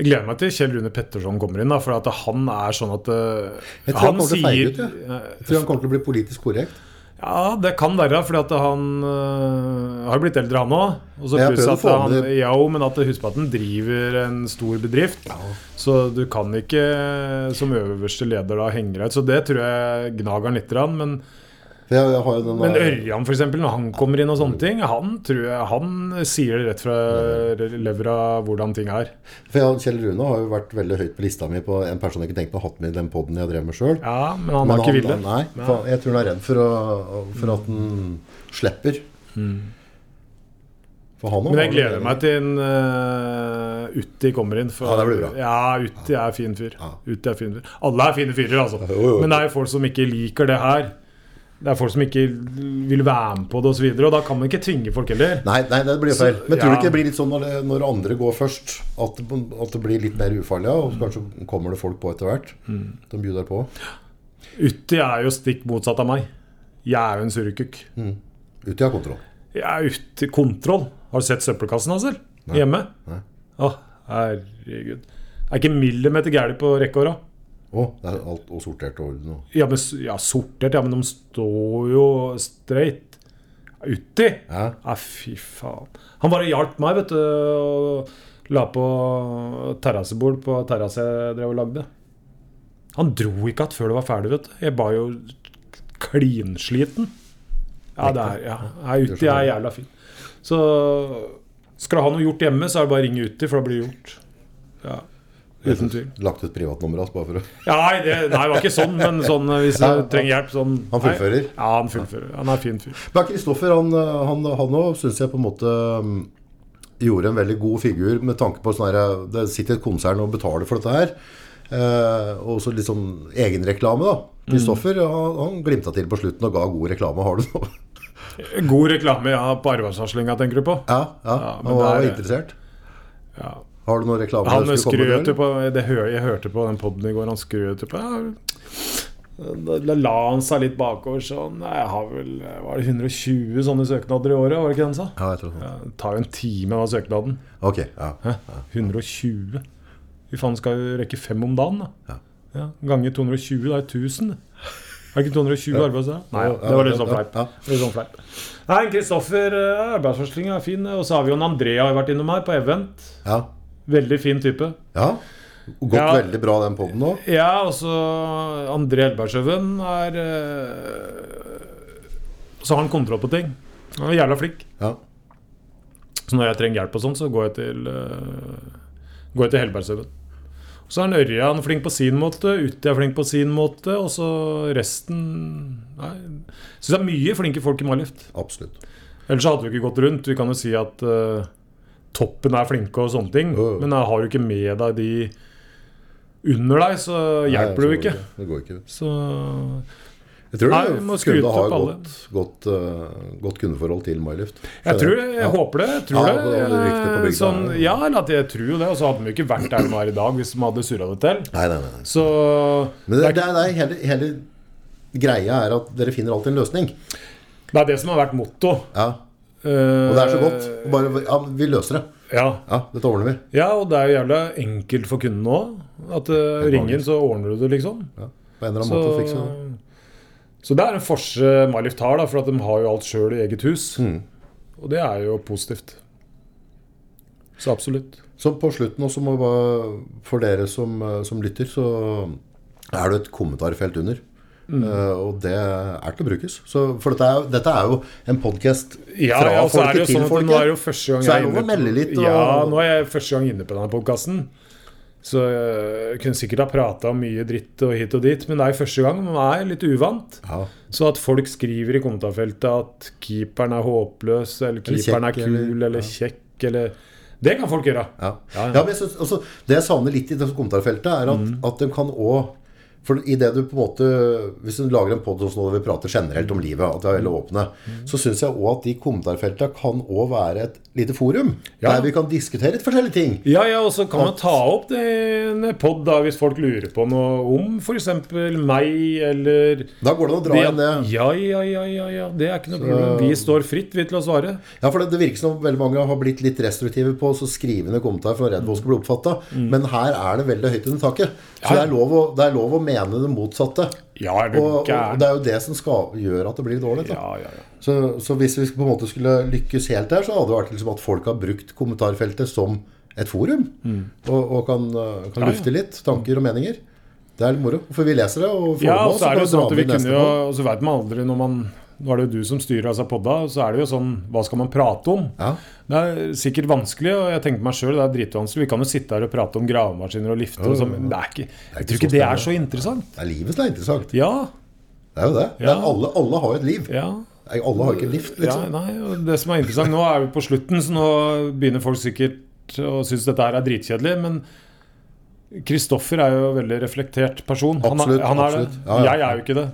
Speaker 1: Jeg gleder meg til Kjell Rune Petterson kommer inn, da, for at han er sånn at eh,
Speaker 2: Jeg tror han kommer til å feige ut, Jeg tror han kommer til å bli politisk korrekt.
Speaker 1: ja, det kan være, fordi at han øh, har jo blitt eldre, han òg. Og så
Speaker 2: Jeg
Speaker 1: pluss
Speaker 2: prøvde å
Speaker 1: at
Speaker 2: få
Speaker 1: han
Speaker 2: med det.
Speaker 1: ja, jo, men at husk på at han driver en stor bedrift. Så du kan eh, ikke som øverste leder da henge deg ut. Så det tror jeg gnager han litt, grann, men
Speaker 2: For jeg, jeg har jo den eh,
Speaker 1: Men
Speaker 2: der-
Speaker 1: Ørjan, for eksempel, når han kommer inn og sånne ting, han tror jeg Han sier det rett fra levra hvordan ting er.
Speaker 2: For jeg, Kjell Rune har jo vært veldig høyt på lista mi på en person jeg ikke tenkte på å ha hatt med i den poden jeg drev med sjøl.
Speaker 1: Ja, men han har ikke villet.
Speaker 2: Nei, for jeg tror han er redd for, å, for at han slipper. For han har-
Speaker 1: Mm. Men jeg gleder meg til en eh, Utti kommer inn. for-
Speaker 2: Ja, det blir bra.
Speaker 1: Ja, Utti er fin fyr.
Speaker 2: Ja.
Speaker 1: Utti er fin fyr. Alle er fine fyrer, altså.
Speaker 2: Jo, jo.
Speaker 1: Men det er jo folk som ikke liker det her. Det er folk som ikke vil være med på det osv. Og da kan man ikke tvinge folk heller.
Speaker 2: Nei, nei, det blir jo feil.
Speaker 1: Så-
Speaker 2: Men tror du
Speaker 1: ja.
Speaker 2: ikke det blir litt sånn når, det, når andre går først, at, det- at det blir litt mer ufarlig? ja, Og så kanskje kommer det folk på etter hvert.
Speaker 1: Mm.
Speaker 2: De bjuder på.
Speaker 1: Utti er jo stikk motsatt av meg. Jeg er jo en surrekukk.
Speaker 2: Mm. Uti har kontroll.
Speaker 1: Jeg er ute i kontroll. Har du sett søppelkassen hans, eller? Hjemme?
Speaker 2: Nei.
Speaker 1: Å, herregud. Det er ikke en millimeter gærent på rekkehåra.
Speaker 2: Å, det er alt og sortert og noe.
Speaker 1: Ja, men s- ja, sortert, ja, men de står jo straight. Uti?
Speaker 2: Ja.
Speaker 1: Ja, fy faen. Han bare hjalp meg, vet du, og la på terrassebord på terrasse jeg drev og lagde. Han dro ikke igjen før det var ferdig, vet du. Jeg var jo klinsliten. Ja, det er, ja. Nei, Uti er jævla fin. Så skal du ha noe gjort hjemme, så er det bare å ringe Uti, for da blir det gjort. Ja, uten tvil.
Speaker 2: Lagt ut privatnummeret hans bare for å
Speaker 1: Ja, nei, det, nei, det var ikke sånn, men sånn eh, hvis
Speaker 2: Ja,
Speaker 1: du trenger hjelp sånn
Speaker 2: Han fullfører.
Speaker 1: Nei, ja, han fullfører. Han er fin fyr.
Speaker 2: Men Kristoffer, han, han, han òg syns jeg på en måte mm, gjorde en veldig god figur med tanke på sånn her Det sitter et konsern og betaler for dette her. Eh, og så litt sånn egenreklame,
Speaker 1: Mm.
Speaker 2: da. Kristoffer han, han glimta til på slutten og ga god reklame. Har du noe?
Speaker 1: God reklame ja, på arveavslinga, tenker du på?
Speaker 2: Ja, ja,
Speaker 1: Ja, men
Speaker 2: han var
Speaker 1: det er-
Speaker 2: interessert.
Speaker 1: Ja.
Speaker 2: Har du noe reklame
Speaker 1: Han
Speaker 2: skulle komme
Speaker 1: skrøt jo
Speaker 2: til,
Speaker 1: på det hø, Jeg hørte på den poden i går, han skrøt jo på ja, da, da la han seg litt bakover sånn Nei, jeg har vel Var det 120 sånne søknader i året, var det ikke det han sa?
Speaker 2: Ja, jeg tror det.
Speaker 1: Ja, det tar jo en time, av søknaden.
Speaker 2: Ok, ja.
Speaker 1: Hæ? 120? Fy faen, skal jo rekke fem om dagen, da.
Speaker 2: Ja.
Speaker 1: Ja, Gange 220, da er det 1000. det. Er det ikke 220 arbeidsdager? Nei,
Speaker 2: Ja,
Speaker 1: det var litt
Speaker 2: ja,
Speaker 1: sånn
Speaker 2: ja,
Speaker 1: fleip.
Speaker 2: ja.
Speaker 1: Litt sånn fleip. Nei, Kristoffer eh, arbeidsvarsling er fin. Og så har vi jo en Andrea har vært innom her, på event.
Speaker 2: Ja.
Speaker 1: Veldig fin type.
Speaker 2: ja. Gått
Speaker 1: Ja.
Speaker 2: veldig bra, den poden nå.
Speaker 1: Ja, altså André Elbergsjøven er eh, Så har han kontroll på ting. Han er jævla flink.
Speaker 2: Ja.
Speaker 1: Så når jeg trenger hjelp og sånn, så går jeg til eh, Går jeg til Hellbergsøven. Så er han Ørjan flink på sin måte, Utti er flink på sin måte, og så resten Nei. Syns det er mye flinke folk i Marlift.
Speaker 2: Absolutt.
Speaker 1: Ellers så hadde vi ikke gått rundt. Vi kan jo si at eh, toppen er flinke og sånne ting,
Speaker 2: Ja, ja.
Speaker 1: men eh, har du ikke med deg de under deg, så hjelper
Speaker 2: Nei,
Speaker 1: du ikke.
Speaker 2: Det går ikke.
Speaker 1: Så
Speaker 2: Jeg tror
Speaker 1: Nei,
Speaker 2: det
Speaker 1: vi må skryte
Speaker 2: skulle ha
Speaker 1: opp
Speaker 2: et
Speaker 1: alle.
Speaker 2: godt, godt, eh, godt kundeforhold til Mylift.
Speaker 1: jeg tror det. Jeg
Speaker 2: Ja.
Speaker 1: håper det. Jeg tror
Speaker 2: Ja, det var det riktige på
Speaker 1: det.
Speaker 2: bygda.
Speaker 1: Sånn, ja, eller at jeg tror jo det. Og så hadde vi jo ikke vært der de er i dag hvis de hadde surra det til.
Speaker 2: Nei, nei, nei. nei.
Speaker 1: Så
Speaker 2: Men det, det, er- det er hele, hele greia er at dere finner alltid en løsning.
Speaker 1: det er det som har vært motto.
Speaker 2: Ja, Og det er så godt.
Speaker 1: Eh.
Speaker 2: Bare, ja, vi løser det.
Speaker 1: Ja.
Speaker 2: Ja, Dette ordner vi.
Speaker 1: ja, og det er jo jævlig enkelt for kundene òg. At uh, ring inn, så ordner du det, liksom.
Speaker 2: Ja, på en eller annen
Speaker 1: Så,
Speaker 2: måte fikse det.
Speaker 1: så det er en forskjell Mylift har, da, for at de har jo alt sjøl i eget hus.
Speaker 2: Mm.
Speaker 1: Og det er jo positivt. Så absolutt.
Speaker 2: Så på slutten også, må jeg bare, for dere som, eh, som lytter, så er det et kommentarfelt under.
Speaker 1: Mm.
Speaker 2: Eh, og det er til å brukes. Så, for dette er, jo- dette er jo en podkast
Speaker 1: Ja,
Speaker 2: fra
Speaker 1: ja, og så er det jo
Speaker 2: folket til
Speaker 1: sånn at
Speaker 2: folket.
Speaker 1: nå er det jo første gang
Speaker 2: Så er
Speaker 1: jeg
Speaker 2: det lov å melde litt, og-
Speaker 1: Ja, nå er jeg første gang inne på denne podkasten. Så jeg kunne sikkert ha prata om mye dritt og hit og dit, men det er jo første gang. Man er litt uvant.
Speaker 2: Ja.
Speaker 1: Så at folk skriver i kommentarfeltet at keeperen er håpløs, eller keeperen
Speaker 2: kjekk,
Speaker 1: er kul,
Speaker 2: eller-
Speaker 1: eller, kjekk, eller Det kan folk gjøre.
Speaker 2: Ja.
Speaker 1: Ja, Mm.
Speaker 2: Ja,
Speaker 1: ja.
Speaker 2: men jeg synes, altså, Det jeg savner litt i dette kommentarfeltet, er at, at de kan òg for i det du på en måte, Hvis du lager en podkast nå der vi prater generelt om livet, at vi er veldig
Speaker 1: Mm.
Speaker 2: åpne, så syns jeg òg at de kommentarfeltene kan òg være et lite forum.
Speaker 1: Ja.
Speaker 2: Der vi kan diskutere litt forskjellige ting.
Speaker 1: Ja, ja, og så kan man ta opp det i en pod da, hvis folk lurer på noe om f.eks. meg, eller
Speaker 2: Da går det an å dra
Speaker 1: det,
Speaker 2: igjen det.
Speaker 1: ja, ja, ja, ja, ja, det er ikke noe problem. Vi står fritt, vi, til å svare.
Speaker 2: Ja, for det, det virker som om veldig mange har blitt litt restriktive på å skrive ned kommentarer for å redde hva som blir oppfatta.
Speaker 1: Mm.
Speaker 2: Men her er det veldig høyt under taket. Så det, er lov å, det er lov å mene det motsatte.
Speaker 1: Ja, er du
Speaker 2: Og, og
Speaker 1: gæren?
Speaker 2: det er jo det som skal, gjør at det blir dårlig. Da.
Speaker 1: Ja, ja, ja.
Speaker 2: Så, så hvis vi på en måte skulle lykkes helt der, så hadde det vært liksom at folk har brukt
Speaker 1: Mm.
Speaker 2: kommentarfeltet som et forum. Og, og kan, eh, kan lufte litt tanker og meninger. Det er litt moro. For vi leser det, og får
Speaker 1: Ja,
Speaker 2: med
Speaker 1: og
Speaker 2: oss,
Speaker 1: så er det jo
Speaker 2: kan
Speaker 1: sånn at
Speaker 2: dra
Speaker 1: vi
Speaker 2: med i neste
Speaker 1: kunne jo
Speaker 2: podd.
Speaker 1: Og så vet man aldri når man Nå er det jo du som styrer altså podda, og så er det jo sånn Hva skal man prate om?
Speaker 2: Ja.
Speaker 1: Det er sikkert vanskelig, og jeg tenkte meg sjøl, det er dritvanskelig. Vi kan jo sitte her og prate om gravemaskiner og lifter og sånn, men det er ikke Jeg tror
Speaker 2: ikke
Speaker 1: ikke
Speaker 2: så
Speaker 1: det er så interessant.
Speaker 2: Det er livet som er interessant.
Speaker 1: Ja.
Speaker 2: Det er jo det.
Speaker 1: Ja.
Speaker 2: Men alle, alle har jo et liv.
Speaker 1: Ja.
Speaker 2: Nei, Alle har jo ikke lift,
Speaker 1: ja
Speaker 2: liksom.
Speaker 1: nei, og det som er interessant Nå er vi på slutten, så nå begynner folk sikkert å synes dette her er dritkjedelig, men Kristoffer er jo en veldig reflektert person. Han er-
Speaker 2: Absolutt,
Speaker 1: han er
Speaker 2: absolutt.
Speaker 1: Det.
Speaker 2: Ja, ja.
Speaker 1: Jeg er jo ikke det.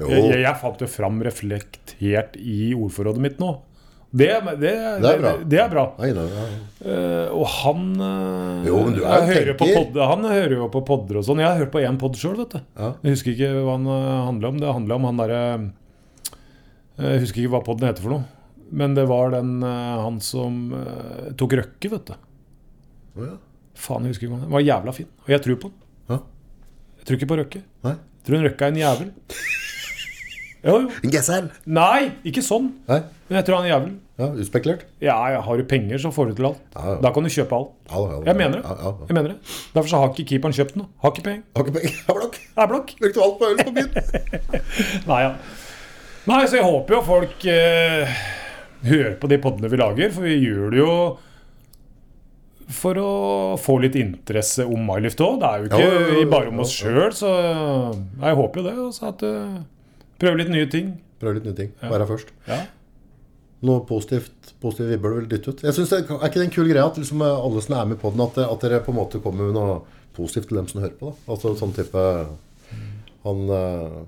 Speaker 2: Jo.
Speaker 1: Jeg, jeg, jeg fant jo fram reflektert i ordforrådet mitt nå. Det, det, det,
Speaker 2: Det er bra.
Speaker 1: det er bra.
Speaker 2: Nei, nei, nei.
Speaker 1: Eh, og han eh,
Speaker 2: Jo, men du er
Speaker 1: han
Speaker 2: jo
Speaker 1: hører på
Speaker 2: tenker.
Speaker 1: podder, Han hører jo på podder og sånn. Jeg har hørt på én podd sjøl, vet du.
Speaker 2: Ja.
Speaker 1: Jeg husker ikke hva han handla om. Det handla om han derre eh, Jeg husker ikke hva podden heter for noe. Men det var den eh, han som eh, tok røkke, vet du.
Speaker 2: Å, ja.
Speaker 1: Faen, jeg husker ikke hva han Den var jævla fin. Og jeg tror på den.
Speaker 2: Ja.
Speaker 1: Jeg tror ikke på røkke.
Speaker 2: Nei.
Speaker 1: Jeg tror hun røkka er en jævel. Jo, jo.
Speaker 2: En GSL.
Speaker 1: Nei, ikke sånn.
Speaker 2: Nei.
Speaker 1: Men jeg tror han er en jævel.
Speaker 2: Ja, utspekulert.
Speaker 1: Ja, ja, har du penger, så får du til alt.
Speaker 2: Ja, ja.
Speaker 1: Da kan du kjøpe alt.
Speaker 2: Ja, ja, ja.
Speaker 1: Jeg mener det.
Speaker 2: Ja, ja, ja.
Speaker 1: Jeg mener det. Derfor så har ikke keeperen kjøpt noe. Har ikke penger.
Speaker 2: Har ikke penger. Har blokk.
Speaker 1: Er blokk.
Speaker 2: Brukte alt på øl på byen.
Speaker 1: Nei, ja. Nei, så jeg håper jo folk eh, hører på de podene vi lager, for vi gjør det jo for å få litt interesse om MyLift òg. Det er jo ikke
Speaker 2: Ja, ja, ja, ja,
Speaker 1: bare om oss
Speaker 2: ja,
Speaker 1: sjøl, så Nei, jeg håper jo det. Altså at eh, Prøve litt nye ting.
Speaker 2: Prøv litt nye ting. Vær her først.
Speaker 1: Ja.
Speaker 2: Noe positivt, positivt vi bør vel dytte ut. Jeg synes det Er ikke det en kul greie at liksom alle som er med på den, at, at dere på en måte kommer med noe positivt til dem som hører på? da? Altså sånn type Han eh,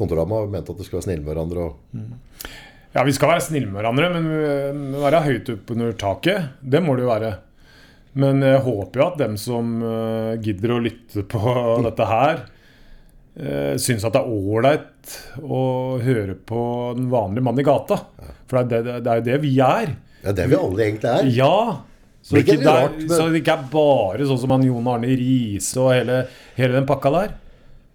Speaker 2: kontorama mente at det skulle være snille med hverandre og
Speaker 1: Ja, vi skal være snille med hverandre, men vi må være høyt opp under taket. Det må det jo være. Men jeg håper jo at dem som eh, gidder å lytte på dette her, uh, syns at det er ålreit å høre på den vanlige mannen i gata. For det er det, det, er jo det vi er.
Speaker 2: Det er det vi alle egentlig er.
Speaker 1: Ja. Så det,
Speaker 2: Hvilket
Speaker 1: ikke, det
Speaker 2: er
Speaker 1: er,
Speaker 2: rart, men-
Speaker 1: så det ikke er bare sånn som han Jon Arne Riise og hele, hele den pakka der.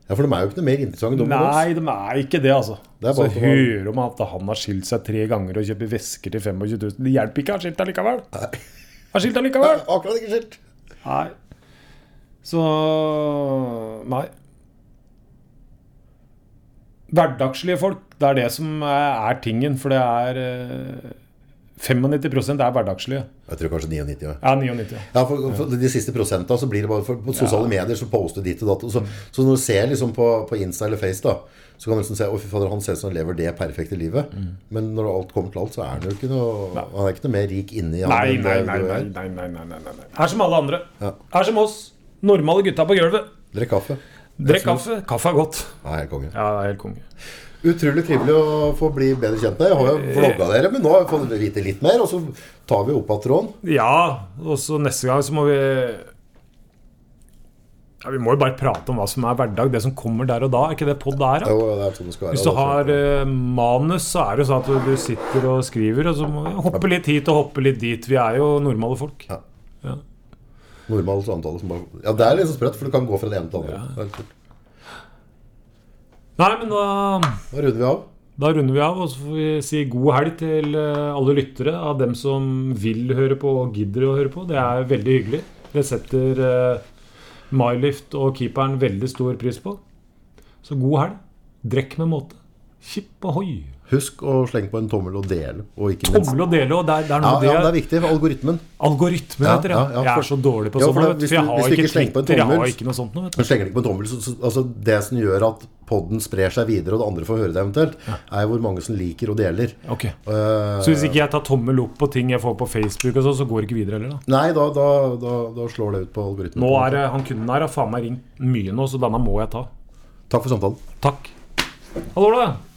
Speaker 2: Ja, For de er jo ikke noe mer interessante enn oss.
Speaker 1: Nei, de er ikke det, altså.
Speaker 2: Det er
Speaker 1: så
Speaker 2: bare for-
Speaker 1: hører man at han har skilt seg tre ganger og kjøper vesker til 25 000. Det hjelper ikke, han har skilt allikevel. Har skilt
Speaker 2: Ja,
Speaker 1: allikevel.
Speaker 2: Akkurat ikke skilt.
Speaker 1: Nei. Så Nei. Hverdagslige folk, det er det som er er tingen. For det er eh, 95 er hverdagslige.
Speaker 2: Jeg tror kanskje 99. Ja.
Speaker 1: Ja, 99.
Speaker 2: Ja, for, for de siste prosentene så blir det bare for, På sosiale medier så poster ditt og datt. og Så, så når du ser liksom på, på Insta eller Face, da så kan du liksom se å fy fader, han ser ut som han lever det perfekte livet.
Speaker 1: Mm.
Speaker 2: Men når alt kommer til alt, så er han jo ikke noe Han er ikke noe mer rik inni han
Speaker 1: Nei,
Speaker 2: enn
Speaker 1: nei,
Speaker 2: det
Speaker 1: nei.
Speaker 2: du
Speaker 1: nei,
Speaker 2: er.
Speaker 1: nei, nei, nei, nei, nei. Er som alle andre.
Speaker 2: Ja.
Speaker 1: Er som oss. Normale gutta på gulvet.
Speaker 2: Drikk kaffe.
Speaker 1: Drikk kaffe. Kaffe er godt.
Speaker 2: Nei, helt konge.
Speaker 1: Ja, det er helt konge.
Speaker 2: Utrolig trivelig å få bli bedre kjent med. Jeg har
Speaker 1: Eh,
Speaker 2: jo vlogga dere, men nå har vi fått vite litt mer. Og så tar vi opp av tråden.
Speaker 1: Ja, og så neste gang så må vi ja, Vi må jo bare prate om hva som er hverdag. Det som kommer der og da. Er ikke det pod er?
Speaker 2: Det
Speaker 1: da?
Speaker 2: er jo- det er sånn det skal være.
Speaker 1: Hvis du
Speaker 2: da, så-
Speaker 1: har eh, manus, så er det jo sånn at du sitter og skriver, og så må du hoppe litt hit og hoppe litt dit. Vi er jo normale folk.
Speaker 2: Ja. Normal samtale som bare Ja, det er liksom sprøtt, for du kan gå fra det ene til det andre. Det er kult.
Speaker 1: Nei, men da,
Speaker 2: Da runder vi av.
Speaker 1: da runder vi av, og så får vi si god helg til eh, alle lyttere av dem som vil høre på og gidder å høre på. Det er veldig hyggelig. Det setter eh, Mylift og keeperen veldig stor pris på. Så god helg. Drekk med måte. Kipp ohoi.
Speaker 2: Husk å slenge på en tommel og dele. Og ikke minst
Speaker 1: Tommel og dele, og det er, det er
Speaker 2: ja,
Speaker 1: noe
Speaker 2: ja, men det
Speaker 1: det
Speaker 2: er viktig for algoritmen.
Speaker 1: Algoritmen
Speaker 2: Ja,
Speaker 1: heter det.
Speaker 2: ja, ja,
Speaker 1: jeg
Speaker 2: for-
Speaker 1: er så dårlig på
Speaker 2: Ja,
Speaker 1: sånt.
Speaker 2: for det-
Speaker 1: vet du,
Speaker 2: hvis
Speaker 1: for jeg
Speaker 2: du-
Speaker 1: har
Speaker 2: hvis du
Speaker 1: ikke
Speaker 2: ikke slenger på en
Speaker 1: Twitter, jeg har
Speaker 2: tommel,
Speaker 1: ikke noe sånt noe, vet du.
Speaker 2: Men slenger du ikke på en tommel, så, så, altså Det som gjør at podden sprer seg videre, og det andre får høre det eventuelt, er jo hvor mange som liker og deler.
Speaker 1: Ok.
Speaker 2: Eh,
Speaker 1: Så hvis ikke jeg tar tommel opp på ting jeg får på Facebook, og sånn, så, så går det ikke videre heller, da.
Speaker 2: nei, da, da, da, da slår det ut på algoritmen.
Speaker 1: Nå er det, Han kunden her har faen meg ringt mye nå, så denne må jeg ta.
Speaker 2: Takk for samtalen.
Speaker 1: Takk. Hallo, da.